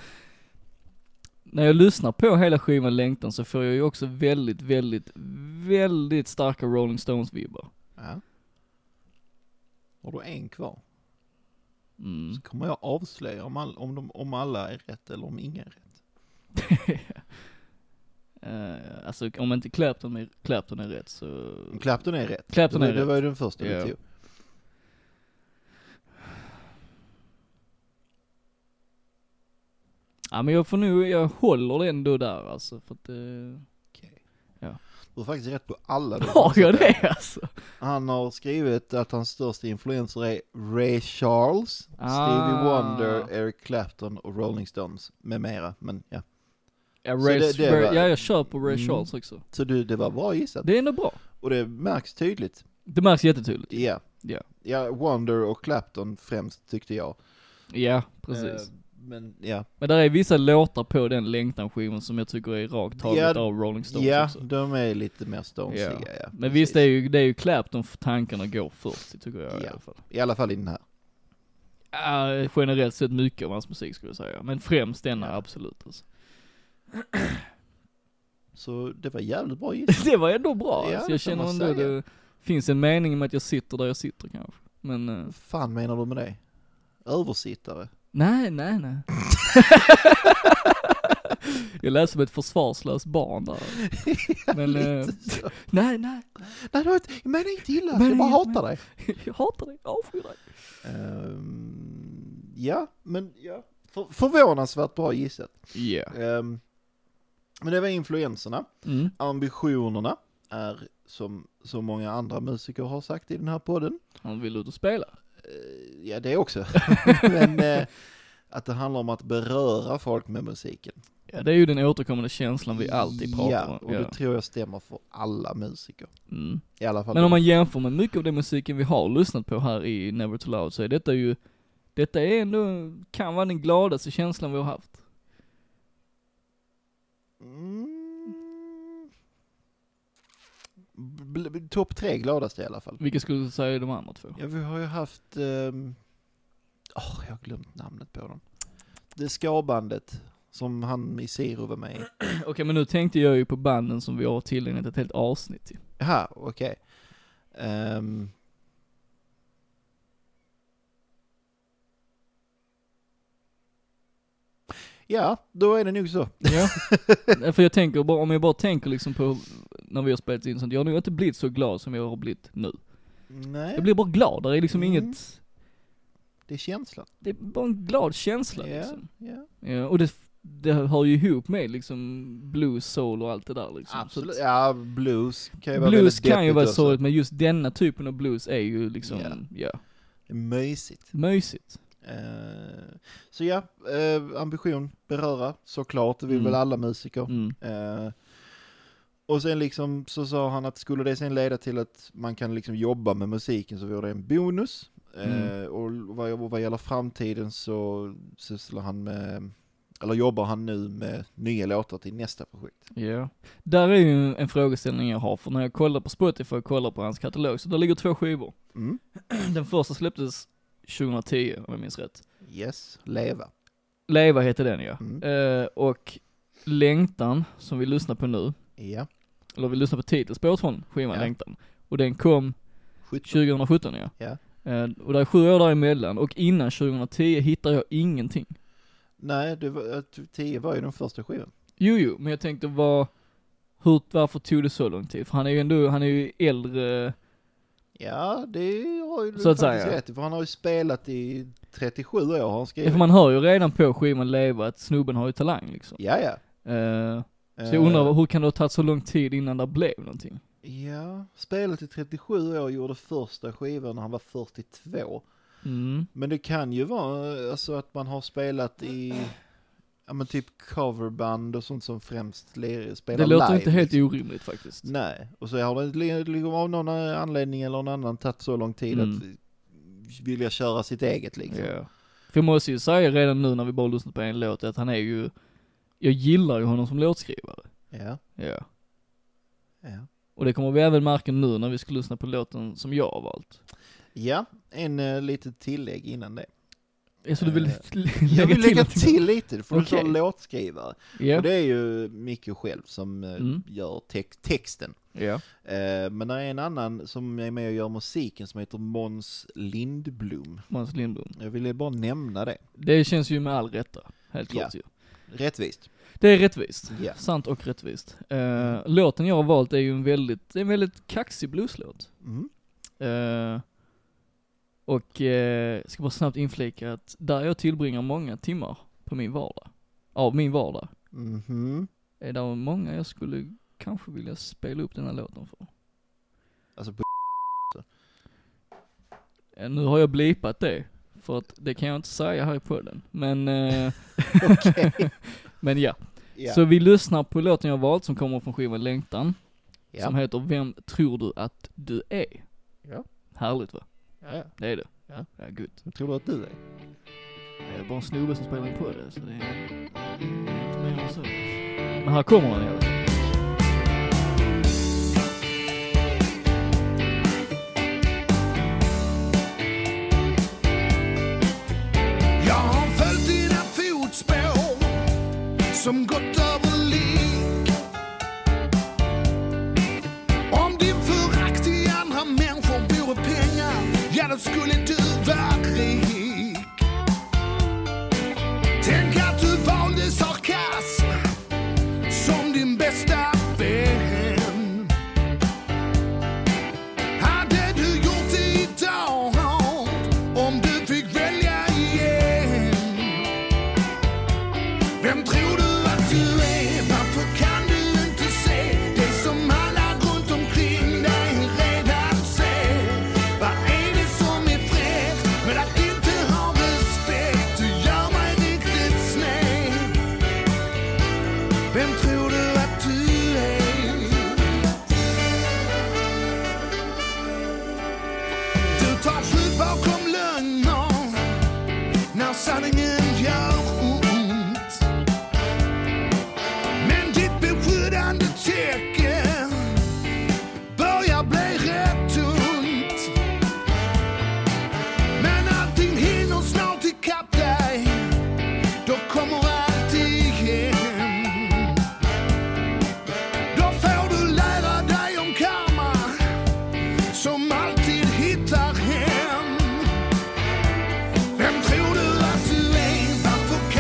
C: När jag lyssnar på hela skivan Längtan så får jag ju också väldigt, väldigt, väldigt starka Rolling Stones-vibbar.
B: ja. Har du en kvar?
C: Mm.
B: Så kommer jag avslöja om, all, om, de, om alla är rätt eller om ingen är rätt.
C: Eh, alltså om inte Clapton är, Clapton är rätt så...
B: Men Clapton är rätt.
C: Clapton
B: det,
C: är
B: var- det
C: rätt.
B: var ju den första
C: Ja.
B: du tog.
C: Ja men jag får nu, jag håller det ändå där alltså för att eh,
B: Okej.
C: Ja.
B: Du har faktiskt rätt på alla. de
C: Har
B: konstaterade.
C: jag det alltså?
B: Han har skrivit att hans största influenser är Ray Charles,
C: Ah.
B: Stevie Wonder, Eric Clapton och Rolling Stones med mera. Men ja.
C: Ja,
B: Så
C: Ray,
B: det- det
C: Ray,
B: var-
C: ja jag kör på Ray
B: Mm.
C: Charles också.
B: Så du, det var bra gissat.
C: Det är ändå bra.
B: Och det märks tydligt.
C: Det märks jättetydligt.
B: Ja.
C: Ja.
B: Ja, Wonder och Clapton främst tyckte jag.
C: Ja, precis.
B: Eh, Men ja,
C: Men där är vissa låtar på den längtan-skivan som jag tycker är rakt taget
B: Ja,
C: av Rolling Stones
B: ja
C: också.
B: de är lite mer stonesiga. Ja.
C: Men visst, det är ju, det är ju Clapton för tankarna går först, tycker jag i
B: Ja.
C: alla fall.
B: I alla fall i den här.
C: Ja, generellt sett mycket av hans musik skulle jag säga, men främst denna
B: Ja.
C: absolut alltså.
B: Så det var jävligt bra gissat.
C: Det var ändå bra,
B: Ja,
C: alltså.
B: det
C: jag
B: får
C: känner
B: man
C: ändå
B: säga.
C: det finns en mening med att jag sitter där jag sitter kanske. Men, eh,
B: Vad fan menar du med det? Översittare?
C: nej, nej, nej. jag lät som ett försvarslöst barn där. Men, eh,
B: så.
C: nej, nej,
B: Nej, det var inte, jag menar inte illa.
C: Men
B: jag bara
C: inget
B: hatar dig.
C: jag hatar dig, jag avskyr dig.
B: Ehm, ja, men ja. För, förvånansvärt bra gissat.
C: Yeah.
B: Ehm, men det var influenserna.
C: Mm.
B: Ambitionerna är som så många andra musiker har sagt i den här podden.
C: Han vill ut och spela.
B: Eh, ja, det också. men eh, att det handlar om att beröra folk med musiken.
C: Ja, det är ju den återkommande känslan vi alltid pratar
B: ja,
C: om.
B: och det tror jag stämmer för alla musiker.
C: Mm.
B: I alla fall.
C: Men om man jämför med mycket av den musiken vi har lyssnat på här i Never Too Loud så är detta ju, detta är ändå, kan vara den gladaste känslan vi har haft.
B: Mm. Bl- bl- Topp tre gladaste i alla fall.
C: Vilket skulle du säga är de andra två?
B: Ja, vi har ju haft... ehm, Åh, jag har glömt namnet på dem. Det skabandet som han i Siro var med i.
C: Okej, men nu tänkte jag ju på banden som vi har tillägnat ett helt avsnitt till.
B: Jaha, okej. Ehm, Ja, då är det nog så.
C: Ja. Nej, För jag tänker bara, om jag bara tänker liksom på när vi har spelat in sånt, jag har nog inte blivit så glad som jag har blivit nu.
B: Nej,
C: Jag blir bara glad, det är liksom
B: Mm.
C: inget,
B: det är känslan.
C: det är bara en glad känsla
B: Ja,
C: liksom.
B: ja.
C: Ja, och det, det hör ju ihop med liksom blues, soul och allt det där liksom. Så
B: Absolut.
C: att
B: Ja, blues kan ju vara
C: Blues
B: väldigt
C: kan ju
B: deppigt
C: vara
B: också.
C: sorgligt, men just denna typen av blues är ju liksom,
B: Ja.
C: ja,
B: Mysigt.
C: mysigt.
B: Eh, så ja, eh, ambition, beröra, såklart. Det vill
C: Mm.
B: väl alla musiker.
C: Mm.
B: Eh, och sen liksom så sa han att skulle det sen leda till att man kan liksom jobba med musiken så vore det en bonus. Eh,
C: Mm.
B: och vad, och vad gäller framtiden så sysslar han med, eller jobbar han nu med nya låtar till nästa projekt.
C: Ja. Där är ju en frågeställning jag har, för när jag kollar på Spotify och kollar på hans katalog, så där ligger två skivor.
B: Mm.
C: Den första släpptes 2010, om jag minns rätt.
B: Yes, leva.
C: Leva heter den ja.
B: Mm.
C: Eh, och Längtan, som vi lyssnar på nu,
B: Ja,
C: eller vi lyssnar på titelspåret från skivan
B: Ja.
C: Längtan. Och den kom
B: 17.
C: 2017 ja.
B: Ja.
C: Eh, och det är sju år däremellan, och innan 2010 hittar jag ingenting.
B: Nej, det var, 10 var ju den första skivan.
C: Jo, jo, men jag tänkte vad, hur, varför tog det så lång tid? För han är ju ändå, han är ju äldre,
B: Ja, det har ju du
C: Så att
B: faktiskt
C: säga.
B: rätt i, för han har ju spelat i 37 år har han
C: ja,
B: skrivit.
C: för man hör ju redan på skivan Leva att snubben har ju talang liksom.
B: Ja, ja.
C: Eh, så jag undrar, hur kan det ha tagit så lång tid innan det blev någonting?
B: Ja, spelet i 37 år gjorde första skivan när han var 42.
C: Mm.
B: Men det kan ju vara eh, alltså att man har spelat i, ja men typ coverband och sånt som främst le- spelar
C: Det låter
B: live.
C: inte helt
B: liksom.
C: orimligt faktiskt.
B: Nej, och så har det li- liksom av någon anledning eller någon annan tagit så lång tid
C: Mm.
B: att vilja köra sitt eget liksom.
C: Ja. För jag måste ju säga redan nu när vi bara lyssnat på en låt att han är ju, jag gillar ju honom som låtskrivare.
B: Ja,
C: Ja.
B: ja.
C: Och det kommer vi även märka nu när vi ska lyssna på låten som jag har valt.
B: ja en uh, litet tillägg innan det.
C: Så du vill
B: Eh,
C: lägga
B: Jag vill lägga
C: någonting?
B: till lite, för du sa
C: Okej.
B: låtskrivare.
C: Ja.
B: Och det är ju Micke själv som eh,
C: Mm.
B: gör tex- texten.
C: Ja.
B: Eh, Men det är en annan som är med och gör musiken som heter Måns Lindblom.
C: Måns Lindblom.
B: Jag ville bara nämna det.
C: Det känns ju med all rätta, helt
B: Ja.
C: klart ju.
B: Rättvist.
C: Det är rättvist.
B: Ja. Mm.
C: Sant och rättvist. Eh, låten jag har valt är ju en väldigt, det är en väldigt kaxig blueslåt.
B: Mm.
C: Eh, och eh, ska bara snabbt inflika att där jag tillbringar många timmar på min vardag, av min vardag,
B: Mhm.
C: är det många jag skulle kanske vilja spela upp den här låten för.
B: Alltså på
C: Eh, nu har jag blipat det, för att det kan jag inte säga här i podden. Men, eh,
B: Okej.
C: men ja.
B: Ja.
C: Så vi lyssnar på låten jag har valt som kommer från skivan Längtan.
B: Ja.
C: Som heter Vem tror du att du är?
A: Ja.
C: Härligt va?
A: Ja, ja.
C: Det är det.
A: Ja.
C: Ja, gud.
B: Jag tror att du är.
C: Jag är bara en snubbe som spelar på det, så det är inte mer än så. Men här kommer den i alla fall.
D: Jag har följt dina fotspår som gått över lik Om din förakt i andra människor vore pengar, ja då skulle du vara rik Tänk att du valde sarkasm som din bästa vän hade du gjort det idag om du fick välja igen? Vem tror du att du är? Varför kan du inte se det som alla runt omkring dig redan ser? Vad är det som är fräckt med att inte ha respekt? Du gör mig riktigt sned. Vem tror du att du är? Du tar skydd bakom lögner när sanningen gör ont. Men ditt beskyddande täcke börjar bli rätt tunt. Men allting hinner snart ikapp dig, då kommer allt igen. Då får du lära dig om karma som alltid hittar hem. Vem tror du att du är? Varför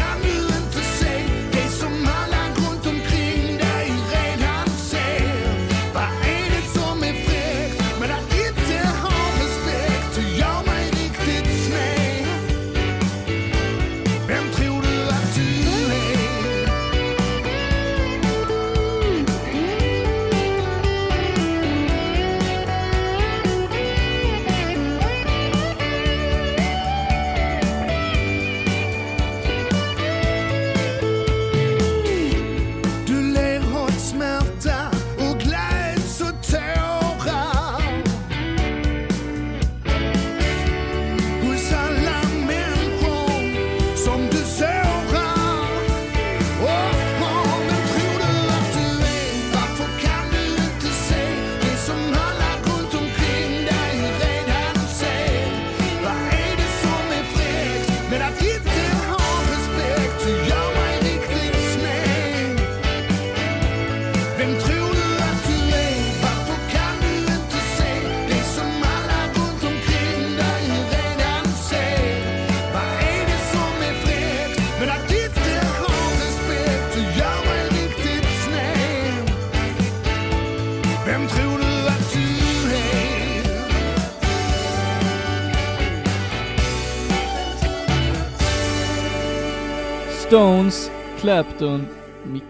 C: Stones, Clapton, Mick.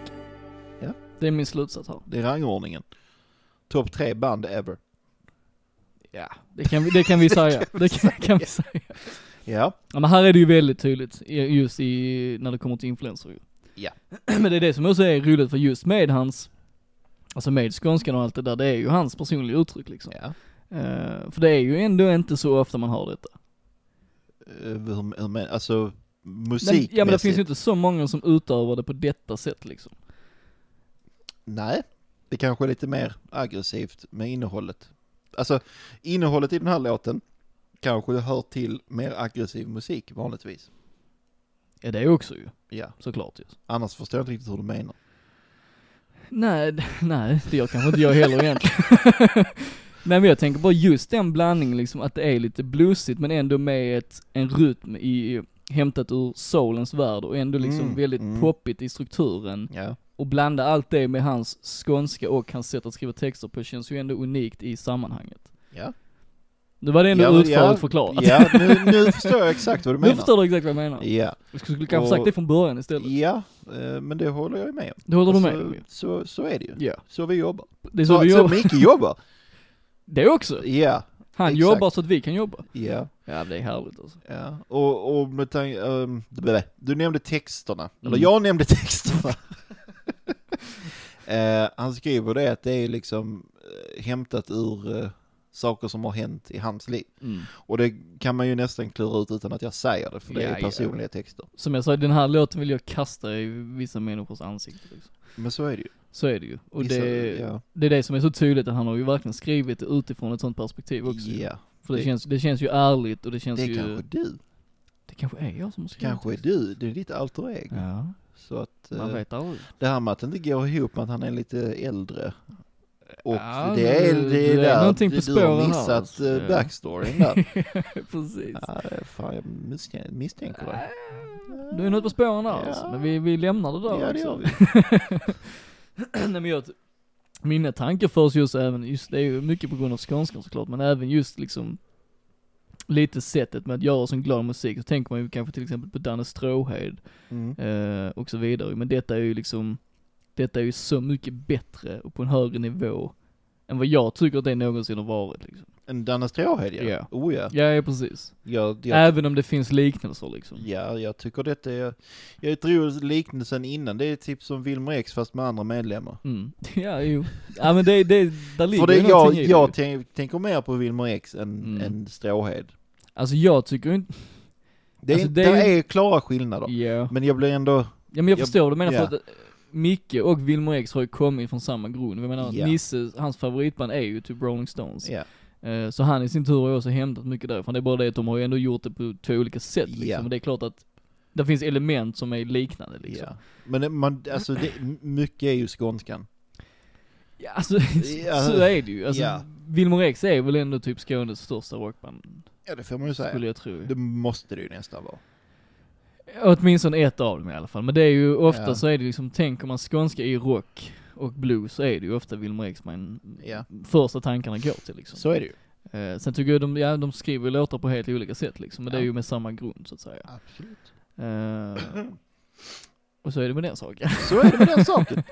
B: Ja.
C: Det är min slutsats här.
B: Det är rangordningen. Topp tre band ever.
C: Ja, det kan vi, det kan vi säga. Det kan, kan vi säga.
B: Ja.
C: Ja, men här är det ju väldigt tydligt, i- just i, när det kommer till influenser ju.
B: Ja.
C: Men det är det som också är roligt, för just med hans, alltså med skånskan och allt det där, det är ju hans personliga uttryck liksom.
B: ja.
C: Eh, för det är ju ändå inte så ofta man hör detta.
B: Eh, Hur, hur men, alltså
C: Men,
B: musikmässigt?
C: ja men det finns ju inte så många som utövar det på detta sätt liksom.
B: Nej, det kanske är lite mer aggressivt med innehållet. Alltså innehållet i den här låten kanske hör till mer aggressiv musik vanligtvis.
C: Ja det är också ju,
B: Ja,
C: såklart ju.
B: annars förstår jag inte riktigt hur du menar.
C: Nej, d- nej, det gör kanske inte jag heller egentligen. nej men jag tänker bara just den blandningen liksom, att det är lite bluesigt men ändå med ett, en rytm i, i hämtat ur soulens värld och ändå liksom
B: Mm,
C: väldigt
B: mm.
C: poppigt i strukturen.
B: Ja,
C: Och blanda allt det med hans skånska och hans sätt att skriva texter på känns ju ändå unikt i sammanhanget.
B: ja.
C: Nu var det ändå
B: ja,
C: utförligt förklarat.
B: Ja, nu, nu förstår jag exakt vad du
C: Nu
B: menar.
C: förstår du exakt vad jag menar.
B: Ja,
C: Jag skulle kanske
B: Och-
C: sagt det från början istället.
B: ja, eh, men det håller jag med om.
C: Det håller du med om ju.
B: Alltså, så, så är det ju.
C: Ja.
B: Så vi jobbar.
C: Det är så, vi
B: så
C: jobbar.
B: Micke jobbar.
C: Det också.
B: Ja,
C: Han
B: exakt.
C: jobbar så att vi kan jobba.
B: ja.
C: Ja, det är härligt alltså.
B: Ja, och, och med tanke, ehm, blä, du nämnde texterna, eller
C: Mm.
B: jag nämnde texterna. Eh, han skriver det att det är liksom eh, hämtat ur eh, saker som har hänt i hans liv.
C: Mm.
B: Och det kan man ju nästan klura ut utan att jag säger det, för det
C: Ja,
B: är
C: ja.
B: personliga texter.
C: Som jag sa, den här låten vill jag kasta i vissa människors ansikte liksom.
B: Men så är det ju.
C: Så är det ju. Och
B: Vissa-
C: det,
B: ja.
C: det är det som är så tydligt, att han har ju verkligen skrivit det utifrån ett sånt perspektiv också.
B: Ja,
C: För det,
B: det-
C: känns, det känns ju ärligt och det känns
B: det
C: ju...
B: kanske du,
C: Det kanske är jag som har skrivit
B: kanske är
C: det.
B: du, det är ditt alter ego.
C: Ja,
B: Så att
C: man
B: eh,
C: vet aldrig.
B: det här med att det inte går ihop med att han är lite äldre. Och
C: Ja,
B: det är,
C: du-
B: det är
C: du är
B: där,
C: någonting på
B: du, du har
C: spåren här,
B: missat
C: alltså.
B: eh,
C: Ja.
B: backstoryn där.
C: Precis.
B: Ja, det är fan, jag misstänker, misstänker det.
C: Du är något på liksom. spåren där
B: Ja.
C: alltså. Men vi, vi lämnar det där
B: Ja,
C: också.
B: det gör vi.
C: Nej men jag, mina tankar förs just även, just det är ju mycket på grund av skånskan såklart, men även just liksom lite sättet med att göra sån glad musik, så tänker man ju kanske till exempel på Danne Stråhed
B: Mm.
C: eh, och så vidare, men detta är ju liksom, detta är ju så mycket bättre och på en högre nivå än vad jag tycker att det någonsin har varit liksom.
B: En Danne Stråhed ja.
C: Ja. Äh.
B: Oh ja.
C: Ja, ja precis.
B: Jag, jag,
C: Även om det finns liknelser liksom.
B: ja, jag tycker detta är... Jag tror liknelsen innan, det är typ som Wilmer X fast med andra medlemmar.
C: Mm. Ja, jo. Ja men det, det, där ligger
B: För det,
C: ju någonting
B: jag,
C: i det.
B: jag tänk, tänker mer på Wilmer X än,
C: Mm.
B: än Stråhed.
C: Alltså jag tycker inte,
B: Det,
C: Alltså,
B: är,
C: det
B: det,
C: är ju-
B: är klara skillnader.
C: ja.
B: Men jag blir ändå...
C: Ja men jag
B: Jag-
C: förstår vad du menar
B: ja.
C: för att eh, Micke och Wilmer X har ju kommit från samma grund. Jag menar
B: Ja.
C: Nisse, hans favoritband är ju typ Rolling Stones.
B: Ja.
C: Eh, Så han i sin tur har ju också hämtat mycket därifrån. Det är bara det att de har ju ändå gjort det på två olika sätt liksom.
B: Ja.
C: Och det är klart att det finns element som är liknande liksom.
B: Ja. Men det- man, alltså det, mycket är ju skånskan.
C: Ja, alltså,
B: Ja.
C: så är det ju. Alltså,
B: Ja.
C: Wilmer X är väl ändå typ Skånes största rockband,
B: Ja det får man ju
C: skulle
B: säga.
C: jag tro.
B: Det måste det ju nästan vara.
C: Åtminstone ett av dem i alla fall. Men det är ju ofta
B: Ja.
C: så är det liksom, tänker man skånska i rock och blues så är det ju ofta Wilmer X man
B: Ja.
C: första tankarna går till liksom.
B: Så är det ju.
C: Eh, sen tycker jag de, ja, de skriver låtar på helt olika sätt liksom, men det är
B: Ja.
C: ju med samma grund så att säga.
B: Absolut.
C: Eh, och så är det med den saken.
B: Så är det med den saken.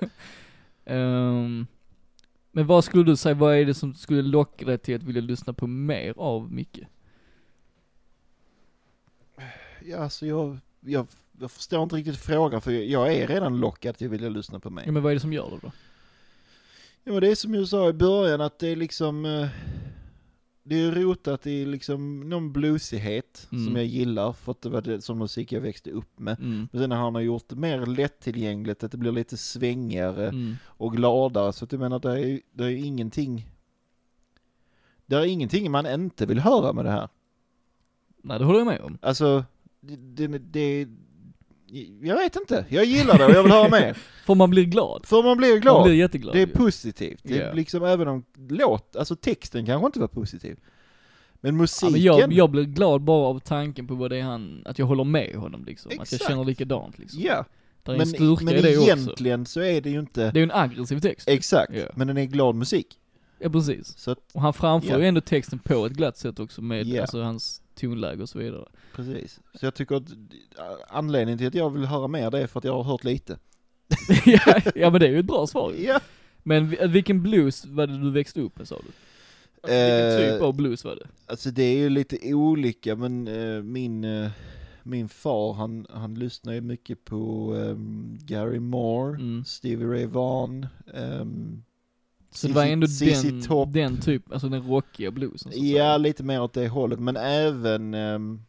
C: Ehm, men vad skulle du säga, vad är det som skulle locka dig till att vilja lyssna på mer av Micke?
B: Ja, alltså jag, jag, jag förstår inte riktigt frågan för jag- jag är redan lockad till att vilja lyssna på mig.
C: Ja men vad är det som gör det då?
B: Ja, men det är som jag sa i början att det är liksom eh, det är rotat i liksom någon bluesighet
C: Mm.
B: som jag gillar för att det var det som musik jag växte upp med.
C: Mm.
B: Men sen har han gjort det mer lättillgängligt, att det blir lite svängigare
C: Mm.
B: och gladare. Så att jag menar, det är ju det är ju ingenting det är ingenting man inte vill höra med det här.
C: Nej det håller jag med om.
B: Alltså, det, det, det, jag vet inte. Jag gillar det och jag vill höra mer.
C: För man blir glad.
B: För man blir
C: Man
B: glad.
C: blir jätteglad.
B: Det är
C: ju.
B: positivt. Det
C: Ja.
B: är liksom även om låt, alltså texten kanske inte var positiv. Men
C: ja,
B: musiken,
C: men jag, jag blir glad bara av tanken på vad det är han, att jag håller med honom liksom. Att jag
B: Exakt.
C: känner likadant liksom.
B: ja.
C: Det är en
B: Men,
C: styrka
B: men
C: i det också.
B: egentligen så är det ju inte,
C: Det är ju en aggressiv text.
B: exakt,
C: Ja.
B: men den är glad musik.
C: Ja precis.
B: Så att,
C: Och han framför
B: Ja.
C: ju ändå texten på ett glatt sätt också med,
B: Ja.
C: alltså hans tonläge och så vidare.
B: Precis. Så jag tycker att eh, anledningen till att jag vill höra mer det är för att jag har hört lite.
C: ja, ja men det är ju ett bra svar ju.
B: Ja.
C: Men vi- vilken blues var det du växte upp med sa du? Vilken
B: Eh,
C: typ av blues var det?
B: Alltså det är ju lite olika men eh, min, eh, min far han, han lyssnar ju mycket på ehm, Gary Moore,
C: Mm.
B: Stevie Ray Vaughan. ehm,
C: Så det var
B: ZZ
C: ändå
B: ZZ
C: den,
B: Top.
C: den typ, alltså den rockiga bluesen så att säga.
B: ja, lite mer åt det hållet men även ehm,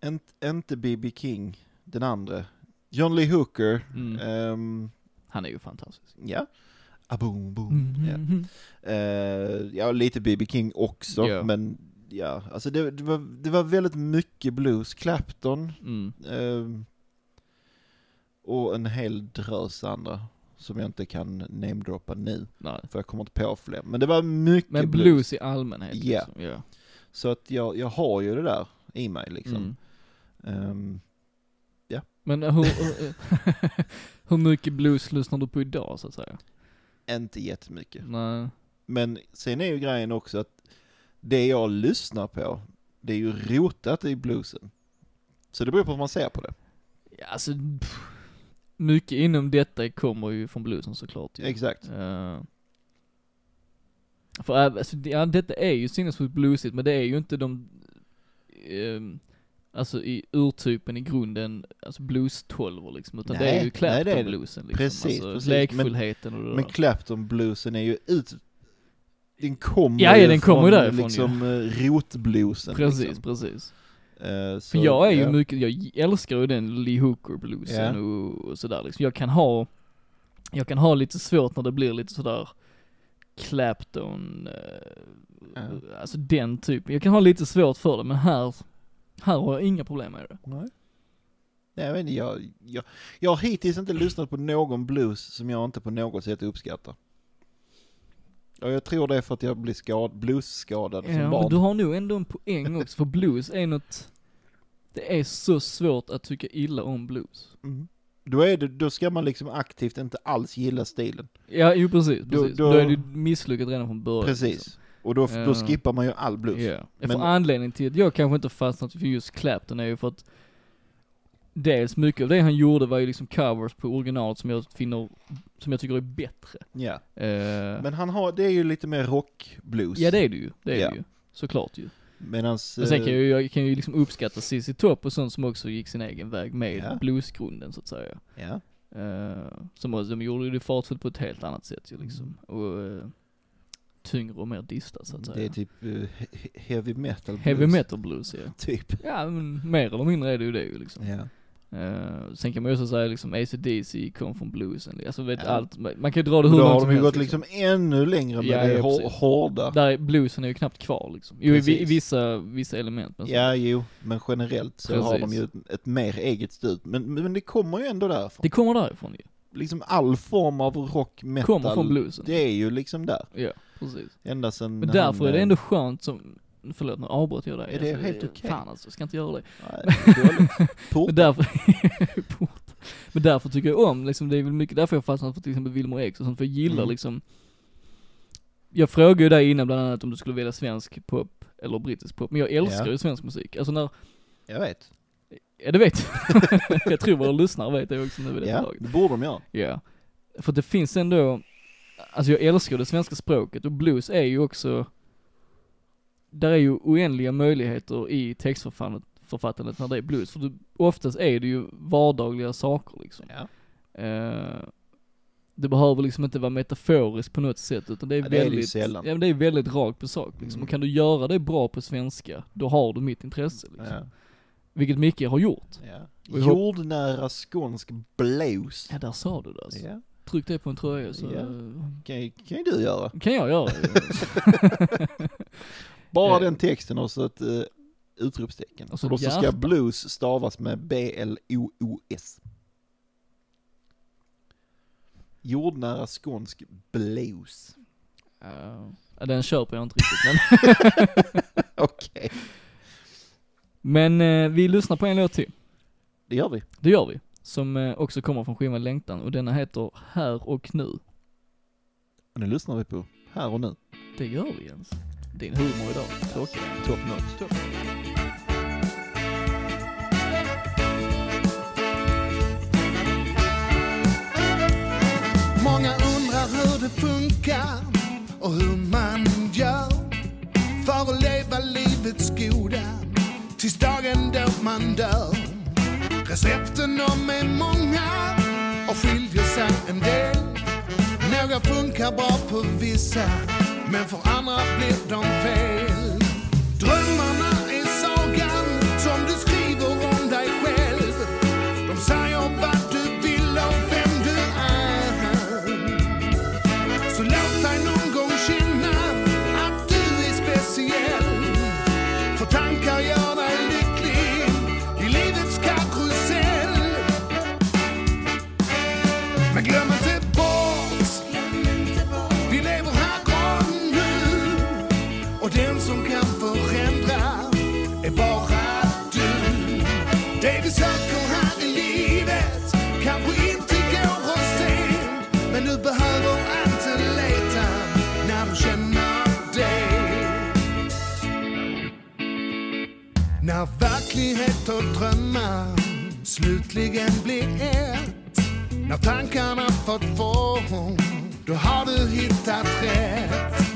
B: ent- inte B.B. King, den andra. John Lee Hooker.
C: mm.
B: ehm,
C: Han är ju fantastisk.
B: ja. Aboom, boom. Ja.
C: Mm.
B: Eh, ja, lite B.B. King också,
C: Ja.
B: men ja, alltså det, det, var, det var väldigt mycket blues. Clapton
C: Mm.
B: eh, och en hel drös andra som jag inte kan namedroppa nu,
C: Nej.
B: för jag kommer inte på fler. Men det var mycket
C: Men
B: blues.
C: blues. i allmänhet
B: Ja.
C: liksom. Ja.
B: Så att jag, jag har ju det där i mig liksom.
C: Mm.
B: Ehm,
C: Men hur, hur- hur mycket blues lyssnar du på idag så att säga?
B: inte jättemycket.
C: Nej.
B: Men sen är ju grejen också att det jag lyssnar på, det är ju rotat i bluesen. Så det beror på hur man ser på det.
C: Ja, alltså, pff, mycket inom detta kommer ju från bluesen såklart ju.
B: Exakt.
C: Eh, för även- alltså, det- ja, detta är ju sinnessjukt bluesigt, men det är ju inte de, ehm, alltså i urtypen i grunden, alltså blues 12 liksom, utan det är
B: Nej,
C: ju
B: nej, det är det.
C: Clapton-bluesen liksom.
B: Precis,
C: alltså,
B: precis.
C: Lekfullheten och det
B: Men
C: där.
B: Clapton-bluesen är ju ut... Den kommer
C: Ja, ja,
B: ju
C: den kommer
B: från
C: därifrån ju.
B: liksom eh, rotbluesen.
C: Precis,
B: Liksom.
C: precis.
B: Eh, så,
C: För jag är ju
B: ja.
C: mycket, jag älskar ju den Lee Hooker-bluesen
B: Ja.
C: och, och sådär liksom. Jag kan ha, jag kan ha lite svårt när det blir lite sådär Clapton, eh,
B: Ja.
C: alltså den typen. Jag kan ha lite svårt för det, men här, här har jag inga problem med det.
B: Nej. Nej, jag, vet inte, jag, jag, jag har hittills inte lyssnat på någon blues som jag inte på något sätt uppskattar. Och jag tror det är för att jag blev skad, bluesskadad som
C: men
B: barn.
C: Eh, du har nog ändå en poäng också, för blues är något, det är så svårt att tycka illa om blues.
B: Mm. Då, är det, då ska man liksom aktivt inte alls gilla stilen.
C: Ja, jo precis,
B: Då-
C: precis. Då,
B: då-
C: är du misslyckad redan från början. liksom.
B: Precis. Och då,
C: Ja.
B: då skippar man ju all blues.
C: Ja. För
B: Men-
C: anledningen till att jag kanske inte fastnat för just Clapton är ju för att dels mycket av det han gjorde var ju liksom covers på originalet som jag finner, som jag tycker är bättre.
B: Ja.
C: Eh,
B: Men han har, det är ju lite mer rockblues.
C: ja det är det ju, det är
B: Ja.
C: det ju. Såklart ju.
B: Medans...
C: Men sen kan
B: eh,
C: jag, ju- jag kan ju liksom uppskatta ZZ Top och sånt som också gick sin egen väg med
B: Ja.
C: bluesgrunden så att säga.
B: Ja.
C: Eh, som också, de gjorde ju det fartfullt på ett helt annat sätt ju liksom. Och eh, tyngre och mer distat så att säga.
B: Mm. Det är typ eh, he- heavy metal.
C: Heavy
B: blues,
C: metal blues ja.
B: Typ.
C: Ja men mer eller mindre är det ju det ju liksom.
B: Ja.
C: Eh, sen kan man ju också säga liksom ACDC kom från bluesen, alltså vet
B: Ja.
C: allt, man man kan ju dra det
B: Då
C: hur långt
B: har de
C: som
B: ju
C: helst
B: gått liksom ännu längre med
C: Ja,
B: det
C: ja,
B: hår-
C: precis.
B: hårda.
C: Där är- bluesen är ju knappt kvar liksom. Jo i vi- i
B: Precis.
C: vissa, vissa element men så-
B: Ja, jo, men generellt så har de
C: alltså. Precis.
B: ju ett, ett mer eget stuk. Men, men det kommer ju ändå därifrån.
C: Det kommer därifrån ju.
B: Liksom all form av rock, metal,
C: Kommer från bluesen.
B: det är ju liksom där.
C: Ja, precis.
B: Ända sen
C: Men
B: han,
C: därför är det
B: eh,
C: ändå skönt som, förlåt nu avbröt jag dig.
B: Ja, det är helt okej.
C: Fan alltså, jag ska inte göra det.
B: Nej, dåligt. Port.
C: Men därför, Port. men därför tycker jag om, liksom, det är väl mycket därför jag fastnat för till exempel Wilmer X och sånt, för jag gillar
B: Mm.
C: liksom Jag frågade ju dig innan bland annat om du skulle välja svensk pop eller brittisk pop, men jag älskar
B: Ja.
C: ju svensk musik. Alltså när,
B: Jag vet.
C: ja det vet jag. jag tror våra lyssnare vet det också nu vid det här
B: Ja,
C: laget.
B: det borde de göra.
C: Ja. För det finns ändå, alltså jag älskar det svenska språket och blues är ju också, där är ju oändliga möjligheter i textförfattandet författandet när det är blues. För du, oftast är det ju vardagliga saker liksom.
B: Ja.
C: Eh, det behöver liksom inte vara metaforiskt på något sätt utan det är
B: Ja, det är det ju
C: väldigt,
B: sällan.
C: ja, men det är väldigt rakt på sak liksom.
B: Mm.
C: Och kan du göra det bra på svenska, då har du mitt intresse liksom.
B: Ja.
C: Vilket Micke har gjort.
B: Ja.
C: Och jag hop-
B: Jordnära skånsk blues.
C: Ja, där sa du det alltså.
B: Ja.
C: Tryck det på en tröja så
B: Ja. Kan, ju- kan ju du göra.
C: kan jag göra det.
B: Bara
C: Eh.
B: den texten och så ett eh, utropstecken.
C: Och så
B: och så ska
C: hjärta.
B: blues stavas med B-L-O-O-S. Jordnära skånsk blues.
C: Ja, den köper jag inte riktigt men.
B: Okej,
C: men eh, vi lyssnar på en låt till.
B: det gör vi.
C: Det gör vi. Som eh, också kommer från skivan Längtan och denna heter Här och Nu.
B: Och nu lyssnar vi på Här och nu.
C: Det gör vi Jens. din humor idag. Klockan.
B: Top notch.
D: Många undrar hur det funkar och hur man gör för att leva livets goda tills dagen då man dör. Recepten de är många och skiljer sig en del. Några funkar bra på vissa men för andra blir de fel. Drömmarna är sagan som du skriver om dig själv. De säger vad du vill och vem du är. Så låt dig någon gång känna att du är speciell. För tankar gör dig lycklig i livets karusell. Men glöm inte bort, vi lever här och nu. Och den som kan förändra är bara du. Det vi söker här i livet kanske inte går oss se. Men du behöver inte leta när du känner dig. När verklighet och drömmar slutligen blir ett När tankarna fått form, då har du hittat rätt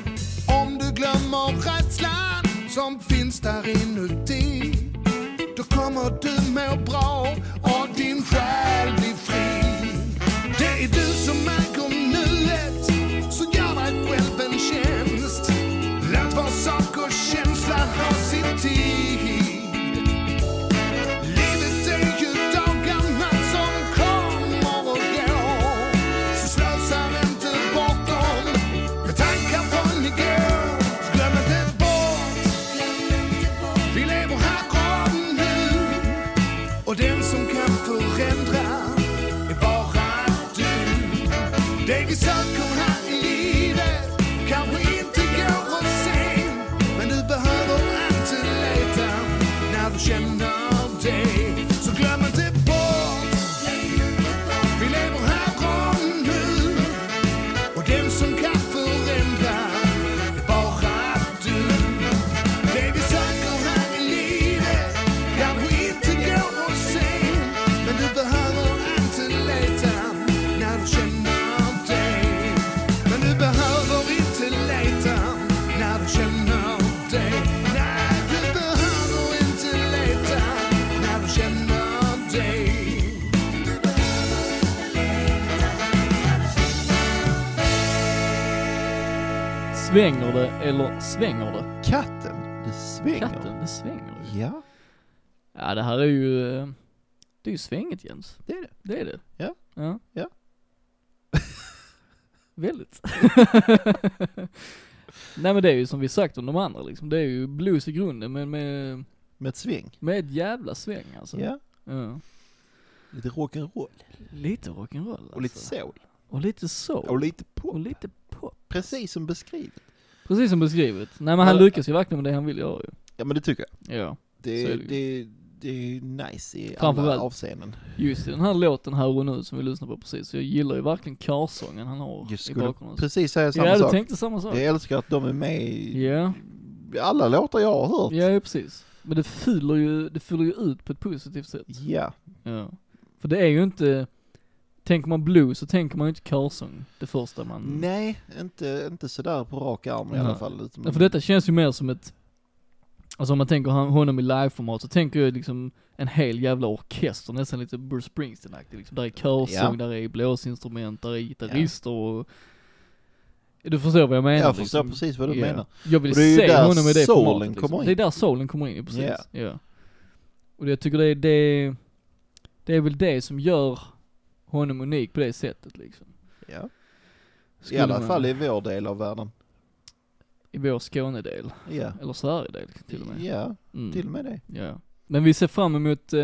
D: Om du glömmer rädslan som finns där inuti Då kommer du må bra och din själ blir fri Det är du som äger nuet, så gör dig själv en tjänst Låt var sak och känsla ha sin tid Livet är ju dagarna som kommer och går. Så slösa inte bort dem med tankar från igår. Så glöm inte bort, vi lever här och nu. Och den som kan förändra är bara du. Det vi söker här i livet kanske inte går att se. Men du behöver inte leta när du känner dig. Så glöm inte bort, vi lever här och nu. Och den som kan förändra är bara du. Det vi söker här i livet kanske inte går att se. Men du behöver inte leta när du känner dig. Men du behöver inte leta när du känner dig. Nej, du behöver inte leta när du känner dig.
C: Svänger det eller svänger det?
B: Katten, det svänger.
C: Katten, det svänger ju.
B: Ja,
C: Ja, det här är ju, eh, det är ju svänget Jens.
B: det är det.
C: Det är det.
B: Ja.
C: Ja.
B: Ja.
C: Väldigt. Nej men det är ju som vi sagt om de andra liksom. Det är ju blues i grunden men med,
B: Med ett sväng.
C: med ett jävla sväng alltså.
B: Ja,
C: Ja.
B: lite rock'n'roll.
C: Lite rock'n'roll alltså.
B: Och lite soul.
C: Och lite soul.
B: Och lite
C: Och
B: pop.
C: lite pop.
B: Precis som beskrivet.
C: Precis som beskrivet. Nej men han
B: Men-
C: lyckas ju verkligen med det han vill göra ju.
B: Ja men det tycker jag.
C: Ja.
B: Det
C: Så är
B: är,
C: det ju.
B: det, det är nice i alla
C: Framförallt-
B: avseenden.
C: Just i den här låten här och nu som vi lyssnar på precis, så jag gillar ju verkligen körsången han har
B: Jag
C: i
B: skulle
C: bakgrunden.
B: precis säga samma
C: Ja, du
B: sak.
C: tänkte samma sak.
B: Jag älskar att de är med i
C: Ja,
B: alla låtar jag har hört.
C: ja precis. Men det fyller ju, det fyller ju ut på ett positivt sätt.
B: Ja,
C: Ja. För det är ju inte, tänker man blues så tänker man ju inte körsång det första man...
B: nej, inte, inte sådär på rak arm i
C: Mm. Nej.
B: alla fall. utan-
C: Ja, för detta känns ju mer som ett, alltså om man tänker han- honom i liveformat så tänker jag liksom en hel jävla orkester, nästan lite Bruce Springsteen-aktig liksom. Där är körsång, där är blåsinstrument, där är gitarrister och... Du förstår vad jag menar?
B: Jag förstår
C: liksom.
B: precis vad du
C: Ja.
B: menar.
C: Jag vill
B: Och det är ju
C: se
B: där
C: honom i det
B: soulen
C: formatet liksom.
B: kommer in.
C: Det är där solen kommer in, ja, precis.
B: Ja.
C: Ja. Och jag tycker det är, det, det är väl det som gör honom unik på det sättet liksom.
B: Ja. I
C: Skulle
B: alla
C: man-
B: fall i vår del av världen.
C: I vår Skånedel,
B: Ja,
C: eller Sverigedel till och med.
B: ja
C: Mm.
B: till och med det.
C: Ja. Men vi ser fram emot eh,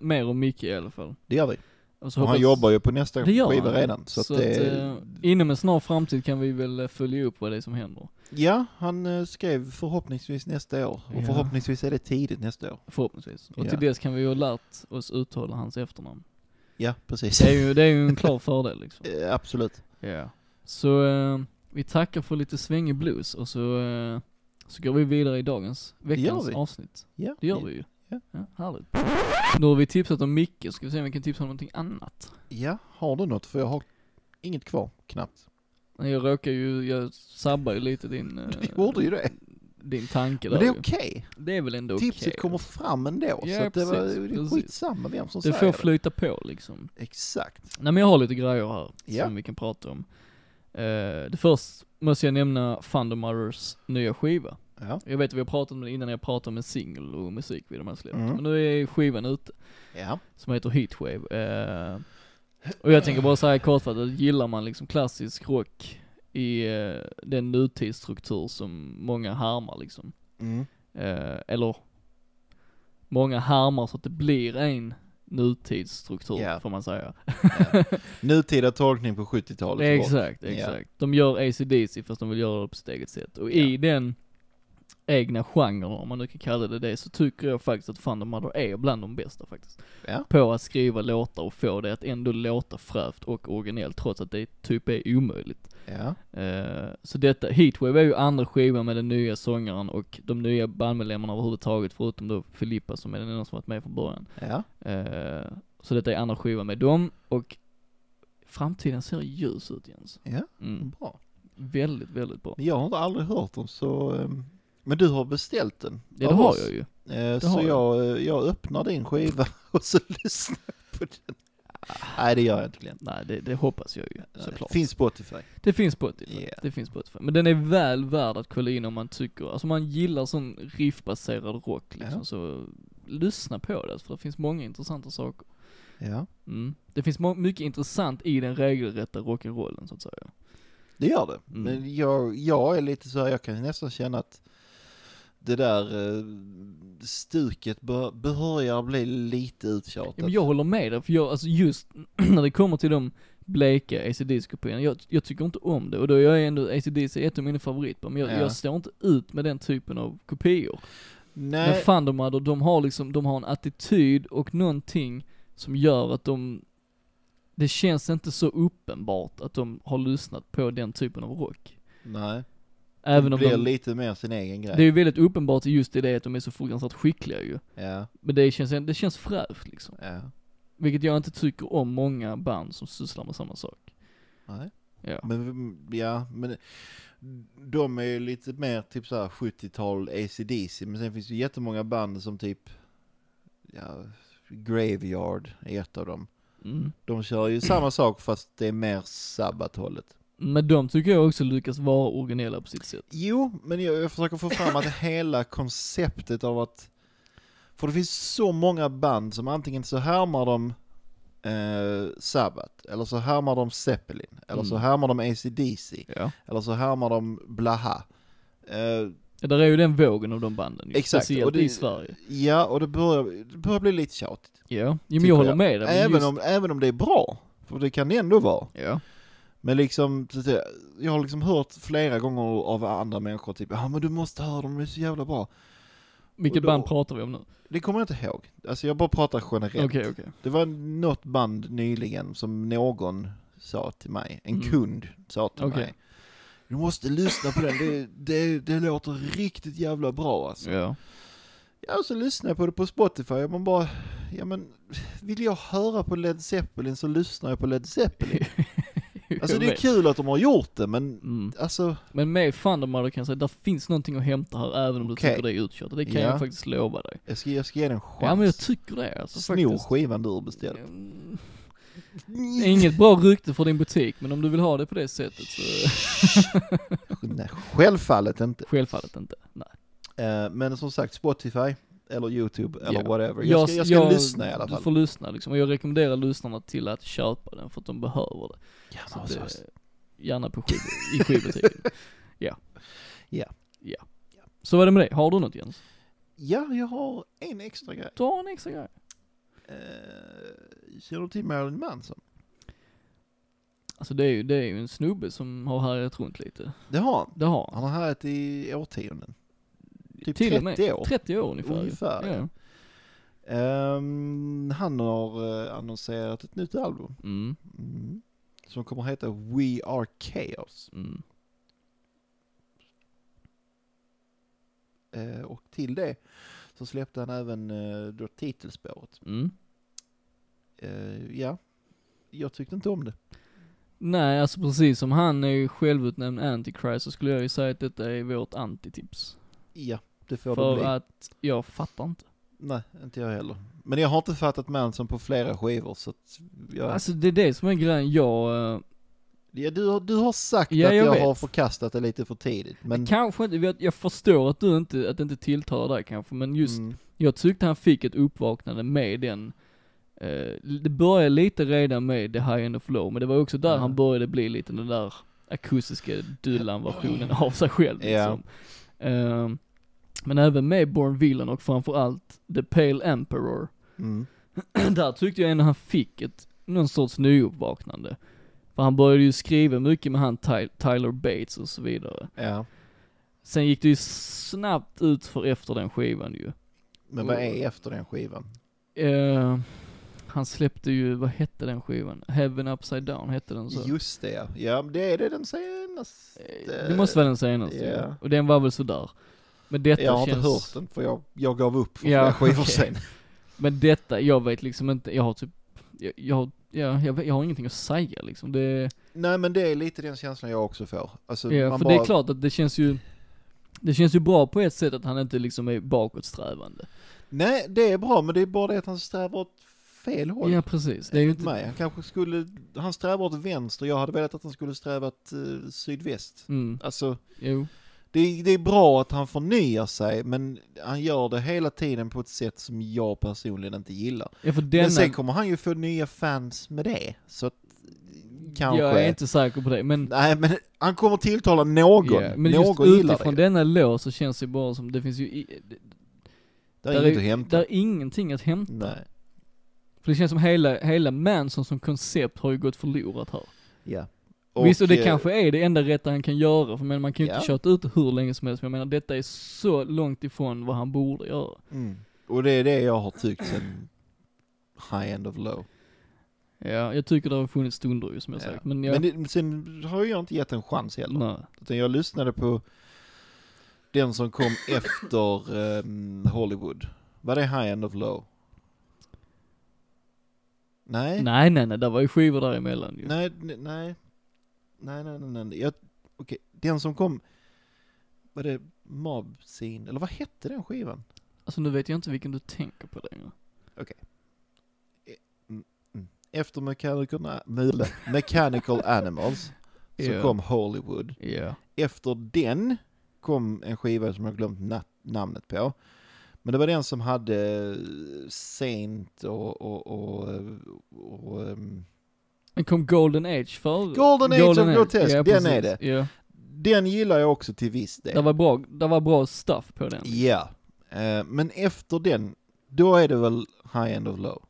C: mer om Micke i alla fall.
B: Det gör vi.
C: Och så
B: Och han
C: hoppas-
B: jobbar ju på nästa
C: Det gör
B: skiva
C: han.
B: redan. Så,
C: så
B: att det,
C: att, eh, inom en snar framtid kan vi väl eh, följa upp vad det är som händer.
B: Ja, han eh, skrev förhoppningsvis nästa år. Och
C: Ja.
B: förhoppningsvis är det tidigt nästa år.
C: Förhoppningsvis. Och
B: Ja.
C: till dess kan vi ju ha lärt oss uttala hans efternamn.
B: Ja, precis.
C: Det är ju, det är ju en klar fördel liksom.
B: Eh, Absolut.
C: Ja. Så eh, vi tackar för lite svängig blues och så eh, Så går vi vidare i dagens, veckans
B: gör vi.
C: avsnitt.
B: Ja,
C: Det gör vi ju.
B: Ja.
C: härligt. Nu har vi tipsat om Micke, ska vi se om vi kan tipsa om någonting annat?
B: Ja, har du något? För jag har inget kvar, knappt.
C: Nej, Jag råkar ju, jag sabbar ju lite din, eh,
B: Du gjorde ju det.
C: din tanke
B: Men
C: där
B: det är
C: ju.
B: okej.
C: Det är väl ändå
B: Tipset
C: okej.
B: kommer fram ändå. så
C: Ja,
B: att det, var,
C: precis,
B: det är
C: precis.
B: skitsamma vem som
C: Det får
B: säger det.
C: flyta på liksom.
B: Exakt.
C: Nej men jag har lite grejer här
B: Ja.
C: som vi kan prata om. Eh, det först måste jag nämna Thunder Mothers nya skiva.
B: Ja.
C: Jag vet att vi har pratat om det innan, jag pratade om en singel och musik vid de här släppet.
B: Mm.
C: Men nu är skivan ute,
B: Ja.
C: som heter Heatwave. Eh, och jag tänker bara säga kortfattat, gillar man liksom klassisk rock i eh, den nutidsstruktur som många härmar liksom.
B: Mm.
C: Eh, eller många härmar så att det blir en nutidsstruktur
B: Ja.
C: får man säga.
B: Nutida tolkning på 70-talet.
C: Exakt,
B: Ja.
C: exakt. De gör ACDC fast de vill göra det på sitt eget sätt. Och i den egna genren, om man nu kan kalla det det, så tycker jag faktiskt att Thunder Mother är bland de bästa faktiskt.
B: Ja.
C: På att skriva låtar och få det att ändå låta frävt och originellt trots att det typ är omöjligt.
B: Ja.
C: Eh, Så detta, Heatwave är ju andra skivan med den nya sångaren och de nya bandmedlemmarna överhuvudtaget förutom då Filippa som är den enda som varit med från början.
B: Ja.
C: Eh, Så detta är andra skivan med dem och framtiden ser ljus ut Jens.
B: Ja.
C: Mm.
B: Bra.
C: Väldigt, väldigt bra.
B: Jag har inte aldrig hört dem så... ehm, Men du har beställt den.
C: Ja det har jag ju.
B: ju.
C: har
B: Så jag, eh, jag öppnar din skiva och så lyssnar jag på den. Nej, det gör jag inte Glenn.
C: Nej det, det hoppas jag ju
B: Såklart.
C: såklart.
B: Finns Spotify.
C: Det finns Spotify.
B: Yeah.
C: Det finns Spotify. Men den är väl värd att kolla in om man tycker, alltså om man gillar sån riffbaserad rock liksom
B: Ja.
C: så lyssna på det för det finns många intressanta saker.
B: Ja.
C: Mm. Det finns må- mycket intressant i den regelrätta rock'n'rollen så att säga.
B: Det gör det.
C: Mm.
B: Men jag, jag är lite så här, jag kan nästan känna att det där eh, stuket bör, börjar bli lite uttjatat.
C: Ja, men jag håller med dig, för jag, alltså just när det kommer till de bleka ACDC-kopiorna, jag, jag tycker inte om det. Och då är jag ändå, ACDC är ett av mina favoritband, men jag,
B: Ja.
C: jag står inte ut med den typen av kopior. Men
B: Nej,
C: Thunder Mother, de har liksom, de har en attityd och någonting som gör att de, det känns inte så uppenbart att de har lyssnat på den typen av rock.
B: nej.
C: Även
B: det
C: om
B: blir
C: de,
B: lite mer sin egen grej.
C: det är ju väldigt uppenbart just i det att de är så fruktansvärt skickliga ju.
B: Ja,
C: Men det känns, det känns fräscht liksom.
B: ja.
C: Vilket jag inte tycker om många band som sysslar med samma sak.
B: Nej.
C: Ja.
B: Men, ja, men de är ju lite mer typ så här 70-tal ACDC, men sen finns det ju jättemånga band som typ, ja, Graveyard är ett av dem.
C: Mm.
B: De kör ju samma sak fast det är mer sabbathållet.
C: Men de tycker jag också lyckas vara originella på sitt sätt.
B: Jo, men jag, jag försöker få fram att hela konceptet av att... För det finns så många band som antingen så härmar de eh, Sabbath, eller så härmar de Zeppelin, eller så
C: Mm.
B: härmar de ACDC,
C: Ja.
B: eller så härmar de Blaha. Eh,
C: Där är ju den vågen av de banden ju,
B: Exakt, och
C: Speciellt
B: det-
C: i Sverige.
B: ja, och det börjar, det börjar bli lite tjatigt.
C: Ja. Jo, men
B: Tycker
C: jag håller
B: jag.
C: med dig. men
B: Även,
C: just,
B: om, även om det är bra, för det kan det ändå vara.
C: Ja.
B: Men liksom, så att säga, jag har liksom hört flera gånger av andra människor typ, ja ah, men du måste höra dem, de är så jävla bra.
C: Vilket
B: och då-
C: band pratar vi om nu?
B: Det kommer jag inte ihåg. Alltså jag bara pratar generellt.
C: Okej, okej.
B: Det var något band nyligen som någon sa till mig, en
C: Mm.
B: kund sa till
C: Okej.
B: mig. Du måste lyssna på den, det, det, det låter riktigt jävla bra alltså.
C: Ja.
B: Ja, och så lyssnar jag på det på Spotify och man bara, ja men vill jag höra på Led Zeppelin så lyssnar jag på Led Zeppelin. Alltså
C: Jag
B: det är
C: vet.
B: kul att de har gjort det men
C: Mm.
B: alltså,
C: Men med Thundermother kan jag säga, där finns någonting att hämta här även om du
B: Okej.
C: tycker det är utkört. Och Det kan
B: Ja.
C: jag faktiskt lova dig.
B: jag ska, jag ska ge den en chans.
C: Ja men jag tycker det alltså
B: Snor
C: faktiskt.
B: skivan du har beställt.
C: Mm. Inget bra rykte för din butik, men om du vill ha det på det sättet så...
B: Nej, självfallet inte.
C: Självfallet inte. Nej.
B: Eh, men som sagt, Spotify eller YouTube eller
C: Ja.
B: whatever. Jag ska, jag ska lyssna i alla
C: Du
B: fall.
C: får lyssna liksom, och jag rekommenderar lyssnarna till att köpa den för att de behöver det.
B: Ja,
C: Så
B: men
C: att,
B: alltså,
C: eh,
B: alltså,
C: gärna på skiv, i skivbutiken. ja.
B: Ja.
C: Ja. Så vad är det med det? Har du något Jens?
B: ja, jag har en extra grej.
C: Ta en extra grej.
B: Eh, känner du till Marilyn Manson?
C: Alltså det är ju, det är ju en snubbe som har härjat runt lite.
B: Det har han.
C: Det har han.
B: Han har härjat i årtionden. Typ
C: Till
B: 30
C: och med.
B: år.
C: 30 år ungefär. ju.
B: Ungefär,
C: Ja.
B: Ehm, han har eh, annonserat ett nytt album.
C: Mm,
B: Mm. Som kommer att heta We Are Chaos.
C: mm.
B: Eh, och till det så släppte han även eh, då titelspåret.
C: Mm.
B: Eh, ja, jag tyckte inte om det.
C: Nej, alltså precis som han är ju självutnämnd antichrist så skulle jag ju säga att detta är vårt antitips.
B: Ja, det får det
C: För
B: bli.
C: att jag fattar inte.
B: Nej, inte jag heller. Men jag har inte fattat Manson på flera skivor så att jag...
C: Alltså det är det som är grejen, jag, eh,
B: ja, du, har- du har sagt
C: Ja,
B: att
C: jag
B: jag,
C: vet.
B: har förkastat det lite för tidigt. Men,
C: kanske inte, jag, jag förstår att du inte, att det inte tilltalar dig kanske, men just,
B: Mm,
C: jag tyckte han fick ett uppvaknande med den, eh, det började lite redan med The High End of Low, men det var också där
B: Mm.
C: han började bli lite den där akustiska Dylan-versionen av sig själv
B: Ja.
C: liksom. Eh, men även med Born Villain och framförallt The Pale Emperor,
B: mm,
C: där tyckte jag ändå han fick ett, någon sorts nyuppvaknande. För han började ju skriva mycket med han Ty- Tyler Bates och så vidare.
B: ja.
C: Sen gick det ju snabbt ut för efter den skivan ju.
B: Men vad är efter den skivan?
C: Eh, han släppte ju, vad hette den skivan? Heaven Upside Down hette den så?
B: Just det, ja. ja. men Det är det den senaste.
C: Eh, det måste vara den senaste ju.
B: ja.
C: Och den var väl sådär. Men detta
B: Jag har
C: känns...
B: inte hört den för jag, jag gav upp för
C: Ja,
B: flera skivor
C: okej.
B: sen.
C: Men detta, jag vet liksom inte, jag har typ, jag, jag, har- ja, jag, vet, jag har ingenting att säga liksom. Det,
B: Nej men det är lite den känslan jag också får. Alltså,
C: Ja,
B: man
C: för
B: bara,
C: det är klart att det känns ju, det känns ju bra på ett sätt att han inte liksom är bakåtsträvande.
B: Nej det är bra men det är bara det att han strävar åt fel håll.
C: Ja precis, det är ju inte,
B: Nej, han kanske skulle, han strävar åt vänster, jag hade velat att han skulle sträva åt eh, sydväst.
C: mm,
B: Alltså,
C: jo,
B: det är, det är bra att han förnyar sig, men han gör det hela tiden på ett sätt som jag personligen inte gillar.
C: ja för
B: Men sen
C: denna,
B: kommer han ju få nya fans med det, så att, eh, kanske.
C: jag är inte säker på det, men,
B: Nej, men han kommer tilltala någon.
C: ja, men just
B: någon gillar
C: utifrån
B: det.
C: denna låt så känns det bara som, det finns ju, i,
B: Där är inget att hämta.
C: där är ingenting att hämta.
B: Nej.
C: För det känns som hela, hela Manson som koncept har ju gått förlorat här.
B: Ja.
C: Visst, och det
B: eh,
C: kanske är det enda rätta han kan göra, för men man kan ju inte
B: Ja.
C: köta ut det hur länge som helst, men jag menar detta är så långt ifrån vad han borde göra.
B: Mm. Och det är det jag har tyckt sen High End of Low.
C: Ja, jag tycker det har funnits stunder ju som jag sagt, men jag...
B: men, det, men sen har jag inte gett en chans heller.
C: nej.
B: Utan jag lyssnade på den som kom efter ehm, Hollywood. Var det High End of Low? Nej.
C: Nej nej nej, det var ju skivor däremellan ju.
B: Nej, nej, nej, nej, nej, nej, nej. Jag, okej, den som kom, var det Mob Scene, eller vad hette den skivan?
C: Alltså nu vet jag inte vilken du tänker på längre.
B: Efter Mechanical, Mula- Mechanical Animals så
C: Ja.
B: kom Hollywood.
C: Ja.
B: Efter den kom en skiva som jag glömt na- namnet på. Men det var den som hade eh, Saint och, och, och, och, och ehm,
C: Men kom Golden Age före?
B: Golden Age of Grotesque, den
C: precis.
B: är det.
C: Ja,
B: den gillar jag också till viss del.
C: det var bra, det var bra stuff på den.
B: Ja, eh, men efter den, då är det väl high end of low?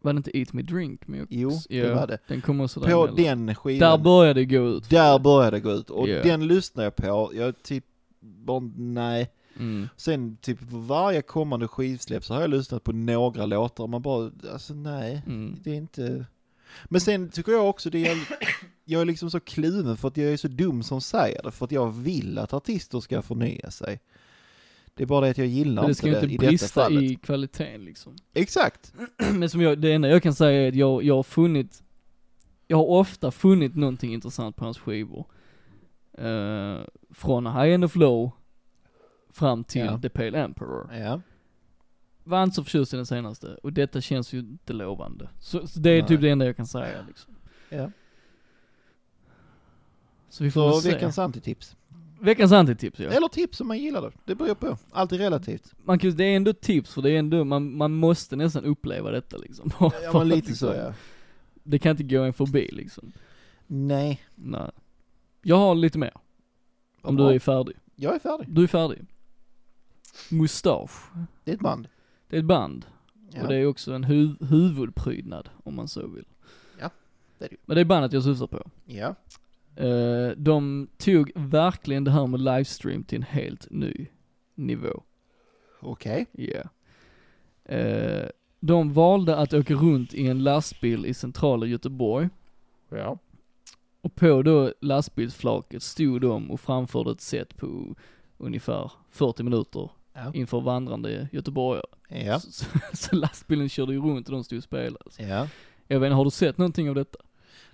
C: Var det inte Eat Me Drink Mux?
B: Jo, det var det.
C: Den kom också
B: På
C: däremellan.
B: den
C: Där
B: skivan, där,
C: började det gå ut.
B: började det gå ut. Och
C: Ja.
B: den lyssnar jag på, jag typ bara, nej.
C: Mm.
B: Sen typ på varje kommande skivsläpp så har jag lyssnat på några låtar och man bara, alltså nej,
C: Mm.
B: det är inte... Men sen tycker jag också det är, jag är liksom så kluven för att jag är så dum som säger det, för att jag vill att artister ska förnya sig. Det är bara det att jag gillar
C: Men det
B: inte
C: ska ju
B: det
C: inte
B: i detta
C: brista
B: fallet.
C: i kvaliteten liksom.
B: Exakt!
C: Men som jag, det enda jag kan säga är att jag, jag har funnit, jag har ofta funnit någonting intressant på hans skivor. Eh, från High End of Low fram till
B: Ja.
C: The Pale Emperor.
B: Ja.
C: Var inte så förtjust i den senaste, och detta känns ju inte lovande. Så, så det är
B: Nej.
C: typ det enda jag kan säga liksom.
B: Ja.
C: Så vi får
B: Så
C: väl se.
B: veckans antitips.
C: veckans antitips ja.
B: Eller tips som man gillar. Det beror på. Allt är relativt.
C: Man kan, det är ändå tips för det är ändå, man, man måste nästan uppleva detta liksom.
B: Ja,
C: För att
B: men lite
C: liksom,
B: så ja.
C: Det kan inte gå en förbi liksom.
B: Nej.
C: Nej. Jag har lite mer.
B: Vad
C: Om
B: bra.
C: du är färdig.
B: Jag är färdig.
C: Du är färdig. Mustasch.
B: Det är ett band.
C: Det är ett band.
B: Ja.
C: Och det är också en huv- huvudprydnad, om man så vill.
B: Ja, det är det ju.
C: Men det är bandet jag syftar på.
B: ja.
C: Eh, de tog verkligen det här med livestream till en helt ny nivå.
B: Okej.
C: Ja. Eh, de valde att åka runt i en lastbil i centrala Göteborg.
A: Ja.
C: Och på då lastbilsflaket stod de och framförde ett sätt på ungefär 40 minuter
B: Ja.
C: inför vandrande göteborgare.
B: Ja.
C: Så, så, så lastbilen körde ju runt och de stod och spelade. alltså.
B: ja.
C: Jag vet inte, har du sett någonting av detta?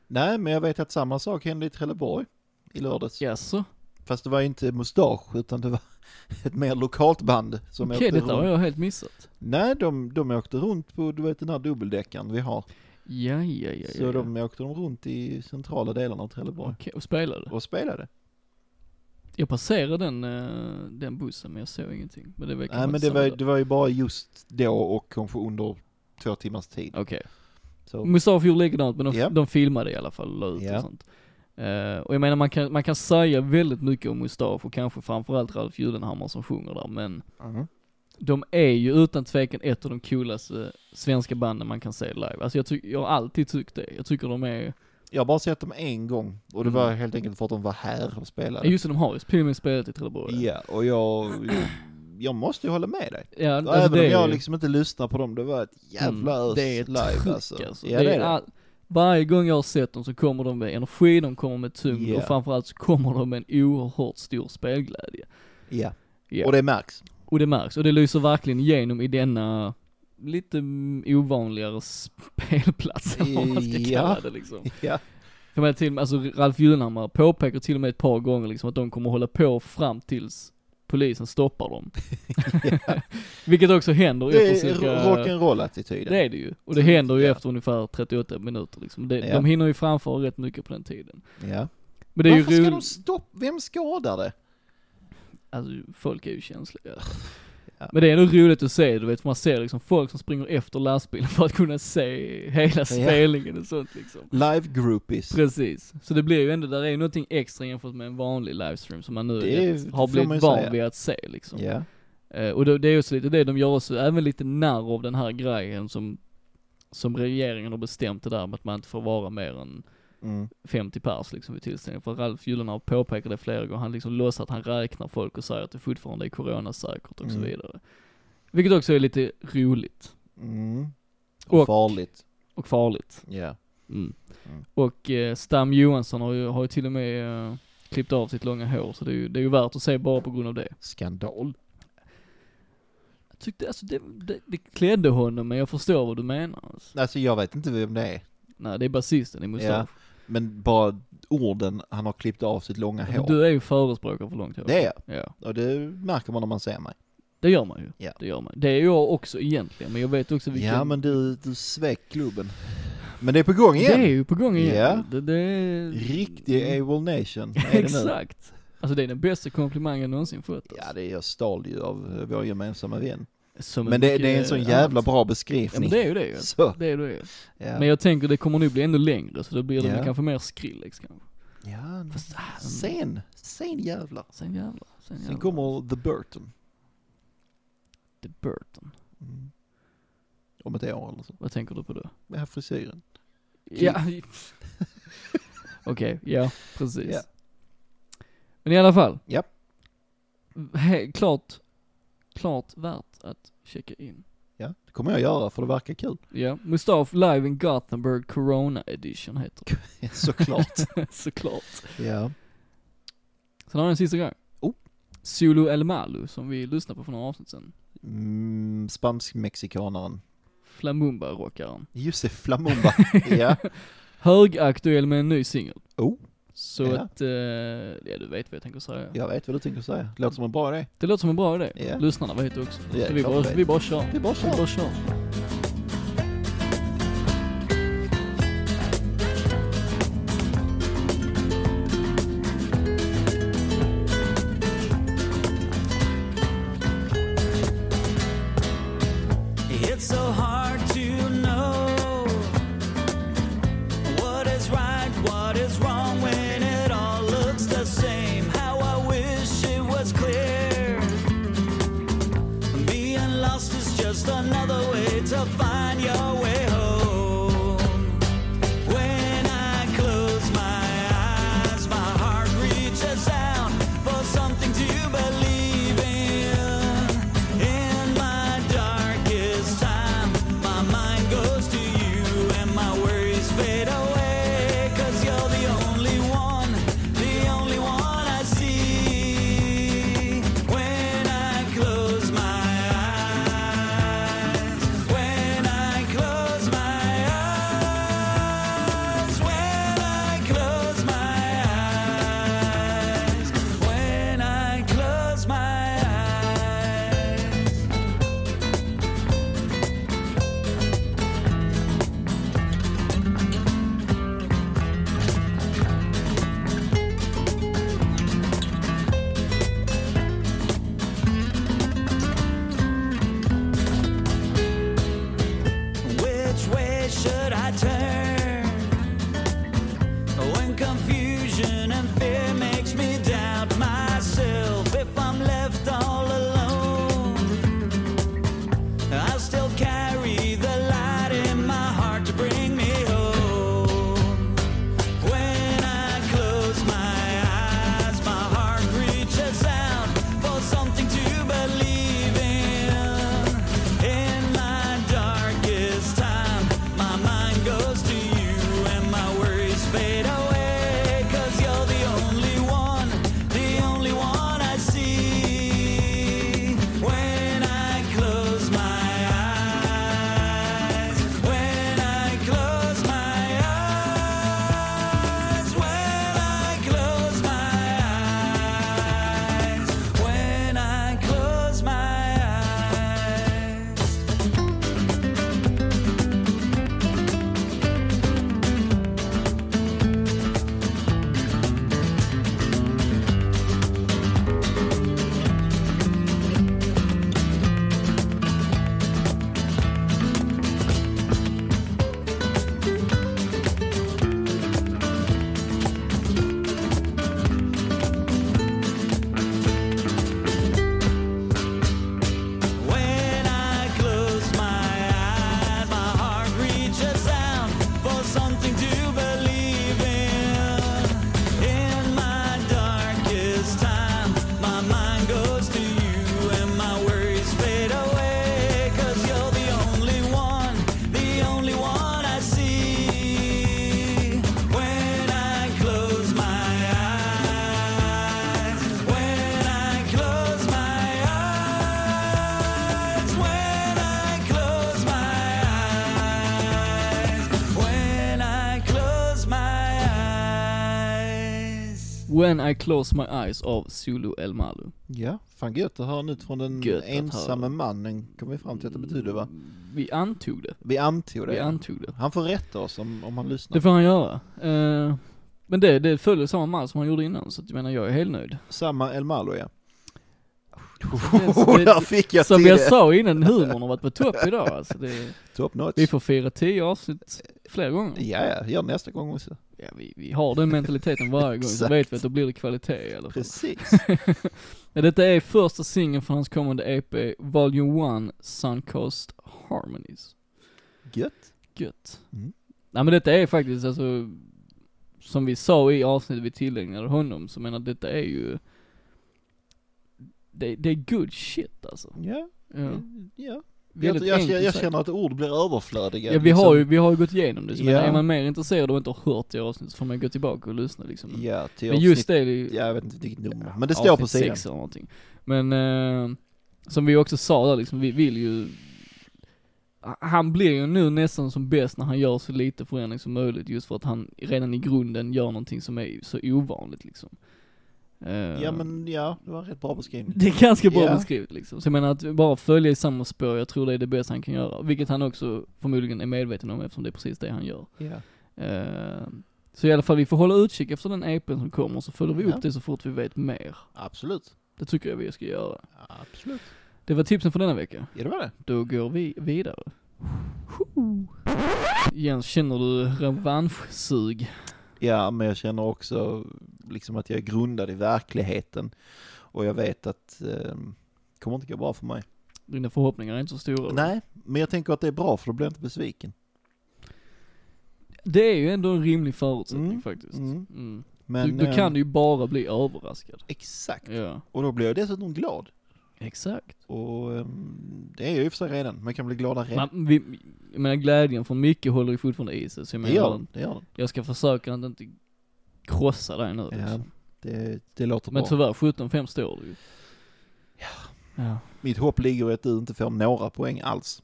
B: Nej, men jag vet att samma sak hände i Trelleborg i lördags.
C: Jaså?
B: Fast det var inte mustasch, utan det var ett mer lokalt band som
C: Okej,
B: åkte
C: detta har
B: runt.
C: jag helt missat.
B: Nej, de, de åkte runt på, du vet den här dubbeldäckaren vi har.
C: Ja, ja, ja.
B: Så
C: ja, ja.
B: de åkte de runt i centrala delarna av Trelleborg
C: Okej, och spelade.
B: och spelade.
C: Jag passerade den, eh, den bussen men jag såg ingenting. Men det var
B: Nej, men det var, det var ju bara just då och kanske under två timmars tid.
C: Okej.
B: Så,
C: Mustafa gjorde likadant men de,
B: Ja.
C: de filmade i alla fall och la ut
B: Ja.
C: och sånt. Eh, och jag menar man kan, man kan säga väldigt mycket om Mustafa och kanske framförallt Ralf Gyllenhammar som sjunger där men
B: mm.
C: de är ju utan tvekan ett av de coolaste svenska banden man kan se live. Alltså jag, ty- jag har alltid tyckt det. Jag tycker de är,
B: Jag har bara sett dem en gång och det
C: Mm.
B: var helt enkelt för att de var här och
C: ja,
B: spelade.
C: just det de har ju till och med spelat i Trelleborg.
B: Ja, och jag, jag måste ju hålla med dig.
C: Ja, alltså
B: Även
C: det
B: om
C: är
B: jag
C: ju-
B: liksom inte lyssnar på dem, det var ett jävla
C: Mm,
B: ös
C: det är ett
B: live
C: tryck,
B: alltså.
C: alltså.
B: Ja,
C: Det
B: det
C: är
B: är det.
C: all- varje gång jag har sett dem så kommer de med energi, de kommer med tyngd
B: Ja.
C: och framförallt så kommer de med en oerhört stor spelglädje.
B: Ja.
C: Ja.
B: Och det märks.
C: Och det märks, och det lyser verkligen igenom i denna lite mm, ovanligare spelplats, eller vad man ska
B: Ja.
C: kalla det liksom.
B: Ja.
C: För mig till och med, alltså Ralf Gyllenhammar påpekar till och med ett par gånger liksom att de kommer hålla på fram tills polisen stoppar dem. Vilket också händer
B: Det
C: efter
B: är
C: cirka-
B: rock'n'roll-attityden.
C: det är det ju. Och det händer ju
B: Ja.
C: efter ungefär 38 minuter liksom. Det,
B: Ja.
C: De hinner ju framför rätt mycket på den tiden.
B: Ja.
C: Men det är
B: Varför
C: ju
B: ska
C: roligt.
B: de stoppa? Vem skadar det?
C: Alltså folk är ju känsliga.
B: Ja.
C: Men det är ändå roligt att se, du vet, för man ser liksom folk som springer efter lastbilen för att kunna se hela spelningen och sånt liksom.
B: Live groupies.
C: Precis. Så det blir ju ändå, där är ju någonting extra jämfört med en vanlig livestream som man nu
B: Det
C: är,
B: får
C: har
B: man ju
C: blivit van
B: säga.
C: vid att se liksom.
B: Ja.
C: Eh, och det, det är också lite det de gör också, även lite narr av den här grejen som, som regeringen har bestämt det där med att man inte får vara mer än
B: Mm.
C: 50 pers liksom vid tillställningen. För Ralf Gyllenhammar påpekar det flera gånger, han liksom låtsas att han räknar folk och säger att det fortfarande är coronasäkert och så
B: Mm.
C: vidare. Vilket också är lite roligt
B: Mm.
C: Och-
B: Och farligt.
C: och farligt.
B: Ja. Mm.
C: Och eh, Stam Johansson har ju, har ju till och med eh, klippt av sitt långa hår, så det är, ju, det är ju värt att se bara på grund av det.
A: Skandal.
C: Jag tyckte, alltså det, det, det klädde honom, men jag förstår vad du menar. Alltså.
B: Alltså jag vet inte vem det är.
C: Nej, det är basisten i Mustasch.
B: Men bara orden, han har klippt av sitt långa
C: Men
B: hår.
C: Du är ju förespråkare för långt hår.
B: Det är jag.
C: Ja,
B: Och det märker man när man ser mig.
C: det gör man ju.
B: Ja.
C: Det gör man. Det är jag också egentligen, men jag vet också vilken...
B: Ja men du, du svek klubben. Men det är på gång
C: Det är
B: igen.
C: ju på gång igen.
B: Ja.
C: Det, det är...
B: Riktig A-Wall Nation är det nu.
C: Exakt. Alltså det är den bästa komplimangen jag någonsin fått. Alltså.
B: Ja det är jag stal ju av eh, vår gemensamma vän.
C: Som
B: Men det,
C: mycket
B: det är en sån
C: annat.
B: jävla bra
C: Ja men
B: beskrivning.
C: det är ju det ju.
B: Så,
C: Det är det ju. Men
B: ja.
C: jag tänker det kommer nog bli ännu längre så då blir det
B: Ja.
C: väl kanske mer Skrillex kanske.
B: ja nu-
C: Fast, ah,
B: sen, sen jävlar.
C: sen jävlar. Sen jävlar.
B: Sen kommer The Burton.
C: The Burton.
B: Mm. Om ett år eller så.
C: Vad tänker du på då?
B: Med här frisyren.
C: Ja. Okej, ja precis.
B: Ja.
C: Men i alla fall.
B: Ja.
C: He- klart, klart värt att checka in.
B: Ja, det kommer jag göra för det verkar kul.
C: Ja, Mustaf Live in Gothenburg Corona Edition heter det.
B: Såklart.
C: Såklart.
B: ja.
C: Sen har jag en sista grej.
B: Oh.
C: Zulu El Malu som vi lyssnade på för några avsnitt sedan.
B: Mm, Spansk-mexikanaren.
C: Flamumba-rockaren.
B: Josef Flamumba. ja.
C: Högaktuell med en ny singel.
B: Oh.
C: Så
B: Ja.
C: att, eh, ja du vet vad jag tänker säga.
B: Jag vet vad du tänker säga. Låter som en bra idé.
C: Det låter som en bra idé.
B: Ja.
C: Lyssnarna vet det också.
B: Ja,
C: så vi
B: klart
C: bara,
B: vet.
C: vi bara kör.
B: Vi bara
C: Vi
B: kör.
C: bara kör.
E: It's so hard to know what is right, what is wrong when it all looks the same. How I wish it was clear. Being lost is just another way to which way should I turn? When Oh, confusion and fear makes me doubt myself, if I'm left all alone, I still carry the light in my heart to bring me home. When I close my eyes, my heart reaches out for something to believe in. In my darkest time, my mind goes to you and my worries fade away. Cause you're the only one, the only one I see. When I close my eyes, when I close my eyes, when I close my eyes, when I close my eyes. When I close my eyes, my heart reaches out for something to believe in. In my darkest time, my mind goes to you and my worries fade away. Cause you're the only one, the only one I see. When I close my eyes, when I close my eyes, when I close my eyes, when I close my eyes.
C: When I close my eyes av Zulu El Malu.
B: Ja, fan gött att höra nytt från den
C: Gött att
B: ensamme mannen, kom vi fram till att det betyder va?
C: Vi antog det.
B: Vi antog det.
C: Vi antog det.
B: han får rätta oss om, om han lyssnar.
C: Det får han göra. Eh, men det, det följer samma mall som han gjorde innan, så att jag menar jag är helt nöjd.
B: Samma El Malo ja.
C: Det- det-
B: Där fick jag
C: Som
B: till
C: jag
B: det.
C: sa innan, humorn har varit på topp idag alltså det,
B: Top notch.
C: Vi får fira tio avsnitt flera gånger.
B: Ja, ja, gör nästa gång också.
C: Ja, vi, vi har den mentaliteten varje gång, så
B: Exakt.
C: vet vi att då blir det kvalitet i alla fall.
B: Precis.
C: Ja, detta är första singeln från hans kommande EP, Volume 1, Suncoast Harmonies.
B: Gött.
C: Gött.
B: Mm.
C: Nej men detta är faktiskt alltså, som vi sa i avsnittet vi tillägnade honom, så menar detta är ju, det, det är good shit alltså.
B: Ja.
C: Ja.
B: ja. Jag,
C: Väldigt
B: jag,
C: enkelt
B: jag, jag
C: sagt.
B: känner att ord blir överflödiga.
C: Ja vi har ju, vi har ju gått igenom det, så
B: Ja.
C: men är man mer intresserad och inte har hört det avsnittet så får man gå tillbaka och lyssna liksom.
B: liksom. Ja, till
C: men just
B: avsnitt-
C: det, är ju,
B: Ja, jag vet inte vilket nummer. Men det står på
C: avsnitt
B: sidan.
C: sex eller någonting. Men, eh, som vi också sa där liksom, vi vill ju han blir ju nu nästan som bäst när han gör så lite förändring som möjligt just för att han redan i grunden gör någonting som är så ovanligt liksom. Eh,
B: Ja men ja, det var en rätt bra beskrivning.
C: Det är ganska bra
B: Ja.
C: beskrivet liksom. Så jag menar att bara följa i samma spår, jag tror det är det bästa han kan göra. Vilket han också förmodligen är medveten om eftersom det är precis det han gör.
B: Ja.
C: Eh, så i alla fall, vi får hålla utkik efter den EPn som kommer, så följer vi upp
B: Ja.
C: det så fort vi vet mer.
B: Absolut.
C: Det tycker jag vi ska göra.
B: Absolut.
C: Det var tipsen för denna vecka.
B: Ja det var det.
C: Då går vi vidare. Jens, känner du revanschsug?
B: Ja, men jag känner också liksom att jag är grundad i verkligheten. Och jag vet att eh, det kommer inte gå bra för mig.
C: Dina förhoppningar är inte så stora.
B: Nej, men jag tänker att det är bra för då blir jag inte besviken.
C: Det är ju ändå en rimlig förutsättning
B: Mm,
C: faktiskt.
B: mm.
C: Mm.
B: Men,
C: du, du
B: eh,
C: kan ju bara bli överraskad.
B: Exakt.
C: Ja,
B: Och då blir jag dessutom glad.
C: exakt.
B: Och eh, det är jag i och för sig redan, men jag kan bli gladare redan.
C: Man, vi, jag menar glädjen från Micke håller ju fortfarande i sig, så jag
B: Det
C: menar,
B: gör den, det gör den.
C: jag ska försöka att inte krossa dig nu
B: Ja,
C: liksom.
B: Ehm, det, det låter
C: Men
B: bra.
C: tyvärr, 17-5 står du ju. Ja. ja.
B: Mitt hopp ligger i att du inte får några poäng alls.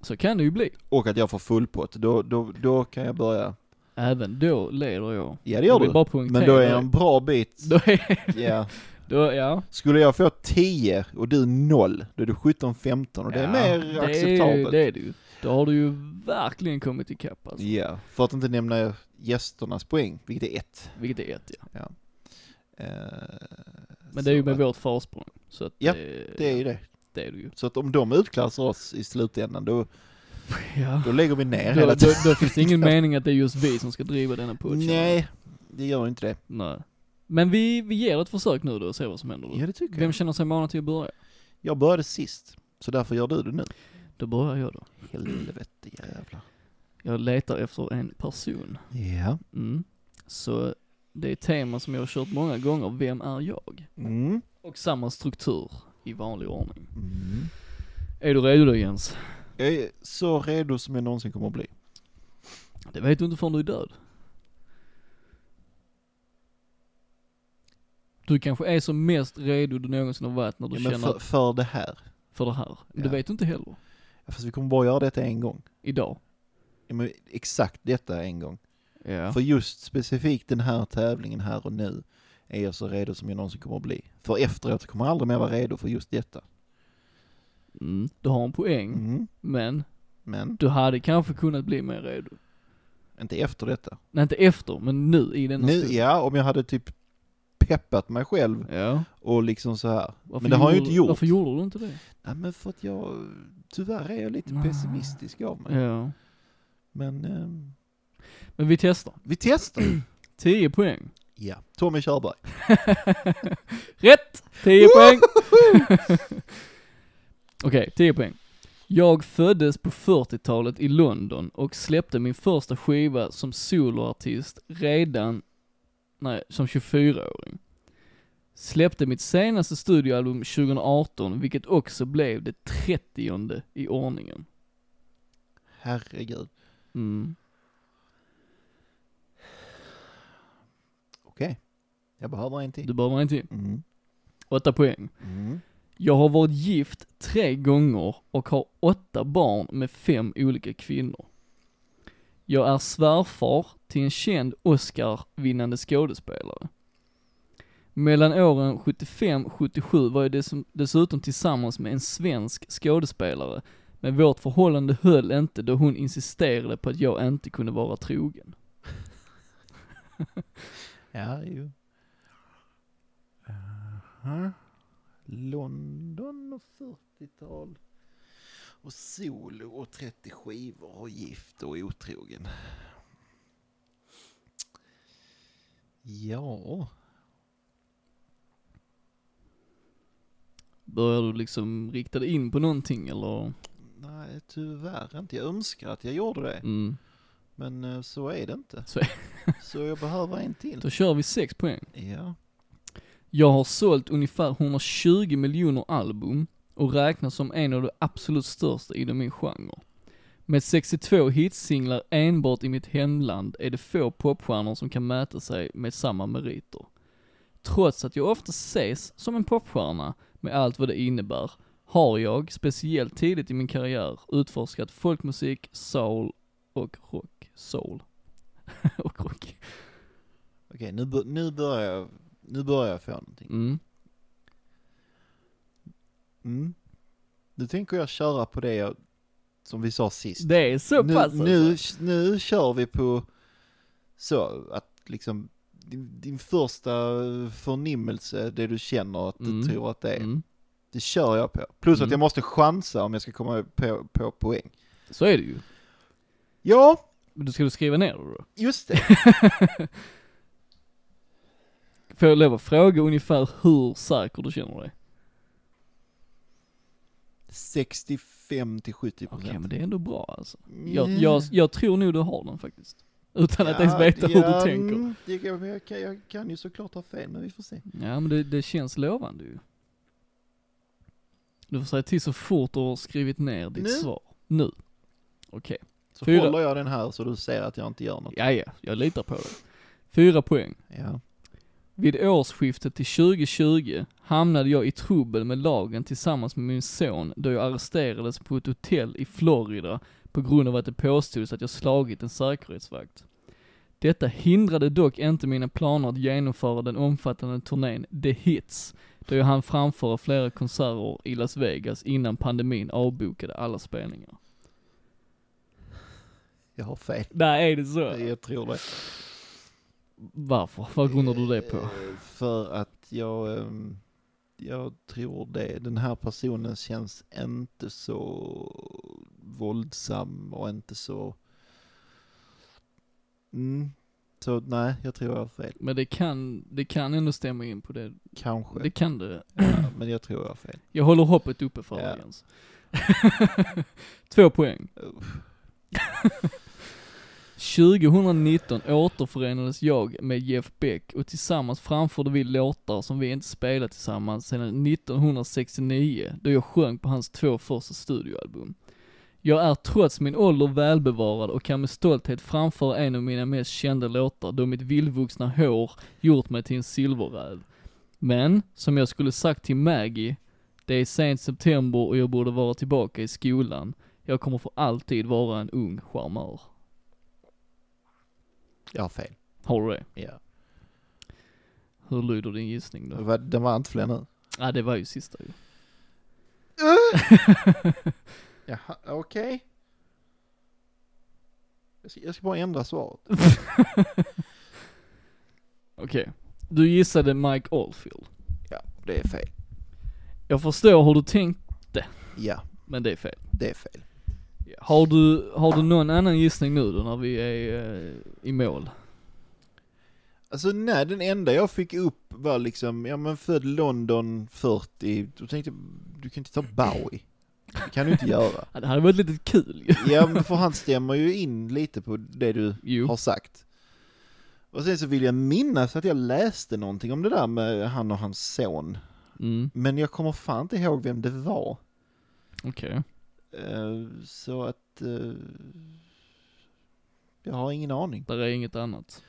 C: Så kan det ju bli.
B: Och att jag får full pott. Då, då, då kan jag börja.
C: Även då leder jag.
B: Ja det gör
C: vill
B: du.
C: bara poängtera
B: Men då är jag
C: det.
B: en bra bit.
C: Då är,
B: Ja.
C: då, ja.
B: Skulle jag få 10 och du 0, då är du 17-15 och det är
C: ja,
B: mer
C: det Är,
B: acceptabelt.
C: det är det ju. Då har du ju verkligen kommit ikapp alltså.
B: Ja, för att inte nämna gästernas poäng, vilket är 1.
C: Vilket är ett ja. Men
B: Eh, Så
C: det är ju med
B: att-
C: vårt försprång. Så att
B: Ja,
C: det,
B: Det är ju det.
C: det är det ju.
B: Så att om de utklassar oss i slutändan, då,
C: Ja.
B: Då lägger vi ner
C: Då,
B: hela
C: då,
B: tiden.
C: då finns det ingen mening att det är just vi som ska driva denna putchen.
B: Nej, det gör ju inte det.
C: Nej. Men vi, vi ger ett försök nu då och ser vad som händer. då.
B: Ja, det tycker
C: Vem
B: jag.
C: känner sig manad till att börja?
B: Jag började sist, så därför gör du det nu.
C: Då börjar jag då.
B: Helvete jävlar.
C: Jag letar efter en person.
B: Ja.
C: Mm. Så det är ett tema som jag har kört många gånger, vem är jag?
B: Mm.
C: Och samma struktur i vanlig ordning.
B: Mm.
C: Är du redo då Jens?
B: Jag är så redo som jag någonsin kommer att bli.
C: Det vet du inte förrän du är död. Du kanske är som mest redo du någonsin har varit när du
B: Ja, men
C: känner
B: för,
C: för,
B: för det här.
C: det här. Det
B: Ja.
C: vet du inte heller.
B: Ja, Fast vi kommer bara göra detta en gång.
C: Idag.
B: Ja, men exakt detta en gång.
C: Ja.
B: För just specifikt den här tävlingen här och nu är jag så redo som jag någonsin kommer att bli. För efteråt kommer jag aldrig mer vara redo för just detta.
C: Mm. Du har en poäng,
B: Mm.
C: men
B: Men
C: du hade kanske kunnat bli mer redo.
B: inte efter detta.
C: Nej inte efter, men nu i denna
B: Nu,
C: stund.
B: ja, om jag hade typ peppat mig själv
C: ja.
B: och liksom så här.
C: Varför
B: Men det har jag ju
C: gjorde-
B: inte gjort.
C: Varför gjorde du inte det?
B: Nej, men för att jag, tyvärr är jag lite
C: Nej.
B: pessimistisk av mig.
C: Ja.
B: Men ehm,
C: Men vi testar.
B: vi testar.
C: 10 poäng.
B: ja, Tommy Körberg.
C: Rätt! 10 poäng! Okej, 10 poäng. Jag föddes på 40-talet i London och släppte min första skiva som soloartist redan, nej, som 24-åring. Släppte mitt senaste studioalbum 2018, vilket också blev det 30 i ordningen.
B: Herregud.
C: Mm.
B: Okej. Jag behöver en till.
C: Du behöver en till.
B: Mm.
C: 8 poäng.
B: Mm.
C: Jag har varit gift tre gånger och har åtta barn med fem olika kvinnor. Jag är svärfar till en känd Oscar-vinnande skådespelare. Mellan åren 75-77 var jag dess- dessutom tillsammans med en svensk skådespelare, men vårt förhållande höll inte då hon insisterade på att jag inte kunde vara trogen.
B: Ja, ju. Aha. London och 40-tal. Och solo och 30 skivor och gift och otrogen. Ja.
C: Börjar du liksom rikta dig in på någonting eller?
B: Nej, tyvärr inte. Jag önskar att jag gjorde det.
C: Mm.
B: Men eh, så är det inte.
C: Så-
B: så jag behöver en till.
C: Då kör vi sex poäng.
B: Ja.
C: Jag har sålt ungefär 120 miljoner album och räknas som en av de absolut största inom min genre. Med 62 hitsinglar enbart i mitt hemland är det få popstjärnor som kan mäta sig med samma meriter. Trots att jag ofta ses som en popstjärna med allt vad det innebär, har jag, speciellt tidigt i min karriär, utforskat folkmusik, soul och rock. Soul. och rock.
B: Okej, nu, bör- nu börjar jag. Nu börjar jag få någonting.
C: Mm.
B: Mm. Nu tänker jag köra på det jag, som vi sa sist.
C: Det är så
B: nu,
C: pass alltså.
B: nu, nu kör vi på så att liksom din, din första förnimmelse, det du känner att du
C: Mm.
B: tror att det är,
C: Mm.
B: det kör jag på. Plus
C: Mm.
B: att jag måste chansa om jag ska komma på, på poäng.
C: Så är det ju.
B: Ja,
C: Men då ska du skriva ner det då?
B: just det.
C: Får jag lov att fråga ungefär hur säker du känner dig?
B: 65 till
C: Okej,
B: 70 procent.
C: men det är ändå bra alltså. Jag, jag, jag tror nog du har den faktiskt. Utan att ens
B: Mm. Ja,
C: veta hur
B: ja,
C: du tänker.
B: mm, Det, kan- men jag, kan, jag kan ju såklart ha fel, men vi får se.
C: Ja, men det, det känns lovande ju. Du får säga till så fort du har skrivit ner ditt
B: Nu?
C: svar. Nu. Okej.
B: Så
C: Fyra.
B: håller jag den här så du ser att jag inte gör något.
C: Ja, ja, jag litar på dig. Fyra poäng.
B: Ja.
C: Vid årsskiftet till 2020 hamnade jag i trubbel med lagen tillsammans med min son då jag arresterades på ett hotell i Florida på grund av att det påstods att jag slagit en säkerhetsvakt. Detta hindrade dock inte mina planer att genomföra den omfattande turnén The Hits, då jag hann framföra flera konserter i Las Vegas innan pandemin avbokade alla spelningar.
B: Jag har fel.
C: Där är det så?
B: Jag tror det.
C: Varför? Vad grundar du det på?
B: Eh, För att jag, ehm, jag tror det. Den här personen känns inte så våldsam och inte så... Mm. Så nej, jag tror jag har fel.
C: Men det kan, det kan ändå stämma in på det.
B: Kanske.
C: Det kan det.
B: Ja, men jag tror jag har fel.
C: Jag håller hoppet uppe för
B: Ja.
C: dig Jens. Två poäng. 2019 återförenades jag med Jeff Beck och tillsammans framförde vi låtar som vi inte spelat tillsammans sedan 1969 då jag sjöng på hans två första studioalbum. Jag är trots min ålder välbevarad och kan med stolthet framföra en av mina mest kända låtar då mitt vildvuxna hår gjort mig till en silverräv. Men, som jag skulle sagt till Maggie, det är sent september och jag borde vara tillbaka i skolan. Jag kommer för alltid vara en ung charmör.
B: Jag har fel.
C: Har du det?
B: Ja.
C: Hur lyder din gissning då?
B: Va- Den var inte fler nu.
C: Ja, ah, det var ju sista ju.
B: Jaha, okej. Jag, ska, jag ska bara ändra svaret.
C: Okej. Du gissade Mike Oldfield.
B: Ja, det är fel.
C: Jag förstår hur du tänkt,
B: Ja,
C: men det är fel.
B: det är fel.
C: Har du, har du någon annan gissning nu då när vi är eh, i mål?
B: Alltså nej, den enda jag fick upp var liksom, ja men född London 40. Då tänkte jag, du kan inte ta Bowie. Det kan du inte göra.
C: Ja, det hade varit lite kul ju.
B: Ja, men för han stämmer ju in lite på det du
C: Jo.
B: har sagt. Och sen så vill jag minnas att jag läste någonting om det där med han och hans son.
C: Mm,
B: Men jag kommer fan inte ihåg vem det var.
C: okej.
B: Eh, så att... eh, jag har ingen aning.
C: Där är inget annat.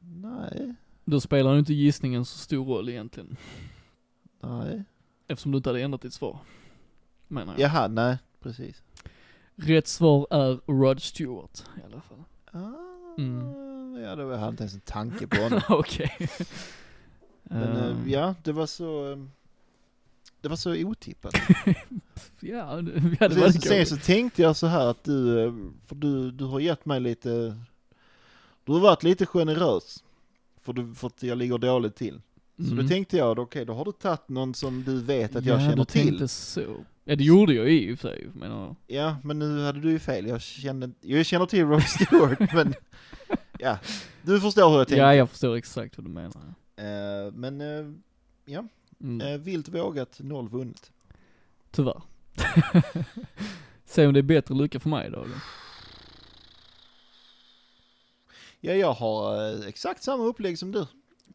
B: Nej,
C: Då spelar ju inte gissningen så stor roll egentligen.
B: nej.
C: Eftersom du inte hade ändrat ditt svar. Menar jag.
B: Jaha, nej, precis.
C: Rätt svar är Rod Stewart i alla fall.
B: Ah,
C: Mm.
B: Ja, det var jag hade inte ens en tanke på honom.
C: Okej.
B: Men eh,
C: Ehm,
B: ja, det var så... eh, det var så otippat.
C: ja, det, ja, det var
B: sen,
C: det
B: sen
C: kanske.
B: så tänkte jag så här att du, eh, för du, du har gett mig lite, du har varit lite generös. För, du, för att jag ligger dåligt till. Så
C: Mm.
B: då tänkte jag, okej då har du tagit någon som du vet att jag
C: ja,
B: känner
C: du
B: till.
C: tänkte så. Ja, det gjorde jag i och för sig, menar jag.
B: Ja, men nu hade du ju fel. Jag känner, jag känner till Rod Stewart, men ja, du förstår hur jag tänker.
C: Ja, jag förstår exakt vad du menar.
B: Eh, men eh,
C: Mm.
B: eh, vilt vågat, noll vunnet.
C: Tyvärr. Säg om det är bättre lycka för mig idag då.
B: Ja, jag har eh, exakt samma upplägg som du.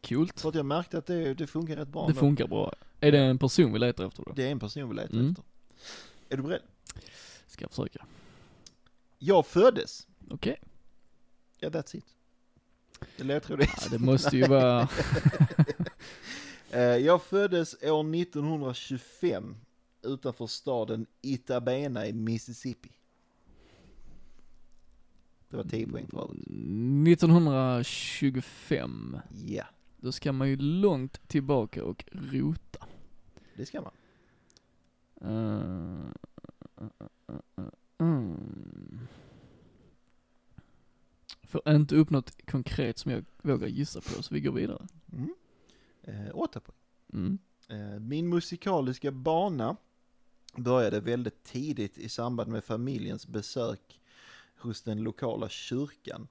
C: Coolt.
B: För att jag märkte att det, det funkar rätt bra.
C: Det
B: ändå.
C: funkar bra. Är det en person vi letar efter då?
B: Det är en person vi letar
C: Mm.
B: efter. Är du beredd?
C: Ska jag försöka.
B: Jag föddes.
C: Okej.
B: Ja, that's it. Eller jag tror det.
C: Ja, det måste ju vara...
B: Eh, Jag föddes år 1925 utanför staden Itabena i Mississippi. Det var 10 poäng för övrigt.
C: 1925.
B: Ja,
C: Då ska man ju långt tillbaka och rota.
B: det ska man.
C: Eh, eh, eh, eh, mm. Får inte upp något konkret som jag vågar gissa på, så vi går vidare.
B: Mm. Eh, åtta poäng.
C: Mm.
B: Eh, Min musikaliska bana började väldigt tidigt i samband med familjens besök hos den lokala kyrkan.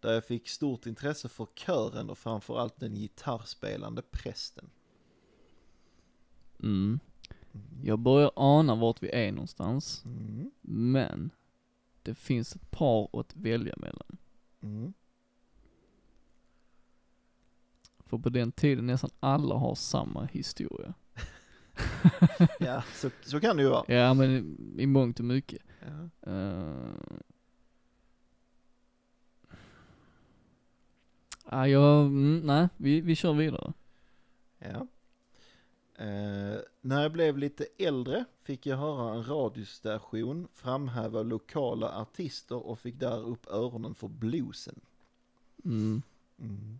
B: Där jag fick stort intresse för kören och framförallt den gitarrspelande prästen.
C: Mm. Jag börjar ana vart vi är någonstans,
B: Mm.
C: men det finns ett par att välja mellan.
B: Mm.
C: För på den tiden nästan alla har samma historia.
B: Ja, så, så kan det ju vara.
C: Ja men i- i mångt och mycket.
B: Ja.
C: Uh... Ah, jag, mm, nej, vi, vi kör vidare.
B: Ja. Eh, när jag blev lite äldre fick jag höra en radiostation framhäva lokala artister och fick där upp öronen för bluesen.
C: Mm.
B: Mm.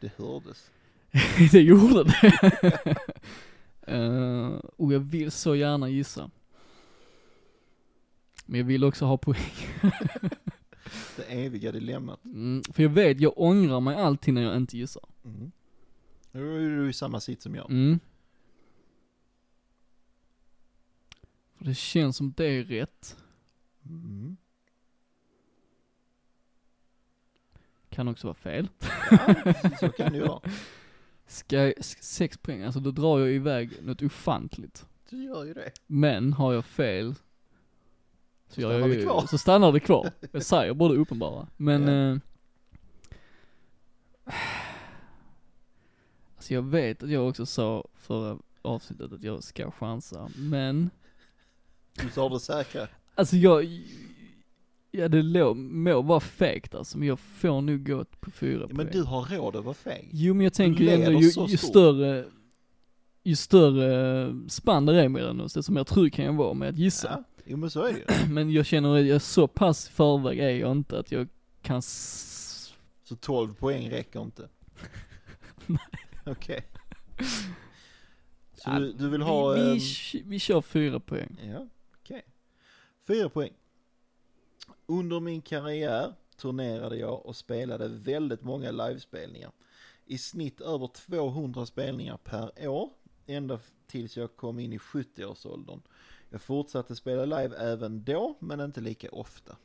B: Det hördes.
C: det gjorde det. Eh, och jag vill så gärna gissa. Men jag vill också ha poäng.
B: Det eviga dilemmat.
C: Mm, för jag vet, jag ångrar mig alltid när jag inte gissar.
B: Mm. Nu är du i samma sitt som jag.
C: Mm. För det känns som det är rätt.
B: Mm.
C: Kan också vara fel.
B: Så kan det ju vara.
C: Ska jag, s- sex poäng, alltså då drar jag iväg något ofantligt.
B: Du gör ju det.
C: Men har jag fel så, gör jag
B: stannar det
C: ju,
B: kvar.
C: så stannar det kvar. Jag säger både uppenbara. Men
B: Ja.
C: eh, Alltså jag vet att jag också sa förra avsnittet att jag ska chansa, men
B: Du sa det säkra.
C: Alltså jag, ja det lå, må vara fegt alltså, men jag får nog gå på fyra
B: Ja, men du
C: poäng.
B: har råd att vara feg.
C: Jo men jag tänker ju ändå,
B: leder
C: ju,
B: så
C: ju
B: stort.
C: större, ju större spann det är mellan oss, desto mer trygg kan jag vara med att gissa.
B: Ja. Jo men så är det ju.
C: Men jag känner att jag så pass i förväg är jag inte att jag kan s-
B: Så 12 poäng räcker inte. Okej. Så
C: Ja,
B: du, du vill ha...
C: vi, vi,
B: ehm,
C: k- vi kör fyra poäng.
B: Ja, okej. Fyra poäng. Under min karriär turnerade jag och spelade väldigt många livespelningar. I snitt över 200 spelningar per år, ända f- tills jag kom in i 70-årsåldern. Jag fortsatte spela live även då, men inte lika ofta.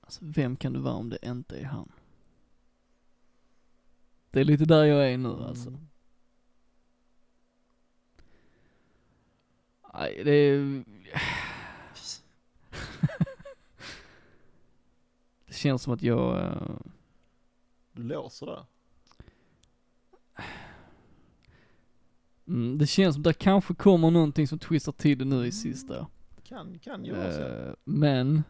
C: Alltså vem kan det vara om det inte är han? Det är lite där jag är nu alltså. Nej, det är... Det känns som att jag... eh,
B: Du låser där.
C: Mm, det känns som att det kanske kommer någonting som twistar till det nu i sista.
B: Kan, kan ju vara så.
C: Eh, men...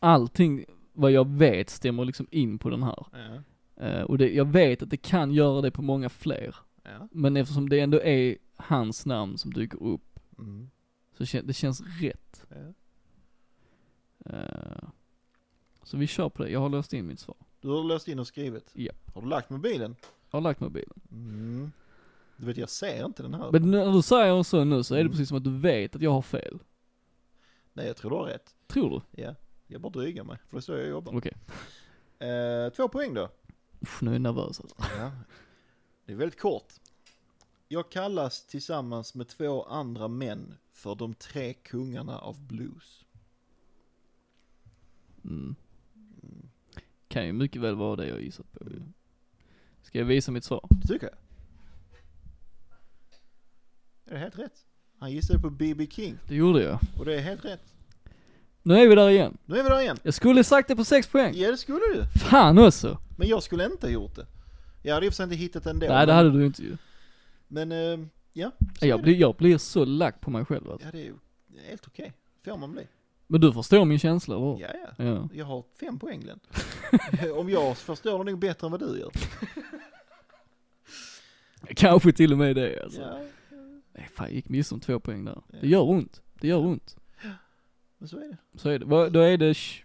C: Allting vad jag vet stämmer liksom in på den här.
B: Ja,
C: Eh, och det, jag vet att det kan göra det på många fler.
B: ja.
C: Men eftersom det ändå är hans namn som dyker upp,
B: Mm,
C: så kän, det känns rätt.
B: ja.
C: Eh, så vi kör på det, jag har låst in mitt svar.
B: Du har låst in och skrivit?
C: Ja.
B: Har du lagt mobilen?
C: Jag har lagt mobilen.
B: Mm. Du vet, jag ser inte den här.
C: Men när du säger så nu så är det
B: Mm.
C: precis som att du vet att jag har fel.
B: Nej, jag tror du har rätt.
C: Tror du?
B: Ja, jag bara drygar mig, för det är så jag jobbar.
C: Okej.
B: Eh, två poäng då.
C: Uff, nu är jag nervös alltså.
B: Ja. Det är väldigt kort. Jag kallas tillsammans med två andra män för de tre kungarna av blues.
C: Mm. Kan ju mycket väl vara det jag gissat på
B: Mm.
C: ju. Ska jag visa mitt svar?
B: Det tycker jag. Är det helt rätt? Han gissade på B.B. King
C: Det gjorde jag.
B: och det är helt rätt.
C: Nu är vi där igen.
B: Nu är vi där igen.
C: Jag skulle sagt det på sex poäng.
B: Ja, det skulle du.
C: Fan också!
B: Men jag skulle inte ha gjort det. Jag hade i och för sig inte hittat den då.
C: Nej det
B: men-
C: hade du inte ju.
B: Men, eh, ja. så är
C: Jag
B: det.
C: blir, jag blir så lack på mig själv alltså.
B: Ja, det är ju helt okej. Får man bli.
C: Men du förstår min känsla eller hur?
B: Ja, ja.
C: Ja.
B: Jag har fem poäng Glenn. Om jag förstår det nog bättre än vad du gör.
C: Kanske till och med det alltså.
B: Ja,
C: Nej, fan jag gick miste om två poäng där.
B: Ja.
C: Det gör ont. Det gör ont.
B: men så är det.
C: Så är det. Vad- Då är det tj-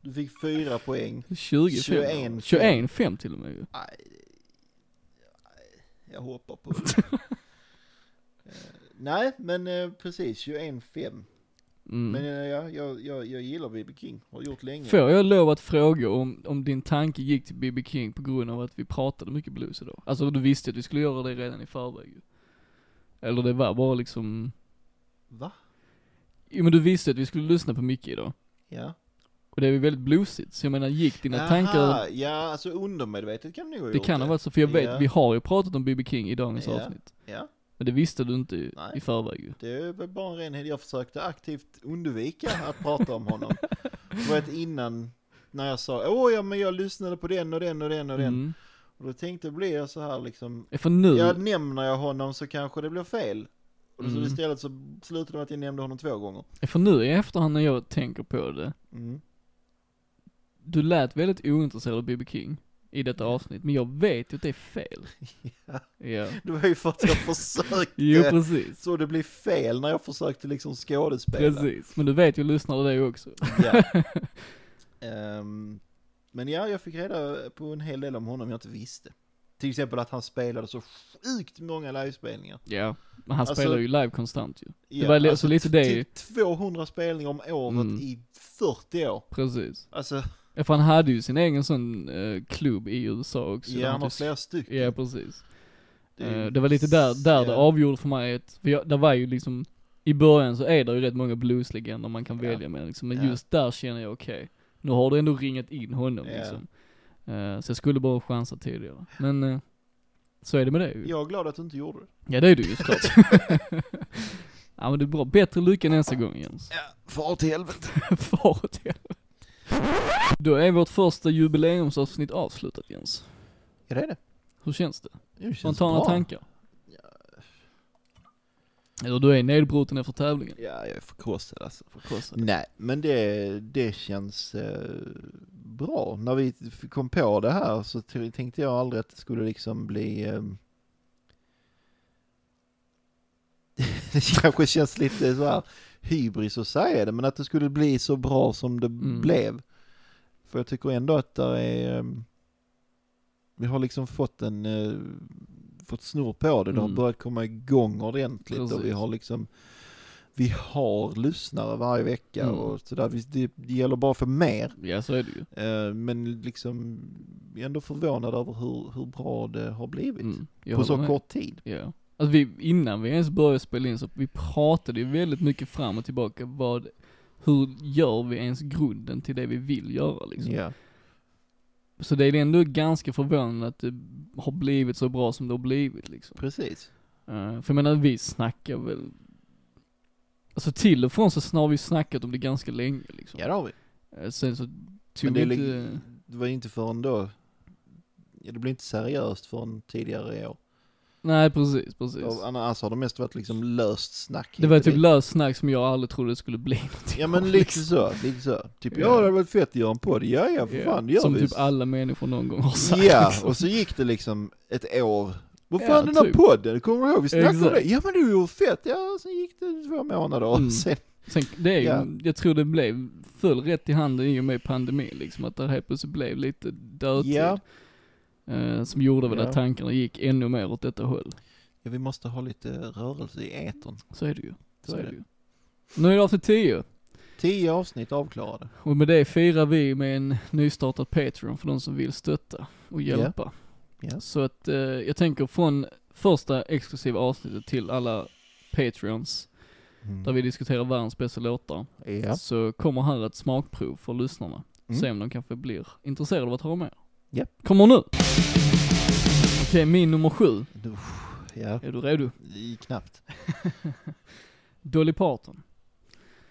B: Du fick fyra poäng.
C: 20
B: 21.
C: 21 5 till och med ju.
B: Jag hoppar på det. Eh, Nej, men eh, precis 21-5.
C: Mm.
B: Men eh, ja, jag, jag, jag gillar B.B. King, har gjort länge.
C: Får jag lov att fråga om, om din tanke gick till B.B. King på grund av att vi pratade mycket blues idag? Alltså du visste att vi skulle göra det redan i förväg ju. Eller det var bara liksom,
B: Va?
C: jo men du visste att vi skulle lyssna på mycket idag.
B: Ja.
C: Och det är ju väldigt bluesigt, så jag menar gick dina tankar,
B: ja alltså undermedvetet kan det nog ha
C: det
B: gjort
C: kan ha varit så, för jag vet,
B: Ja.
C: vi har ju pratat om B.B. King i dagens
B: Ja.
C: avsnitt.
B: Ja,
C: Men det visste du inte i-
B: Nej.
C: i förväg ju.
B: det är väl bara en renhet. Jag försökte aktivt undvika att prata om honom. Du vet innan, när jag sa åh ja men jag lyssnade på den och den och den och den.
C: Mm.
B: Och då tänkte blir jag så här liksom,
C: För nu,
B: ja nämner jag honom så kanske det blir fel. Och så
C: Mm.
B: istället så slutade det med att jag nämnde honom två gånger.
C: för nu i efterhand när jag tänker på det,
B: Mm.
C: du lät väldigt ointresserad av B.B. King i detta avsnitt, men jag vet ju att det är fel. ja.
B: Det var ju för att jag försökte,
C: Jo precis,
B: så det blev fel när jag försökte liksom skådespela.
C: precis. Men du vet ju lyssnare det också.
B: Ja. Ehm, men ja, jag fick reda på en hel del om honom jag inte visste. Till exempel att han spelade så sjukt många livespelningar.
C: Ja, men han
B: Alltså-
C: spelar ju live konstant ju.
B: Ja, alltså,
C: var li- så lite det
B: till
C: ju.
B: 200 spelningar om året
C: Mm.
B: i 40 år.
C: Precis.
B: Alltså,
C: Ja, för han hade ju sin egen sån eh, klubb i USA också.
B: ja, han har
C: hade-
B: flera stycken.
C: Ja, precis.
B: Det
C: Det,
B: är ju-
C: Eh, det var lite där, där det
B: ja.
C: avgjorde för mig, att, för jag, det var ju liksom, i början så är det ju rätt många blueslegender man kan
B: Ja.
C: välja mellan liksom, men
B: Ja.
C: just där känner jag okej, nu har du ändå ringat in honom
B: Ja.
C: liksom. Eh, så jag skulle bara chansa tidigare. Men, eh, så är det med det ju. Ja,
B: Jag är glad att du inte gjorde det.
C: det är du ju såklart. ja men det är bra, bättre lycka nästa gång Jens.
B: Ja, far till helvete.
C: Far åt helvete. Då är vårt första jubileumsavsnitt avslutat Jens.
B: Ja, det är det.
C: Hur känns det?
B: Det känns
C: Spontana
B: bra.
C: tankar? Eller du är nedbruten efter tävlingen?
B: Ja, jag är förkrossad alltså.
C: Förkrossad.
B: Nej, men det, det känns eh, bra. När vi f- kom på det här så t- tänkte jag aldrig att det skulle liksom bli... Eh, det kanske känns lite så här hybris att säga det, men att det skulle bli så bra som det
C: Mm.
B: blev. För jag tycker ändå att det är... Eh, vi har liksom fått en... Eh, fått snurr på det, det har
C: Mm.
B: börjat komma igång ordentligt och vi
C: Precis.
B: har liksom vi har lyssnare varje vecka
C: Mm.
B: och sådär. Visst, Det, det gäller bara för mer.
C: Ja så är det ju.
B: Eh, Men liksom, jag är ändå förvånad över hur, hur bra det har blivit.
C: Mm, jag
B: På
C: håller
B: så
C: med.
B: kort tid.
C: Ja. Alltså vi, innan vi ens började spela in så vi pratade ju väldigt mycket fram och tillbaka vad, hur gör vi ens grunden till det vi vill göra liksom.
B: Ja.
C: Så det är ändå ganska förvånande att det har blivit så bra som det har blivit liksom.
B: Precis.
C: Eh, för jag menar vi snackar väl, alltså till och från så snar vi snackat om det ganska länge liksom.
B: Ja, det har vi.
C: Eh, Sen så
B: Men
C: tog
B: det,
C: vi
B: är
C: inte,
B: li- det var ju inte förrän då, ja, det blev inte seriöst förrän tidigare i år.
C: nej precis, precis.
B: Och Annars har det mest varit liksom löst snack.
C: Det var
B: hit och
C: typ
B: dit.
C: löst snack som jag aldrig trodde det skulle bli någonting
B: Ja
C: av,
B: men liksom, lite så, lite så. Typ,
C: Ja.
B: ja det hade varit fett att göra en podd. Ja, ja, för
C: Ja,
B: fan, det gör
C: Som
B: vi.
C: typ alla människor någon gång har sagt.
B: Ja,
C: liksom.
B: och så gick det liksom ett år. Vad
C: Ja,
B: fan den här
C: typ.
B: podden, kommer du ihåg? Vi snackade om
C: Exakt.
B: det. Ja men du är ju fett. Ja, sen gick det två månader och
C: Mm.
B: sen...
C: Sen, det är ju,
B: Ja.
C: jag tror det blev, föll rätt i handen i och med pandemin liksom, att det helt plötsligt blev lite dödtid.
B: Ja.
C: Eh, som gjorde väl
A: Ja.
C: att tankarna gick ännu mer åt detta håll.
B: Ja, vi måste ha lite rörelse i etern.
C: Så är det ju. Så,
B: Så är
C: är det ju. Nu är det avsnitt 10.
B: Tio avsnitt avklarade.
C: Och med det firar vi med en nystartad Patreon för de som vill stötta och
B: Ja.
C: hjälpa.
B: Ja.
C: Så att eh, jag tänker från första exklusiva avsnittet till alla Patreons, där vi diskuterar världens bästa låtar,
A: Ja.
C: så kommer här ett smakprov för lyssnarna.
B: Mm.
C: Se om de kanske blir intresserade av att höra mer.
B: Ja.
C: Kommer nu! Okej, min nummer sju.
B: Ja,
C: Är du redo?
B: i knappt.
C: Dolly Parton,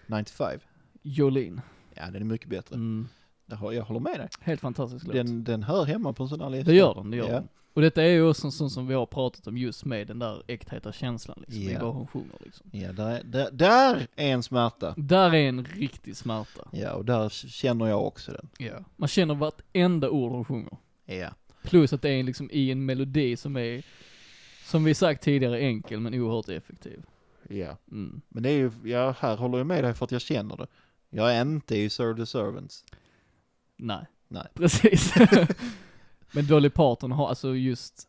B: 95.
C: Jolene.
B: Ja, den är mycket bättre.
C: Mm.
B: Det har- Jag håller med dig.
C: Helt fantastisk låt.
B: Den, den hör hemma på en sån här lista.
C: Det gör den, det gör
B: Ja.
C: den. Och detta är ju också en sån som vi har pratat om just med den där äktheta känslan liksom, i
B: Ja.
C: vad hon sjunger liksom.
B: Ja, där, är- där, där är en smärta.
C: Där är en riktig smärta.
B: Ja, och där känner jag också den.
C: Ja. Man känner vartenda ord hon sjunger.
B: Ja.
C: Plus att det är liksom i en melodi som är, som vi sagt tidigare, enkel men oerhört effektiv.
A: Ja.
C: Mm.
B: Men det är ju, ja, här håller jag med dig för att jag känner det. Jag är inte i Serve the Servants.
C: Nej.
B: Nej.
C: Precis. men Dolly Parton har alltså just,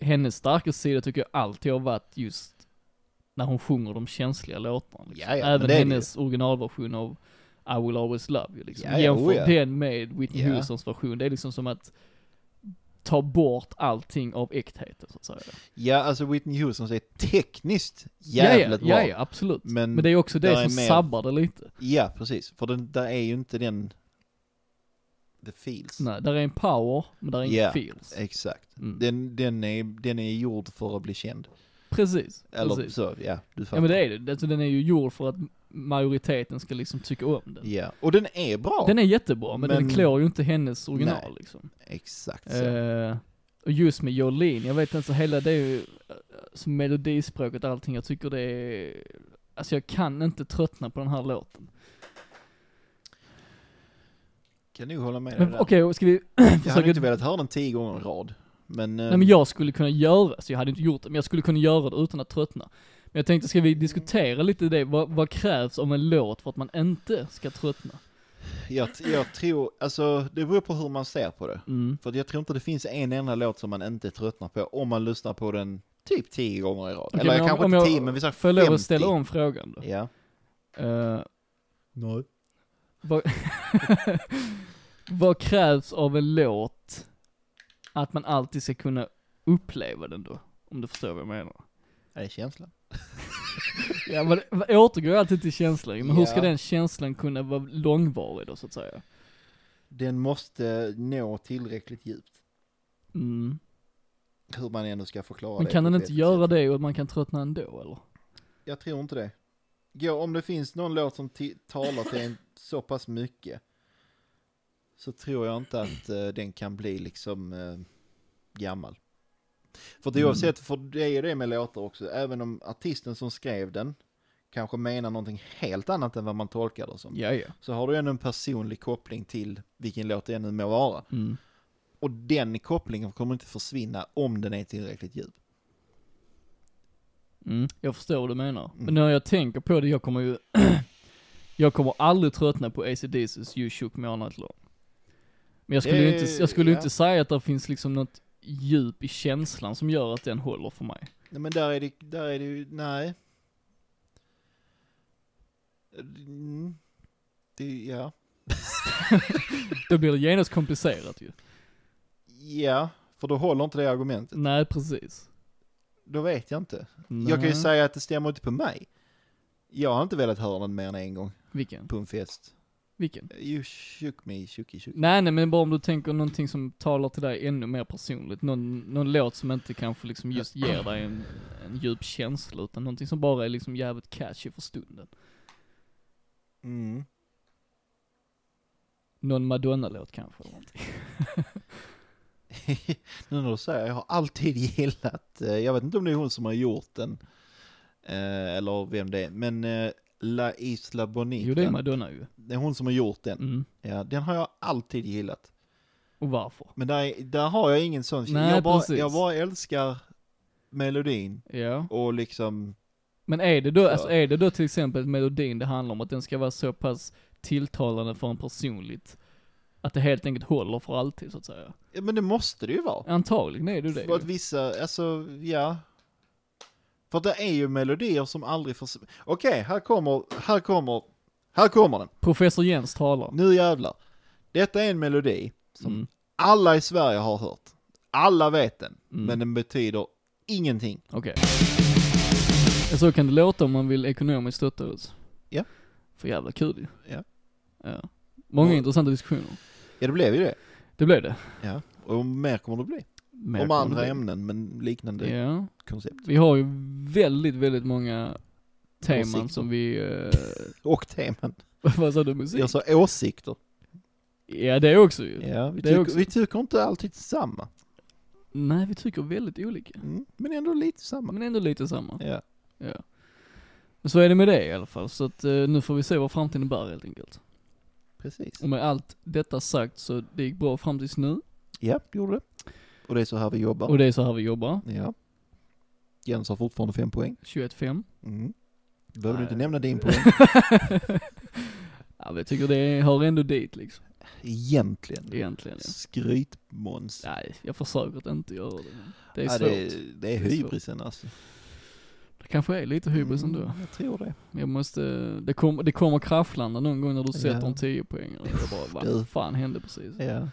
C: hennes starkaste sida tycker jag alltid har varit just när hon sjunger de känsliga låtarna. Liksom.
B: Ja, ja, men
C: Även
B: det är det
C: hennes originalversion av I will always love you liksom.
B: Ja, ja,
C: Jämför
B: oh, ja.
C: den med Whitney
B: Ja.
C: Houstons version, det är liksom som att ta bort allting av äktheten så att säga.
B: Ja, alltså Whitney Houston säger tekniskt
C: ja,
B: jävligt
C: ja,
B: bra.
C: ja, ja, absolut.
B: Men
C: Men, det är också det
B: där
C: som
B: är mer-
C: sabbar det lite.
B: Ja, precis. För den, där är ju inte den... The feels.
C: Nej, där är en power, men där är
B: Ja. Eh,
C: inget feels.
B: Exakt.
C: Mm.
B: Den, den, är, den är gjord för att bli känd.
C: Precis.
B: Eller
C: precis.
B: så, ja. Du
C: Ja men det är det, alltså, den är ju gjord för att majoriteten ska liksom tycka om den.
B: Ja, och den är bra.
C: Den är jättebra, men, den
B: Men-
C: klår ju inte hennes original
B: Nej.
C: liksom.
B: Exakt så.
C: Eh, och just med Jolene, jag vet inte, hela det är ju, alltså, melodispråket och allting, jag tycker det är, alltså jag kan inte tröttna på den här låten.
B: Kan du hålla med dig
C: Men
B: där.
C: okej, ska vi
B: jag hade
C: försöka...
B: inte velat höra den tio gånger i rad. Men... eh,
C: Nej men jag skulle kunna göra, så jag hade inte gjort det, men jag skulle kunna göra det utan att tröttna. Men jag tänkte, ska vi diskutera lite det, vad, vad krävs om en låt för att man inte ska tröttna?
B: Jag, jag tror, alltså det beror på hur man ser på det.
C: Mm.
B: För att jag tror inte det finns en enda låt som man inte tröttnar på om man lyssnar på den typ tio gånger i rad.
C: Okej,
B: Eller
C: men om-
B: kanske
C: om
B: inte
C: jag
B: tio, men vi säger
C: Får jag
B: 50.
C: lov att ställa om frågan då?
B: Ja.
C: Eh,
B: Nej.
C: vad, vad krävs av en låt att man alltid ska kunna uppleva den då? Om du förstår vad jag menar.
B: Är det känslan?
C: Ja, men det återgår alltid till känslan men hur ska
B: Ja.
C: den känslan kunna vara långvarig då så att säga?
B: Den måste nå tillräckligt djupt.
C: Mm.
B: Hur man ändå ska förklara
C: Men
B: det.
C: kan
B: på
C: den
B: ett
C: inte
B: vettigt
C: göra
B: sätt.
C: det och man kan tröttna ändå eller?
B: Jag tror inte det. Ja, om det finns någon låt som ti- talar till en så pass mycket så tror jag inte att eh, den kan bli liksom eh, gammal. För det är oavsett, för det är ju det med låtar också, även om artisten som skrev den kanske menar någonting helt annat än vad man tolkar det som,
C: Ja, ja.
B: så har du ändå en personlig koppling till vilken låt det ännu må vara.
C: Mm.
B: Och den kopplingen kommer inte försvinna om den är tillräckligt djup.
C: Mm, jag förstår vad du menar.
B: Mm.
C: Men när jag tänker på det, jag kommer ju... jag kommer aldrig tröttna på ACDC's You Shook Me All Night Long. Men jag skulle ju inte, jag skulle ju
B: Eh, ja.
C: inte säga att det finns liksom något djup i känslan som gör att den håller för mig.
B: Nej, men där är det, där är det ju, nej. Mm. Det, ja.
C: Då blir det genast komplicerat ju.
B: Ja, för då håller inte det argumentet.
C: Nej, precis.
B: Då vet jag inte.
C: Nej.
B: Jag kan ju säga att det stämmer inte på mig. Jag har inte velat höra den mer än en gång
C: Vilken?
B: på en fest.
C: Vilken?
B: You shook me, shooky shook.
C: Nej, nej, men bara om du tänker någonting som talar till dig ännu mer personligt. Någon, någon låt som inte kanske liksom just ger dig en, en djup känsla, utan någonting som bara är liksom jävligt catchy för stunden.
B: Mm.
C: Någon Madonna-låt kanske. eller någonting.
B: nu när du säger jag har alltid gillat, eh, jag vet inte om det är hon som har gjort den, eh, eller vem det är, men eh, La Isla Bonita,
C: Jo, det är Madonna ju.
B: det är hon som har gjort den.
C: Mm.
B: Ja, den har jag alltid gillat.
C: Och varför?
B: Men där, där har jag ingen sån
C: Nej,
B: jag, bara,
C: precis.
B: jag bara älskar melodin
C: Ja.
B: och liksom,
C: Men är det då,
B: Ja.
C: alltså är det då till exempel melodin det handlar om, att den ska vara så pass tilltalande för en personligt, att det helt enkelt håller för alltid så att säga?
B: ja, men det måste det ju vara.
C: Antagligen är det det
B: För att
C: ju.
B: vissa, alltså, ja. För att det är ju melodier som aldrig förs... Okej, här kommer, här kommer, här kommer den.
C: Professor Jens talar.
B: Nu jävlar. Detta är en melodi som
C: Mm.
B: alla i Sverige har hört. Alla vet den,
C: Mm.
B: men den betyder ingenting.
C: Okej. Så kan det låta om man vill ekonomiskt stötta oss.
B: Ja.
C: För jävla kul ju.
B: Ja.
C: ja. Många
B: Och-
C: intressanta diskussioner.
B: Ja, det blev ju det.
C: Det blev det.
B: Ja, och mer kommer det bli.
C: Mer
B: Om
C: kommer
B: andra
C: det bli.
B: ämnen, men liknande
C: Ja.
B: koncept.
C: Vi har ju väldigt, väldigt många teman
B: Åsikter.
C: som vi, eh,
B: Och teman.
C: vad sa du, musik?
B: Jag sa åsikter.
C: Ja det också ju.
B: Ja, vi,
C: Det
B: tycker,
C: också.
B: vi tycker inte alltid samma.
C: Nej vi tycker väldigt olika.
B: Mm, men ändå lite samma.
C: Men ändå lite samma.
B: Ja.
C: Ja. Men så är det med det i alla fall, så att eh, nu får vi se vad framtiden bär helt enkelt.
B: Precis.
C: Och med allt detta sagt så det gick bra fram tills nu,
B: Ja, det gjorde det. Och det är så här vi jobbar.
C: och det är så här vi jobbar.
B: Ja. Jens har fortfarande fem poäng.
C: 21-5.
B: Mm. Behöver du inte
C: Nej.
B: nämna din poäng
C: ja men jag tycker det hör ändå dit liksom,
B: egentligen.
C: egentligen. Ja.
B: Skrytmåns.
C: Nej, jag försöker att inte göra det. men Det är
B: Ja,
C: svårt.
B: det,
C: Det...
B: är, det är
C: svårt.
B: hybrisen alltså.
C: kanske är lite hybris
B: Mm,
C: ändå.
B: Jag tror det.
C: Jag måste, det, kom, det kommer kraschlanda någon gång när du sätter
B: Ja.
C: en 10 poäng och jag bara,
B: Du.
C: vad fan hände precis?
B: Ja.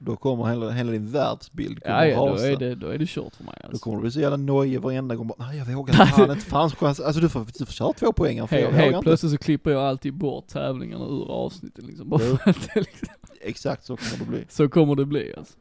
B: Då kommer hela, hela din världsbild kommer
C: Ja, ja då,
B: rasa.
C: är det, då är det kört för mig
B: Då
C: alltså.
B: kommer du bli så jävla nojig varenda gång. Bara, Nej, jag vågar inte. Fan, inte fanns chans. Alltså du får, du får köra två poängar för jag
C: Helt,
B: vågar
C: helt
B: inte.
C: plötsligt så klipper jag alltid bort tävlingarna ur avsnitten liksom. Bara
B: Jo.
C: för att det liksom.
B: Exakt så kommer det bli.
C: Så kommer det bli alltså.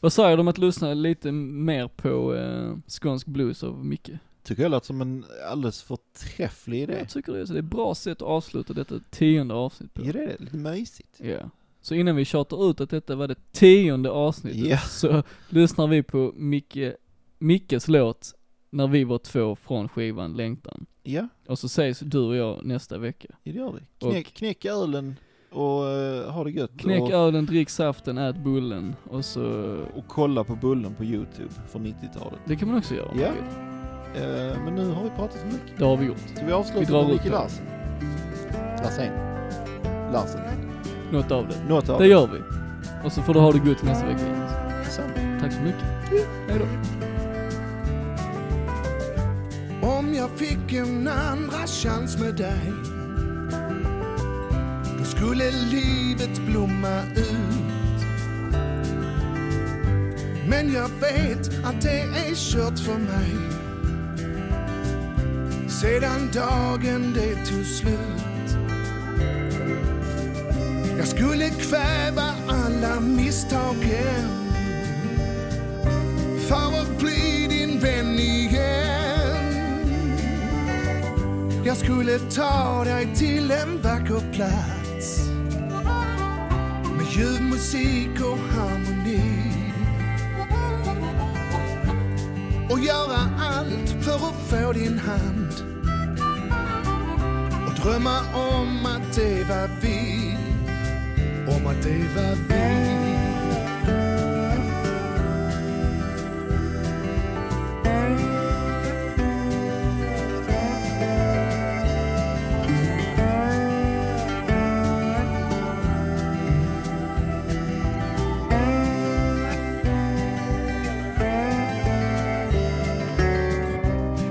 C: Vad säger du om att lyssna lite mer på eh, skånsk blues av Micke?
B: Tycker jag låter som en alldeles förträfflig idé.
C: Jag tycker det, är så det är ett bra sätt att avsluta detta tionde avsnitt på.
B: Ja, det är det. Lite mysigt.
C: typ. Ja. Så innan vi tjatar ut att detta var det tionde avsnittet
B: Ja.
C: så lyssnar vi på Micke, Mickes låt När vi var två från skivan Längtan.
B: Ja,
C: Och så ses du och jag nästa vecka.
B: det gör vi. Knäck, knäck ölen och eh, ha det gött.
C: Knäck
B: och,
C: ölen, drick saften, ät bullen och så...
B: och kolla på Bullen på YouTube från 90-talet.
C: Det kan man också göra om
B: Ja.
C: man vill.
B: Eh, men nu har vi pratat så mycket.
C: Det har vi gjort.
B: Ska vi
C: Vi
B: avsluta
C: drar
B: med
C: ut
B: Micke
C: det.
B: Larsen? Larsen. Larsen.
C: något av det.
B: Något av
C: Det gör vi. Och så får du ha det gott nästa vecka Jonas.
B: Samma.
C: Tack så mycket. Hejdå.
D: Om jag fick en andra chans med dig Då skulle livet blomma ut Men jag vet att det är kört för mig Sedan dagen det tog slut Jag skulle kväva alla misstagen För att bli din vän igen jag skulle ta dig till en vacker plats med ljuv musik och harmoni och göra allt för att få din hand och drömma om att det var vi om att det var vi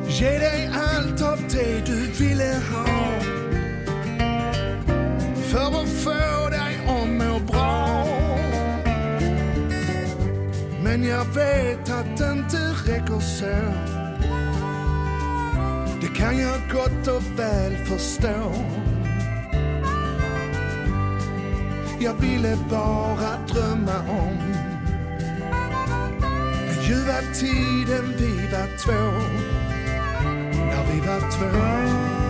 D: Ge dig allt av det du ville ha För att få dig att må bra Men jag vet att det inte räcker så Det kan jag gott och väl förstå Jag ville bara drömma om den ljuva tiden vi var två när vi var två